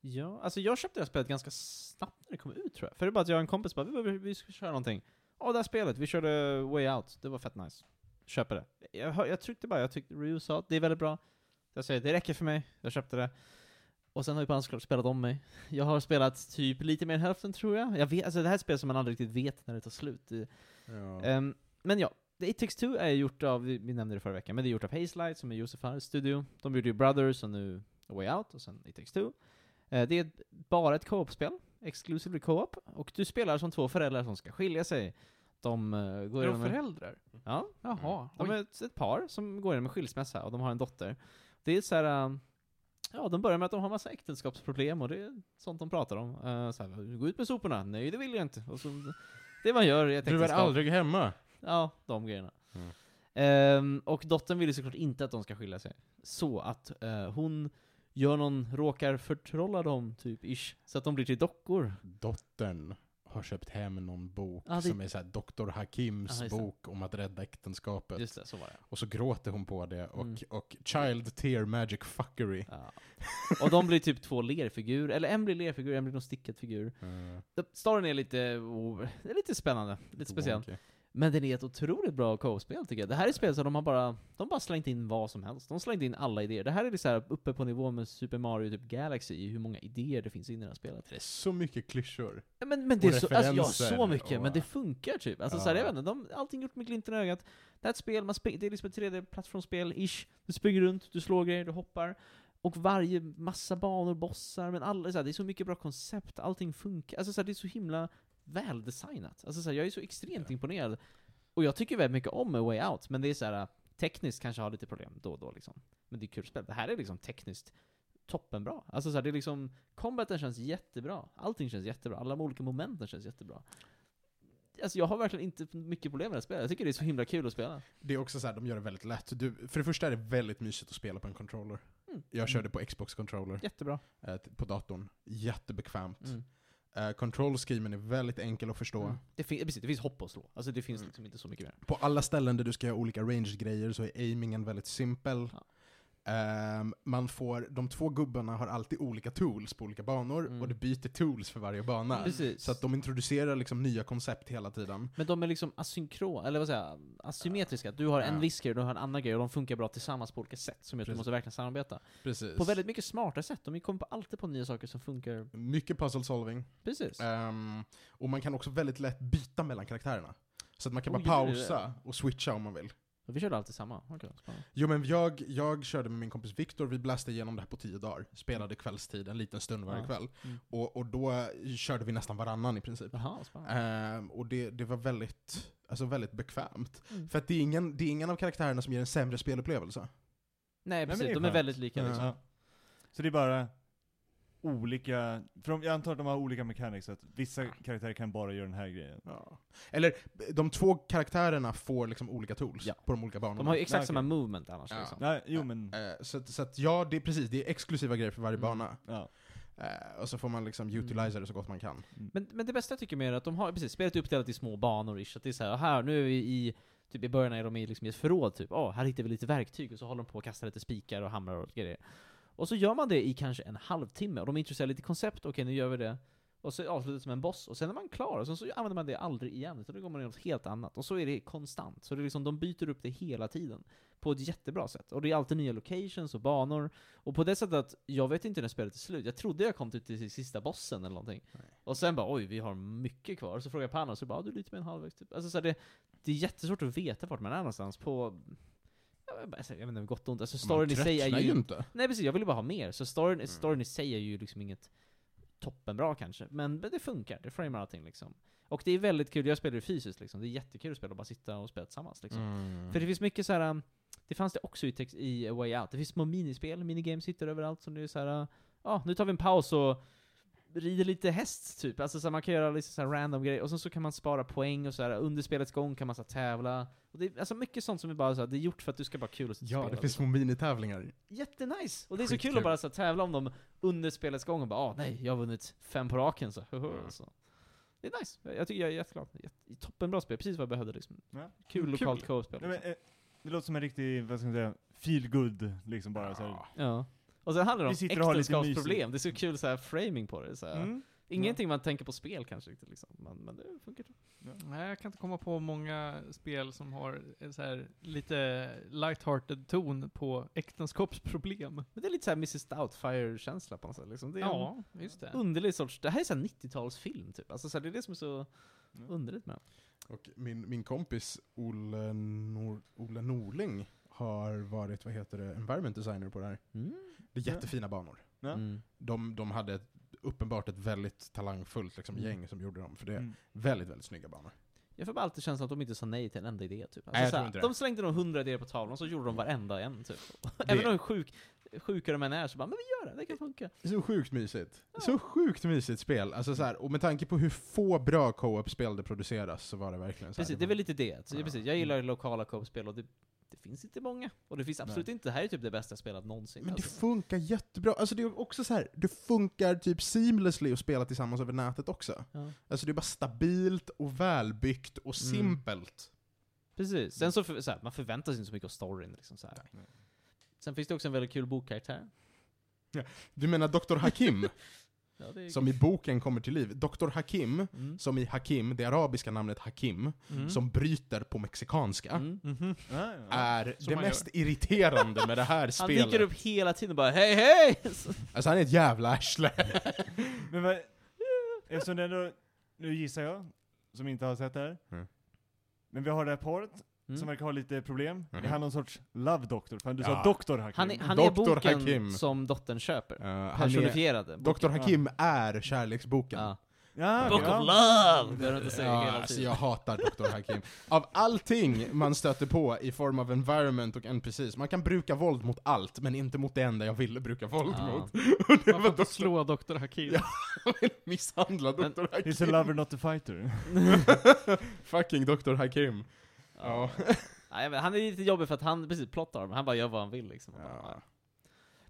A: Ja, alltså jag köpte det här spelet ganska snabbt när det kom ut tror jag. För det är bara att jag och en kompis bara, vi, vi, vi ska köra någonting. Ja, det här spelet, vi körde Way Out, det var fett nice. Köper det. Jag, hör- jag tryckte bara, jag tyckte Ryu sa att det är väldigt bra. Jag säger, det räcker för mig, jag köpte det. Och sen har ju Pan såklart spelat om mig. Jag har spelat typ lite mer än hälften tror jag. jag vet, alltså det här är ett spel som man aldrig riktigt vet när det tar slut. Det-
C: Ja.
A: Ehm, men ja, The It Takes Two är gjort av, vi vi nämnde det förra veckan, men det är gjort av Hazelight som är Josef Fares studio. De gjorde ju Brothers och nu A Way Out och sen It Takes Two. Eh, det är ett- bara ett co-op-spel, exclusively co-op, och du spelar som två föräldrar som ska skilja sig. De eh, går
B: Är de
A: igenom en-
B: föräldrar?
A: Ja,
B: Jaha.
A: de
B: oj.
A: är ett, ett par som går igenom en skilsmässa och de har en dotter. Det är så här, um, ja de börjar med att de har massa äktenskapsproblem och det är sånt de pratar om. Uh, så här, gå ut med soporna, nej det vill jag inte. Och så, det man gör i ett
C: Du är
A: äktenskap.
C: aldrig hemma.
A: Ja, de grejerna.
C: Mm.
A: Ehm, och dottern vill ju såklart inte att de ska skilja sig. Så att eh, hon gör någon, råkar förtrolla dem, typ, ish. Så att de blir till dockor.
C: Dottern har köpt hem någon bok
A: Ja, det-
C: som är såhär Dr. Hakims
A: Ja, just det.
C: bok om att rädda äktenskapet.
A: Just det, så var det.
C: Och så gråter hon på det och,
A: Mm.
C: och Child Tear Magic Fuckery.
A: Ja. Och de blir typ två lerfigurer, eller en blir lerfigur, en blir någon stickad figur.
C: Mm.
A: De- Storyn är lite, oh, det är lite spännande, lite speciell.
C: wonky.
A: Men den är ett otroligt bra co-spel tycker jag. Det här är ett spel som de har bara, de bara slängt in vad som helst. De slängde in alla idéer. Det här är så här uppe på nivå med Super Mario typ Galaxy i hur många idéer det finns in i det här spelet.
C: Det är så mycket klyschor.
A: Men, men det är så, alltså, jag har så
C: referenser
A: mycket,
C: och-
A: men det funkar typ. Alltså,
C: Ja.
A: så här, jag vet inte, de, allting gjort med glimten i ögat. Det här är ett spel, man spe, det är liksom ett 3D-plattformsspel-ish. Du springer runt, du slår grejer, du hoppar. Och varje massa banor, bossar, men alla, så här, det är så mycket bra koncept, allting funkar. Alltså så här, det är så himla väldesignat. Alltså så här, jag är så extremt
C: Ja.
A: imponerad. Och jag tycker väldigt mycket om A Way Out, men det är så här tekniskt kanske har lite problem då och då liksom. Men det är kul spel. Det här är liksom tekniskt toppenbra. Alltså så här, det är liksom, combaten känns jättebra. Allting känns jättebra. Alla de olika momenten känns jättebra. Alltså jag har verkligen inte mycket problem med det här spelet. Jag tycker det är så himla kul att spela.
C: Det är också så här, de gör det väldigt lätt. Du, för det första är det väldigt mysigt att spela på en controller.
A: Mm.
C: Jag körde på Xbox-controller
A: Jättebra.
C: eh, t- på datorn. Jättebekvämt. Eh, Control-schemen är väldigt enkel att förstå.
A: Mm. Det, fin- precis, det finns hopp att slå. Alltså det finns
C: Mm.
A: liksom inte så mycket mer.
C: På alla ställen där du ska göra olika range-grejer så är aimingen väldigt simpel.
A: Ja.
C: Ehm, man får, de två gubbarna har alltid olika tools på olika banor
A: Mm.
C: och det byter tools för varje bana.
A: Precis.
C: Så att de introducerar liksom nya koncept hela tiden.
A: Men de är liksom asynkro, eller vad säger jag, asymmetriska. Du har en
C: Ja.
A: viss grej, du har en annan grej, och de funkar bra tillsammans på olika sätt som gör att du
C: Precis.
A: måste verkligen samarbeta.
C: Precis.
A: På väldigt mycket smarta sätt. De kommer på alltid på nya saker som funkar.
C: mycket puzzle solving.
A: Precis.
C: Ehm, och man kan också väldigt lätt byta mellan karaktärerna. Så att man kan
A: Oh,
C: bara
A: gör du det?
C: pausa och switcha om man vill.
A: Och Vi körde alltid samma. Okej, spännande.
C: Jo men jag, jag körde med min kompis Viktor, vi bläste igenom det här på tio dagar. Spelade kvällstid, en liten stund varje
A: Ja.
C: kväll.
A: Mm.
C: Och, och då körde vi nästan varannan i princip.
A: Jaha, spännande.
C: Ehm, och det, det var väldigt, alltså väldigt bekvämt.
A: Mm.
C: För att det är, ingen, det är ingen av karaktärerna som ger en sämre spelupplevelse.
A: Nej
D: men
A: precis,
D: det är
A: de är
D: skönt.
A: väldigt lika liksom.
D: Ja. Så det är bara olika, för de, jag antar att de har olika mechanics, så att vissa karaktärer kan bara göra den här grejen.
C: Eller, de två karaktärerna får liksom olika tools
A: Ja.
C: på de olika banorna.
A: De har ju exakt
D: okej.
A: samma movement annars
C: Ja.
A: liksom.
D: Nej, jo men,
C: Ehm, så att, så att ja, det är precis, det är exklusiva grejer för varje
A: Mm.
C: bana.
D: ja.
C: Eh, och så får man liksom utilisa det så gott man kan.
A: Men, men det bästa jag tycker mer är att de har, precis, spelet är uppdelat i små banor ish, att det är så här, här, nu är vi i, typ i början är de i, liksom, i ett förråd typ, åh, här hittar vi lite verktyg, och så håller de på att kasta lite spikar och hamrar och grejer. Och så gör man det i kanske en halvtimme, och de introducerar lite koncept, okej nu gör vi det, och så avslutas det som en boss, och sen är man klar, och sen så använder man det aldrig igen, utan då går man in i något helt annat. Och så är det konstant, så det är liksom, de byter upp det hela tiden. På ett jättebra sätt. Och det är alltid nya locations och banor. Och på det sättet att, jag vet inte när spelet är slut, jag trodde jag kom typ till sista bossen eller någonting. Och sen bara oj, vi har mycket kvar. Så frågar jag Panos, så bara ah, du är lite mer än halvvägs typ. Alltså så här, det, det är jättesvårt att veta vart man är någonstans på... Jag vet, alltså, jag vet inte, gott och ont. Alltså storyn
C: man
A: i sig är
C: tröttnar
A: ju...
C: inte.
A: Nej precis, jag ville bara ha mer. Så storyn,
C: Mm.
A: storyn i sig är ju liksom inget toppenbra kanske. Men, men det funkar, det framar allting liksom. Och det är väldigt kul, jag spelar ju fysiskt liksom. Det är jättekul att spela och bara sitta och spela tillsammans liksom.
C: Mm.
A: För det finns mycket så här. um, det fanns det också i, text, i A Way Out. Det finns små minispel, minigames hittar överallt som det är så här. uh, ja nu tar vi en paus och rider lite häst typ. Alltså så här, man kan göra lite så här random grejer, och sen så kan man spara poäng och så här under spelets gång kan man så här, tävla. Och det är, alltså mycket sånt som är bara så här, det är gjort för att du ska bara ha kul och sitta och
C: Ja,
A: spela,
C: det finns små minitävlingar.
A: Jättenice! Och det är så
C: Skitkul.
A: kul att bara så här, tävla om dem under spelets gång och bara ah, nej, jag har vunnit fem på raken så.
C: Mm.
A: så. Det är nice, jag, jag tycker jag är jätteglad. Jätte, toppenbra spel, precis vad jag behövde liksom.
D: Ja.
A: Kul lokalt co-spel.
D: Nej, men, eh, det låter som en riktig, vad ska man säga, feel good liksom bara så här.
A: Ja. Och sen handlar det
D: Vi
A: om
D: sitter och har lite
A: äktenskapsproblem, det är så kul så här framing på det. Så här.
B: Mm.
A: Ingenting man tänker på spel kanske riktigt liksom, men, men det funkar.
B: Nej, jag kan inte komma på många spel som har en så här lite lighthearted ton på äktenskapsproblem.
A: Men det är lite så här Mrs Doubtfire-känsla på något sätt liksom. Det är en
B: Ja, just det.
A: underlig sorts, det här är så här 90-talsfilm typ. Alltså så här, det är det som är så underligt med den.
C: Och min, min kompis Olle, Nor- Olle Norling har varit, vad heter det, environment designer på det här.
A: Mm.
C: Det är jättefina banor.
D: Ja.
A: Mm.
C: De, de hade ett, uppenbart ett väldigt talangfullt liksom,
A: Mm.
C: gäng som gjorde dem, för det är
D: Mm.
C: väldigt, väldigt snygga banor.
A: Jag får bara alltid känslan att de inte sa nej till en enda idé typ. Alltså,
C: Nej, jag
A: såhär,
C: tror inte det.
A: de slängde nog hundra idéer på tavlan, och så gjorde de varenda en typ. Även om hur sjuk, sjuka de än är, så bara 'Men vi gör det, det kan funka'
C: Så sjukt mysigt. Så sjukt mysigt spel. Alltså, så här, och med tanke på hur få bra co-op-spel det produceras så var det verkligen så här,
A: Precis, det
C: det
A: är väl lite det. Så,
C: Ja. Mm.
A: precis, jag gillar lokala co-spel och det, det finns inte många. Och det finns absolut inte, det här är typ det bästa jag spelat någonsin.
C: Men det
A: alltså.
C: funkar jättebra. Alltså det är också så här, det funkar typ seamlessly att spela tillsammans över nätet också.
A: Ja.
C: Alltså det är bara stabilt och välbyggt och
A: Mm.
C: simpelt.
A: Precis. Sen så, för, så här, man förväntar sig inte så mycket av storyn liksom så här.
C: Nej.
A: Sen finns det också en väldigt kul bokkaraktär.
C: Du menar Dr. Hakim,
A: Ja, det är...
C: som i boken kommer till liv. Dr. Hakim,
A: Mm.
C: som i Hakim, det arabiska namnet Hakim,
B: Mm.
C: som bryter på mexikanska,
A: Mm.
B: Mhm.
D: Ja, ja.
C: är
B: Som
C: det
B: man gör.
C: mest irriterande med det här
A: Han
C: spelet.
A: dyker upp hela tiden och bara hej hej! Så-
C: Alltså han är ett jävla arsle.
D: Men vad, eftersom det ändå, nu gissar jag, som inte har sett det här.
C: Mm.
D: Men vi har det här paret, som
A: Mm.
D: verkar ha lite problem.
C: Mhm.
D: Är han någon sorts love doctor? Fan, du
C: Ja.
D: sa doktor här
A: Han är,
D: Kim.
A: han är
C: Dr.
A: boken
C: Hakim.
A: som dottern köper.
C: Eh, han är,
A: Personifierade. Boken.
C: Dr. Hakim är kärleksboken.
A: Ja.
D: Ja,
A: Book
D: okej,
A: of
D: ja.
A: love! Behöver inte säga
C: Ja,
A: hela
C: alltså
A: tiden.
C: jag hatar Dr. Hakim. Av allting man stöter på i form av environment och NPCs, man kan bruka våld mot allt, men inte mot det enda jag ville bruka våld
A: Ja.
C: mot.
B: Man får inte slå Dr. Hakim.
C: Ja. Jag vill misshandla Dr. Hakim.
D: He's a lover not a fighter.
C: Fucking Dr. Hakim.
A: Ja. Nej, jag vet, han är lite jobbig för att han, precis, plottar, men han bara gör vad han vill liksom. Och Bara,
C: Ja.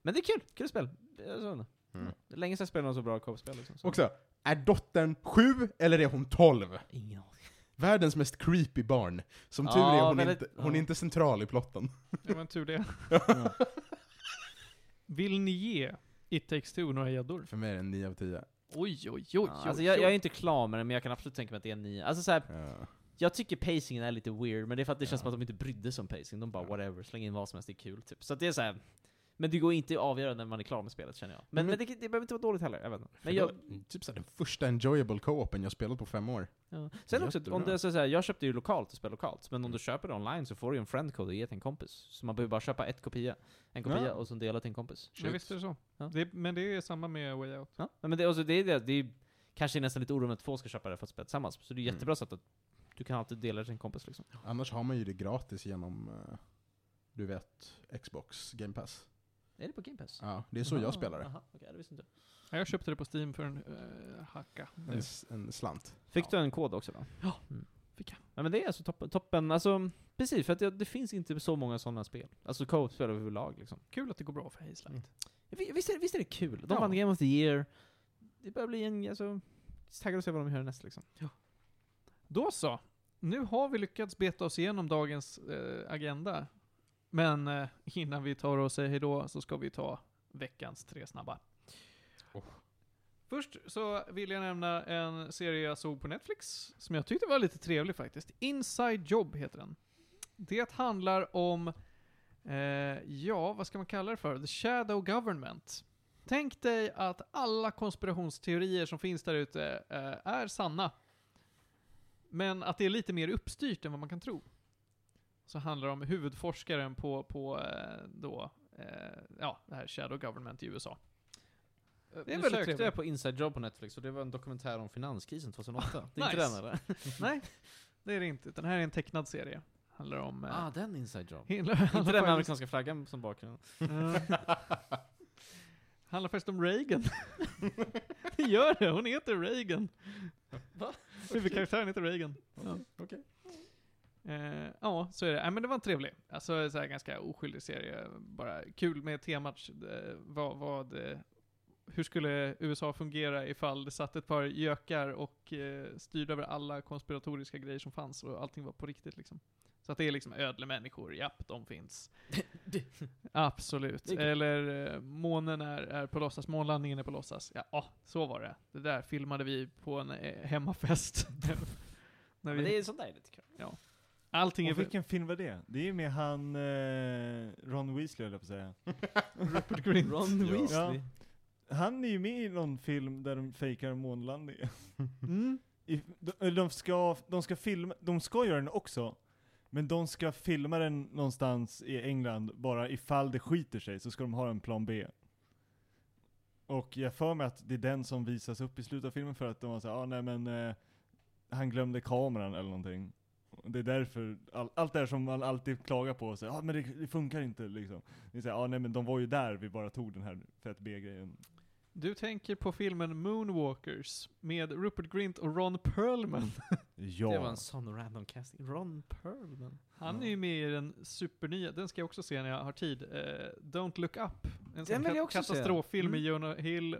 A: Men det är kul, kul spel. Jag sa det.
C: Mm.
A: Det är länge sedan jag spelade något så bra co-spel liksom. Så.
C: Också, är dottern sju eller är hon tolv?
A: Ingen aning.
C: Världens mest creepy barn. Som tur
A: Ja,
C: är hon,
A: väldigt-
C: inte, hon är
A: ja.
C: inte central i plotten.
B: Ja, men tur det.
D: Ja.
B: Vill ni ge It Takes Two några gäddor?
C: För mig är det en 9 av 10.
B: Oj, oj, oj,
A: Ja,
B: oj.
A: alltså, jag, jag är inte klar med det, men jag kan absolut tänka mig att det är en nio. Alltså, så här,
C: Ja.
A: jag tycker pacingen är lite weird, men det är för att det känns som att de inte brydde sig om pacing. De bara
C: Ja.
A: whatever, släng in vad som helst, det är kul typ. Så att det är så här. Men det går inte att avgöra när man är klar med spelet känner jag. Men, men,
C: Men-
A: det, det behöver inte vara dåligt heller, jag vet inte. Men
C: Det
A: jag,
C: var Typ såhär den första enjoyable co-open jag spelat på fem år.
A: ja. Sen också, om
C: Jättebra. Mm.
A: det är så här, jag köpte ju lokalt och spelade lokalt, men om du köper det online så får du ju en friend code och ge till en kompis. Så man behöver bara köpa ett kopia, en kopia
D: Ja.
A: och sen dela till en kompis.
B: Ja, visst är det så.
A: Ja.
B: Det, men det är samma med Way Out.
A: Ja, men det, alltså, det är det, det är kanske är nästan lite oroligt att två ska köpa det för att spela tillsammans. Så det är
C: Mm.
A: jättebra sätt att du kan alltid dela det till en kompis liksom.
C: Annars har man ju det gratis genom, eh, du vet, Xbox Game Pass.
A: Är det på Game Pass?
C: Ja, Ah. det är så jag spelar det.
A: Aha, okej, det visste inte. jag.
B: Ja, Jag köpte det på Steam för en eh, hacka.
C: En, s- en slant.
A: Fick
C: Ja.
A: du en kod också då?
B: Ja,
A: Mm.
B: fick jag.
A: Ja, men det är alltså toppen, toppen alltså precis, för att det, Mm. det finns inte så många sådana spel. Alltså co-op-spel överlag liksom.
B: Kul att det går bra för Hazelight.
A: Vi- Visst är, visst är det kul? De
B: Ja.
A: vann Game of the Year. Det börjar bli en, alltså, taggad att se vad de gör näst liksom.
B: Då så. Nu har vi lyckats beta oss igenom dagens eh, agenda. Men eh, innan vi tar och säger hejdå så ska vi ta veckans tre snabba.
C: Oh.
B: Först så vill jag nämna en serie jag såg på Netflix som jag tyckte var lite trevlig faktiskt. Inside Job heter den. Det handlar om, eh, ja vad ska man kalla det för? The Shadow Government. Tänk dig att alla konspirationsteorier som finns där ute eh, är sanna. Men att det är lite mer uppstyrt än vad man kan tro. Så handlar det om huvudforskaren på, på eh, då, eh, ja, det här Shadow Government i USA.
A: Det är
B: väldigt
A: nu sökte
B: trevligt.
A: jag på Inside Job på Netflix och det var en dokumentär om finanskrisen 2008. Det är inte
B: Nice.
A: den eller?
B: Nej, det är det inte. Utan det här är en tecknad serie. Handlar om... eh,
A: Ah, den Inside Job.
B: handlar,
A: Inte
B: handlar,
A: den med
B: faktiskt,
A: amerikanska flaggan som bakgrund.
B: Eh, handlar faktiskt om Reagan. det gör det, hon heter Reagan.
A: Va?
B: Huvudkaraktären heter Reagan. Ja.
C: Okej.
B: Eh, ja, så är det. Nej, men det var en trevlig. Alltså så här ganska oskyldig serie. Bara kul med temat. eh, vad, vad, eh, hur skulle USA fungera ifall det satt ett par gökar och eh, styrde över alla konspiratoriska grejer som fanns och allting var på riktigt liksom. Så att det är liksom ödle människor, japp, de finns. Absolut.
A: Det är kul.
B: Eller eh, månen är, är på låtsas, månlandningen är på låtsas. Ja, ah, så var det. Det där filmade vi på en eh, hemmafest. När
A: Men
B: vi-
A: det är sånt där är lite kul.
B: Allting är...
D: Och vilken film var det? Det är ju med han, eh, Ron Weasley höll jag på att säga.
B: Rupert Grint.
A: Ron
D: Ja.
A: Weasley.
D: Han är ju med i någon film där de fejkar månlandningen.
B: Mm.
D: I- de- eller De ska, de ska filma, de ska göra den också. Men de ska filma den någonstans i England, bara ifall det skiter sig så ska de ha en plan B. Och jag för mig att det är den som visas upp i slutet av filmen för att de var såhär, ah, nej men eh, han glömde kameran eller någonting. Och Det är därför, all, allt det här som man alltid klagar på, och säger, ah, men det, det funkar inte liksom. Det är såhär, ah, nej men de var ju där, vi bara tog den här fett B-grejen.
B: Du tänker på filmen Moonwalkers med Rupert Grint och Ron Perlman.
D: Ja.
A: Det var en sån random casting. Ron Perlman.
B: Han
D: Ja.
B: är ju med i den supernya, den ska jag också se när jag har tid, eh, Don't Look Up. En
A: Den
B: sån
A: vill jag
B: ka-
A: också se.
B: katastroffilm med
A: Mm.
B: Jonah Hill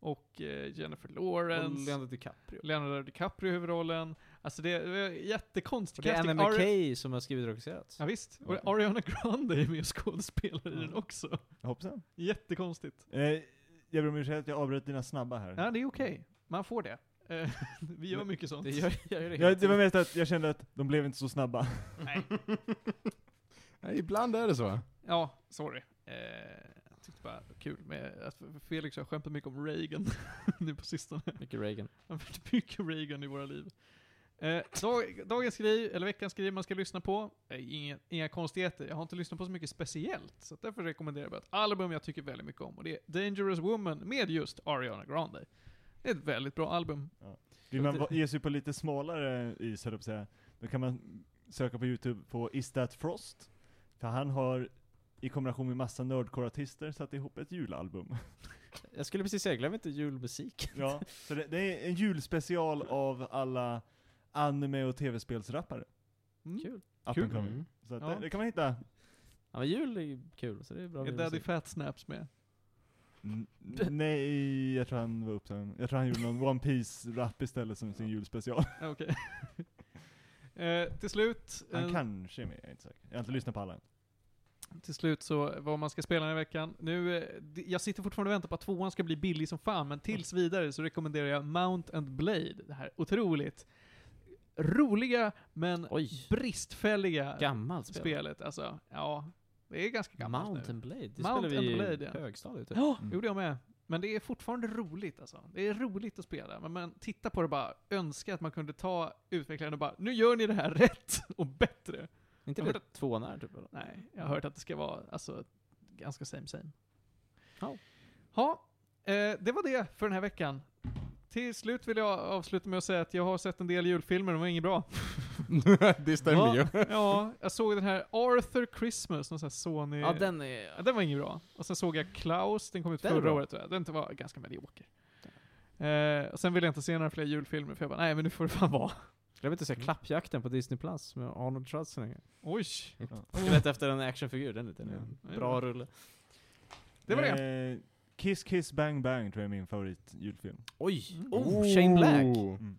B: och eh, Jennifer
A: Och
B: Lawrence.
A: Leonardo DiCaprio.
B: Leonardo DiCaprio i huvudrollen. Alltså det är eh,
A: Och
B: jättekonstigt.
A: det är Anna
B: casting. Ari-
A: McKay Mm. som har skrivit och regisserat.
B: Ja, visst.
A: Ja.
B: Och Ariana Grande är med och skådespelar i
A: Ja.
B: den också.
D: Hoppsan.
B: Jättekonstigt.
D: Eh, jag ber om ursäkt att jag avbröt dina snabba här.
A: Mm.
B: Ja, det är okej. Man får det. Eh, Vi gör mycket sånt.
A: Det gör, jag gör det hela
D: Ja, det var
A: tiden.
D: mest att jag kände att de blev inte så snabba.
B: Nej.
C: Nej, ibland är det så.
B: Ja, sorry. Eh, jag tyckte bara det var kul med att Felix har skämtat mycket om Reagan nu på sistone.
A: Mycket Reagan.
B: Han har varit mycket Reagan i våra liv. Eh, dag, dagens grej, eller veckans grej man ska lyssna på, eh, inga, inga konstigheter. Jag har inte lyssnat på så mycket speciellt, så att därför rekommenderar jag bara ett album jag tycker väldigt mycket om och det är Dangerous Woman med just Ariana Grande. Det är ett väldigt bra album.
D: Vill man va- ge sig på lite smalare is, höll jag på att säga, då kan man söka på youtube på Is That Frost? För han har i kombination med massa nördkorartister satt ihop ett julalbum.
A: Jag skulle precis säga, glöm inte julmusik.
D: Ja, så det, det är en julspecial av alla anime och tv-spelsrappare.
B: Mm.
A: Kul.
D: Up
B: Kul.
D: and coming.
C: Mm.
D: Så att
B: Ja.
D: det, det kan man hitta.
A: Ja men jul är ju kul, så det är bra
B: Är Daddy
A: julmusik.
B: Fat Snaps med?
D: N- nej, jag tror han var upptagen. Jag tror han gjorde någon One Piece-rap istället som sin julspecial.
B: Ah, Okej. eh, till slut...
D: Han
B: eh,
D: kanske är med, jag är inte säker. Jag har inte lyssnat på alla än.
B: till slut så vad man ska spela den här veckan. Nu, eh, d- jag sitter fortfarande och väntar på att tvåan ska bli billig som fan, men tills
A: Mm.
B: vidare så rekommenderar jag Mount and Blade. Det här otroligt roliga, men
A: Oj.
B: bristfälliga
A: Gammalt Äh, spel.
B: spelet. Alltså, ja, det är ganska gammalt
A: Mountain
B: nu.
A: Blade, det
B: Mountain
A: spelade vi
B: Blade,
A: i
B: ja.
A: högstadiet typ.
B: Ja,
D: Mm.
B: gjorde jag med. Men det är fortfarande roligt alltså. Det är roligt att spela, men man tittar på det och bara önskar att man kunde ta utvecklaren och bara nu gör ni det här rätt och bättre.
A: Inte
B: Ja,
A: det tvåan är typ eller?
B: Nej, jag har hört att det ska vara alltså, ganska same same.
A: Ja.
B: Ja, eh, det var det för den här veckan. Till slut vill jag avsluta med att säga att jag har sett en del julfilmer, de var inget bra.
C: det stämmer ju.
B: Ja, jag såg den här Arthur Christmas, någon sån här Sony...
A: Ja den
B: Ja,
A: är...
B: den var inget bra. Och sen såg jag Klaus, den kom ut
A: Den är
B: förra
A: bra.
B: året tror jag. Den var ganska medioker. Eh, och sen ville jag inte se några fler julfilmer för jag bara, nej men nu får det fan vara.
A: Glöm inte att säga Klappjakten på Disney Plus med Arnold Schwarzenegger.
B: Oj.
A: Oh. Skelett efter en actionfigur, den är lite
D: Ja.
A: en
B: Ja,
A: bra
B: ja.
A: rulle.
B: Det var det.
D: det. Eh, Kiss Kiss Bang Bang tror jag är min favoritjulfilm.
A: Oj!
B: Mm.
A: Oh, Shane Black!
C: Oh.
D: Mm.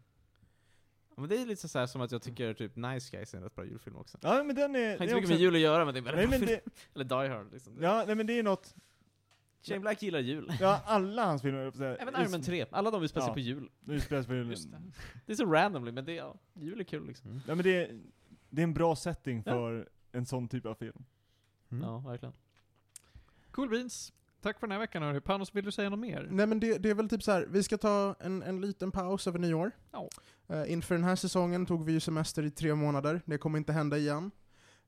A: Ja, Men det är lite så här som att jag tycker typ Nice Guys är en rätt bra julfilm också.
D: Ja men den är...
A: Har
D: det
A: inte mycket
D: är
A: med
D: också-
A: jul att göra men det är
D: Nej
A: väldigt
D: men
A: bra film.
D: det,
A: Eller Die Hard liksom.
D: ja, nej men det är något,
A: Shane Black gillar jul.
D: ja alla hans filmer, jag får säga,
A: Även Iron Man 3. Alla de utspelar sig
D: Ja.
A: på jul.
D: nu spelas på julen.
A: Just det. Det är så randomly, men det är, ja, jul är kul liksom.
D: Nej men det, är- det är en bra setting
A: Ja.
D: för en sån typ av film.
C: Mm.
A: Ja, verkligen.
B: Cool beans. Tack för den här veckan hörru. Panos, vill du säga något mer?
C: Nej men det, det är väl typ så här. vi ska ta en, en liten paus över nyår.
B: Ja.
C: Eh, inför den här säsongen tog vi ju semester i tre månader, det kommer inte hända igen.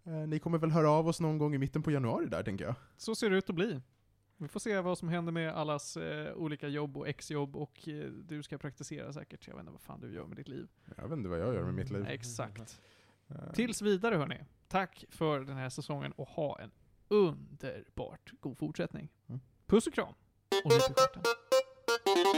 C: Eh, ni kommer väl höra av oss någon gång i mitten på januari där, tänker jag.
B: Så ser det ut att bli. Vi får se vad som händer med allas eh, olika jobb och exjobb och eh, du ska praktisera säkert. Jag vet inte vad fan du gör med ditt liv. Mm,
C: Jag vet inte vad jag gör med mitt liv.
B: Exakt.
C: Eh,
B: Tills vidare hörni. Tack för den här säsongen och ha en underbart god fortsättning.
C: Mm.
B: Puss och kram. Och nyp i stjärten.